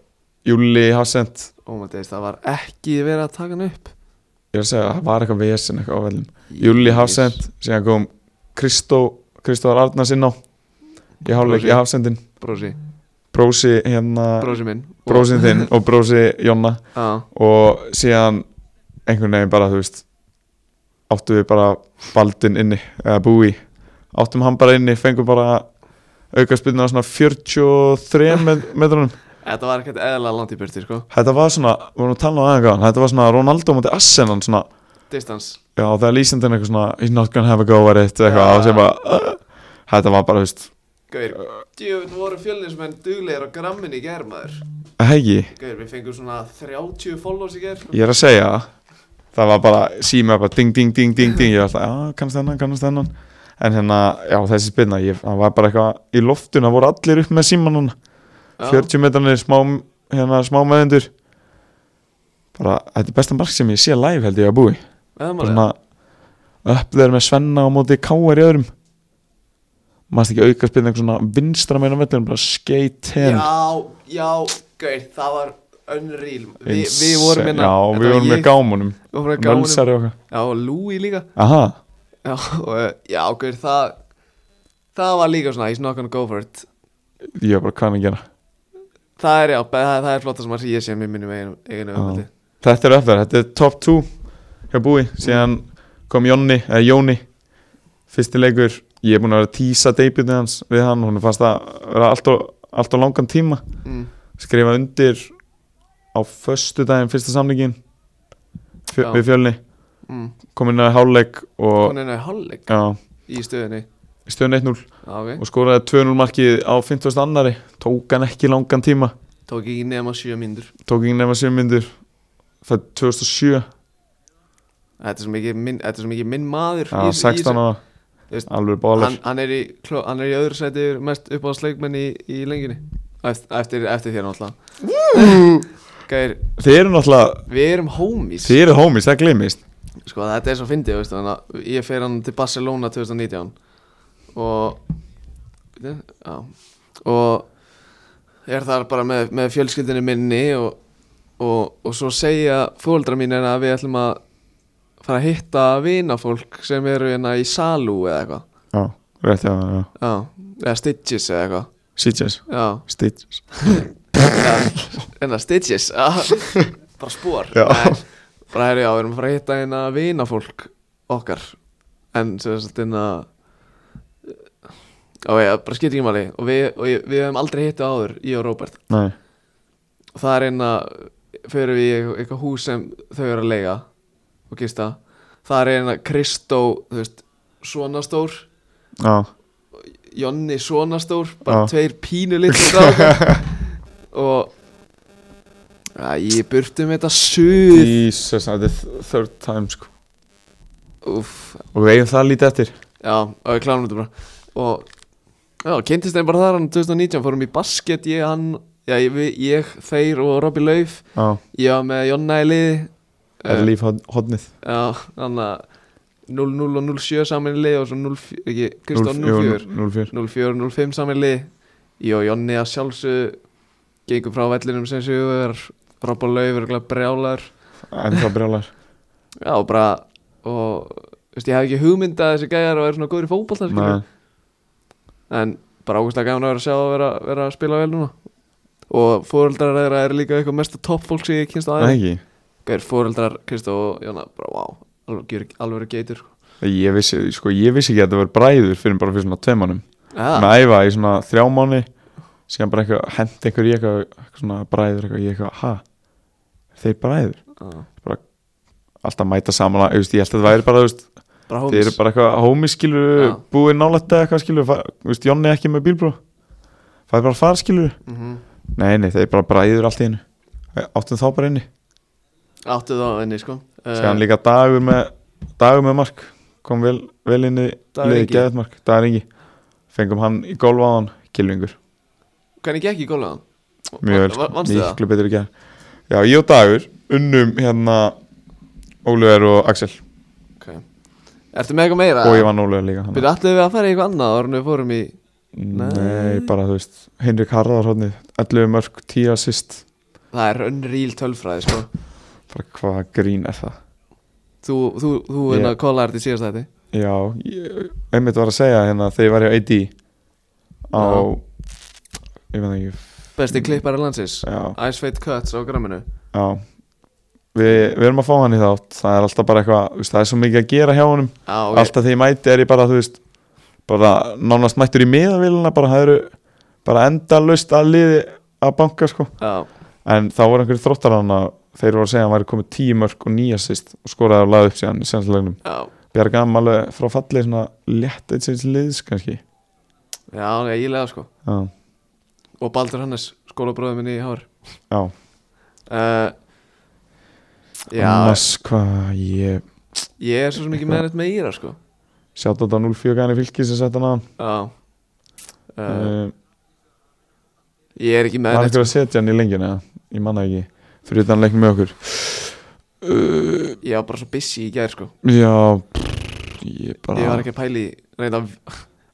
Speaker 2: Júli Hafsend
Speaker 1: Ó, maður deist, það var ekki verið að taka hann upp
Speaker 2: ég er að segja, það var eitthvað vesen eitthvað á velum Júli Hafsend, síðan kom Kristó, Kristóðar Arnars inn á í háleik í Hafsendin
Speaker 1: Brósi,
Speaker 2: brósi hérna,
Speaker 1: brósi minn
Speaker 2: brósin þinn og brósi Jonna
Speaker 1: Já,
Speaker 2: og síðan einhvern veginn bara, þú veist áttu við bara baldin inni eða búi, áttum hann bara inni fengum bara auka spilna á svona 43 met metrunum
Speaker 1: þetta var ekkert eðalega langt í burti, sko
Speaker 2: um þetta var svona, við vorum að tala á aðeins þetta var svona Ronaldo mútið Assenan svona
Speaker 1: distance
Speaker 2: Já, það er lýsindin eitthvað svona He's not gonna have a go at it eitthvað
Speaker 1: Já.
Speaker 2: og sem bara uh, Þetta var bara, þú veist
Speaker 1: Gauðir, djöfn voru fjölnismenn duglegir á grammin í gær maður
Speaker 2: Hegi,
Speaker 1: Gauðir, við fengum svona 30 follows í gær
Speaker 2: ég er að segja það. Það var bara síma bara ding, ding, ding, ding, ding Ég var alltaf, já, kannast þennan, kannast þennan En hérna, já, þessi spilna ég, Það var bara eitthvað í loftuna voru allir upp með síman núna
Speaker 1: Já.
Speaker 2: 40 metranir smá, hérna, smá meðendur Bara, þetta er besta mark sem ég sé live held ég að búi
Speaker 1: Eða
Speaker 2: Bara
Speaker 1: maður
Speaker 2: svona upplegar með Svenna á móti káar í öðrum maður ekki auka spilna einhver svona vinstra meina vellum bara skeitt hen
Speaker 1: Já, já, gauðir, það var unreal Vi, Við vorum hérna
Speaker 2: hérna já,
Speaker 1: þetta
Speaker 2: við
Speaker 1: var
Speaker 2: vorum með
Speaker 1: ég,
Speaker 2: gámunum
Speaker 1: Við vorum með gámunum
Speaker 2: mölsari okkar
Speaker 1: Já, og Louis líka
Speaker 2: aha,
Speaker 1: Já, og, eh, já gauðir, það Það var líka svona, he's not gonna go for it
Speaker 2: ég var bara hvað hérna. hann að gera
Speaker 1: Það er já, be- það, það er flotta sem að sé ég sé mér minnum eiginu, eiginu
Speaker 2: Já.
Speaker 1: umhaldi
Speaker 2: þetta er upplegar, þetta er top 2 hjá búi, síðan kom Jónni eða Jóni, fyrsti leikur ég er búin að vera að tísa debutið hans við hann, hún fannst það vera allt og, allt og langan tíma
Speaker 1: mm.
Speaker 2: skrifa undir á föstu daginn fyrsta samlingin
Speaker 1: Já.
Speaker 2: fjö, við fjölni
Speaker 1: Mm.
Speaker 2: kom inn að háluleik og
Speaker 1: Koninu er hálfleik
Speaker 2: já,
Speaker 1: í stöðinni
Speaker 2: í stöðun 1-0
Speaker 1: Já, ok,
Speaker 2: og skoraði 2-0 markið á 50. annari tók hann ekki langan tíma
Speaker 1: tók ekki nema sjö mínútur
Speaker 2: tók ekki nema 7 myndur það er 2007
Speaker 1: Þetta er svo mikið minn, þetta er svo mikið minn maður
Speaker 2: já, 16 ára
Speaker 1: Þú veist,
Speaker 2: alveg bólar
Speaker 1: hann, hann, er í, kló- hann er í öðru sæti yfir mest uppáðsleikmenn í, í lengjunni Eft- Eftir, eftir þér náttúrulega Gæir,
Speaker 2: þeir eru náttúrulega
Speaker 1: við erum homies
Speaker 2: þeir eru homies, það gleymist
Speaker 1: Sko þetta er svo fyndið, veistu þannig að Ég fer hann til Barcelona 2019 Og Bíddu, Já Og Er þar bara með, með fjölskyldinu minni og, og, og svo segja fóldra mín er að við ætlum að fara að hitta vinafólk sem eru hérna í Salú eða eitthvað
Speaker 2: já, rétt já, já.
Speaker 1: Já, eða Stitches eða eitthvað
Speaker 2: Sitges,
Speaker 1: Já,
Speaker 2: Stitches
Speaker 1: en það Hérna, Stitches já. Bara spór
Speaker 2: Já.
Speaker 1: Bara herri já, við erum að fara að hitta eina vinafólk okkar En sem sagt eina Já, já, bara skýt ekki máli Og, við, og ég, við hefum aldrei hittu áður, ég og Róbert
Speaker 2: nei,
Speaker 1: Og það er eina Fyrir við í eitthvað- eitthvað hús sem þau eru að leiga Og gista Það er eina Kristó, þú veist Svona stór
Speaker 2: já,
Speaker 1: Jonni svona stór bara
Speaker 2: Já.
Speaker 1: tveir pínu litlu strákar og að ég burfti um þetta suð
Speaker 2: Jesus, þetta er third time sko
Speaker 1: Úff,
Speaker 2: og við eigum það lítið eftir
Speaker 1: já, og ég kláðum þetta bara og já, kynntist þeim bara þar hann 2019, fórum í basket ég, hann, já, ég, við- ég þeir og Robby Lauf,
Speaker 2: já,
Speaker 1: ég var með Jonna í liði Eh,
Speaker 2: er líf hodnið
Speaker 1: já, þannig að 0-0 og 0-7 saman í liði og svo 0-4, ekki, Kristofn 0-4
Speaker 2: 04
Speaker 1: 04-05 samanli Ég og Jonni að sjálfsög gengum frá vellinum sem sigur Robba Lauf er brjálar
Speaker 2: en það brjálar
Speaker 1: Já, og bara og veist, ég hef ekki hugmynd að þessi gæjar og er svona góður í fótballta
Speaker 2: Nei.
Speaker 1: en bara ákvæmstlega gaman að vera að sjá að vera, vera að spila vel núna og fóreldrar þeirra er líka eitthvað mesta toppfólk sem ég kynst á
Speaker 2: Nei,
Speaker 1: aðeins
Speaker 2: ekki
Speaker 1: Gæjar fóreldrar, Kristó og Jonna bara wow, alveg, alveg geitur
Speaker 2: Ég vissi, sko, ég vissi ekki að þetta verið bræður fyrir bara fyrir svona tveim mánum
Speaker 1: Já,
Speaker 2: Með að æfa í svona þrjá mánu síðan bara eitthvað, hendi einhver í eitthvað, eitthvað svona bræður eitthvað, ég eitthvað, ha þeir bræður,
Speaker 1: já,
Speaker 2: alltaf mæta saman að, þú veist, ég held að þetta væri bara, þú veist
Speaker 1: bara
Speaker 2: þeir eru
Speaker 1: hómis
Speaker 2: bara eitthvað homies skilur
Speaker 1: Já.
Speaker 2: búið nálætt eða eitthvað skilur, fa- þú veist, Jonni ekki með bílbró það er bara far skilur
Speaker 1: Mhm.
Speaker 2: nei, nei, þeir bara bræður allt í hennu áttum þá bara inni,
Speaker 1: Áttu þá að henni sko
Speaker 2: síðan líka dagur með dagur með mark, kom vel, vel inni
Speaker 1: Dagur Ingi.
Speaker 2: geðið mark, dagur engi fengum hann í golf á hann, kilvingur
Speaker 1: Hvernig gekk í gólaðan?
Speaker 2: mjög
Speaker 1: Va-
Speaker 2: vel,
Speaker 1: vannstu það?
Speaker 2: miklu betur í gær já, ég og Dagur unnum hérna Óluður og Axel
Speaker 1: Ok Ertu með eitthvað meira?
Speaker 2: og ég vann Óluður líka
Speaker 1: Byrðu allir við að fara í eitthvað annað ára en við fórum í
Speaker 2: nei. nei, bara þú veist Henrik Harðar hodni, 11 mörg, 10 assist
Speaker 1: Það er unreal tölfræði sko
Speaker 2: bara hvað grín er það
Speaker 1: Þú, þú, þú
Speaker 2: Ég-
Speaker 1: hérna kólaði þetta í síðast þetta
Speaker 2: já, ég, einmitt var að segja hérna þegar ég var í AD á ég veit ekki,
Speaker 1: Besti klippari landsins
Speaker 2: Mm. já,
Speaker 1: Ice Fate Cuts á gramminu
Speaker 2: já Við, við erum að fá hann í þátt, það er alltaf bara eitthvað, þú veist, það er svo mikið að gera hjá honum
Speaker 1: Já, ok
Speaker 2: alltaf þegar ég mæti er ég bara, þú veist bara nánast mættur í miðavélina bara það eru bara endalaust að liði að banka sko
Speaker 1: Já,
Speaker 2: en þá voru einhverju þróttar hann að þeir voru að segja að hann væri komið tíu mörg og nýja sýst og skoraði og laði upp síðan í senstleginum
Speaker 1: Já,
Speaker 2: Bjarga hann alveg frá fallið svona létt eitt sinns liðs kannski
Speaker 1: já, alveg eiginlega sko
Speaker 2: já,
Speaker 1: Og Baldur Hannes, skólabróðum minni í Hár
Speaker 2: já.
Speaker 1: uh, Já,
Speaker 2: annars hvað ég
Speaker 1: ég er svo sem ekki með neitt með Íra sko
Speaker 2: sjátt á 0-4 gæðan í fylki sem sett hann að
Speaker 1: Já uh,
Speaker 2: hann
Speaker 1: Ég er ekki með
Speaker 2: Eh, var
Speaker 1: neitt
Speaker 2: eitthvað að setja hann í lengjuna ég manna ekki, fyrir utan leiknum með okkur
Speaker 1: sko. Ég var bara svo busy í gær sko
Speaker 2: já pff, ég bara
Speaker 1: Ég var ekki að pæli reynda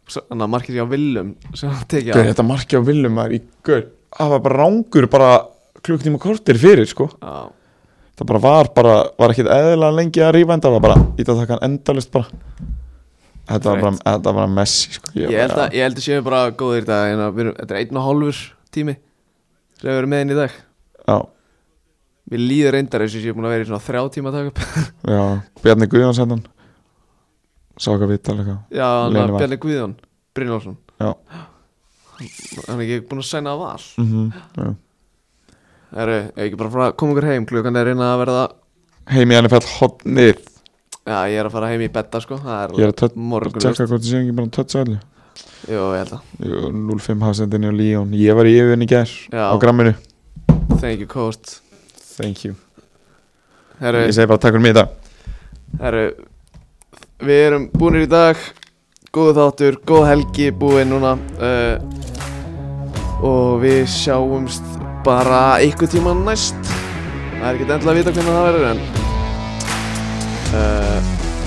Speaker 1: Þannig að markið ég á Willum sem hann tekið
Speaker 2: Gauð,
Speaker 1: á
Speaker 2: þetta markja á Willum er í gauð það var bara rángur bara klukktíma kortir fyrir sko
Speaker 1: Já,
Speaker 2: það bara var bara, var ekkit eðlilega lengi að rífa en það var bara, ít að taka hann endalist bara þetta var bara,
Speaker 1: Rétt.
Speaker 2: þetta var bara messi sko.
Speaker 1: Ég held að, ég held að séu bara góðir í dag en að við erum, Þetta er einn og hálfur tími sem við erum með inn í dag
Speaker 2: já,
Speaker 1: Mér líður reyndar eins og ég sé búin að vera í svona þrjá tíma að taka upp
Speaker 2: já, Bjarni Guðjóns hennan sá ekki að vita alveg
Speaker 1: Já, hann að
Speaker 2: Leynival.
Speaker 1: Bjarni Guðjón Brynjálsson
Speaker 2: já,
Speaker 1: Hann er ekki búin að sæna að val
Speaker 2: mm já.
Speaker 1: Það eru ekki bara að fara að koma ykkur heim Klukkan er reyna að verða
Speaker 2: heim í NFL hotnið
Speaker 1: Já, ég er að fara heim í betta sko Það
Speaker 2: ég er
Speaker 1: er,
Speaker 2: að tött,
Speaker 1: morgunlust
Speaker 2: tjekka hvort það sé ekki bara tött sæli
Speaker 1: Jú, ég held að
Speaker 2: 0-5 hafsendinni og Líón, ég var í yfirvinni í gær
Speaker 1: Já.
Speaker 2: á gramminu,
Speaker 1: Thank you, Coast
Speaker 2: thank you
Speaker 1: Það eru
Speaker 2: ég segi bara takk fyrir mig í dag
Speaker 1: Herru, við erum búinir í dag Góðu þáttur, góð helgi búin núna uh, Og við sjáumst bara einhver tíma næst Það er ekkert endilega að vita hvernig það verður en uh,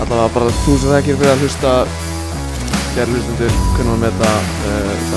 Speaker 1: Allavega bara þúsund þekkir fyrir að hlusta Kjær hlustendur, hvernig maður með það uh, Það Eh,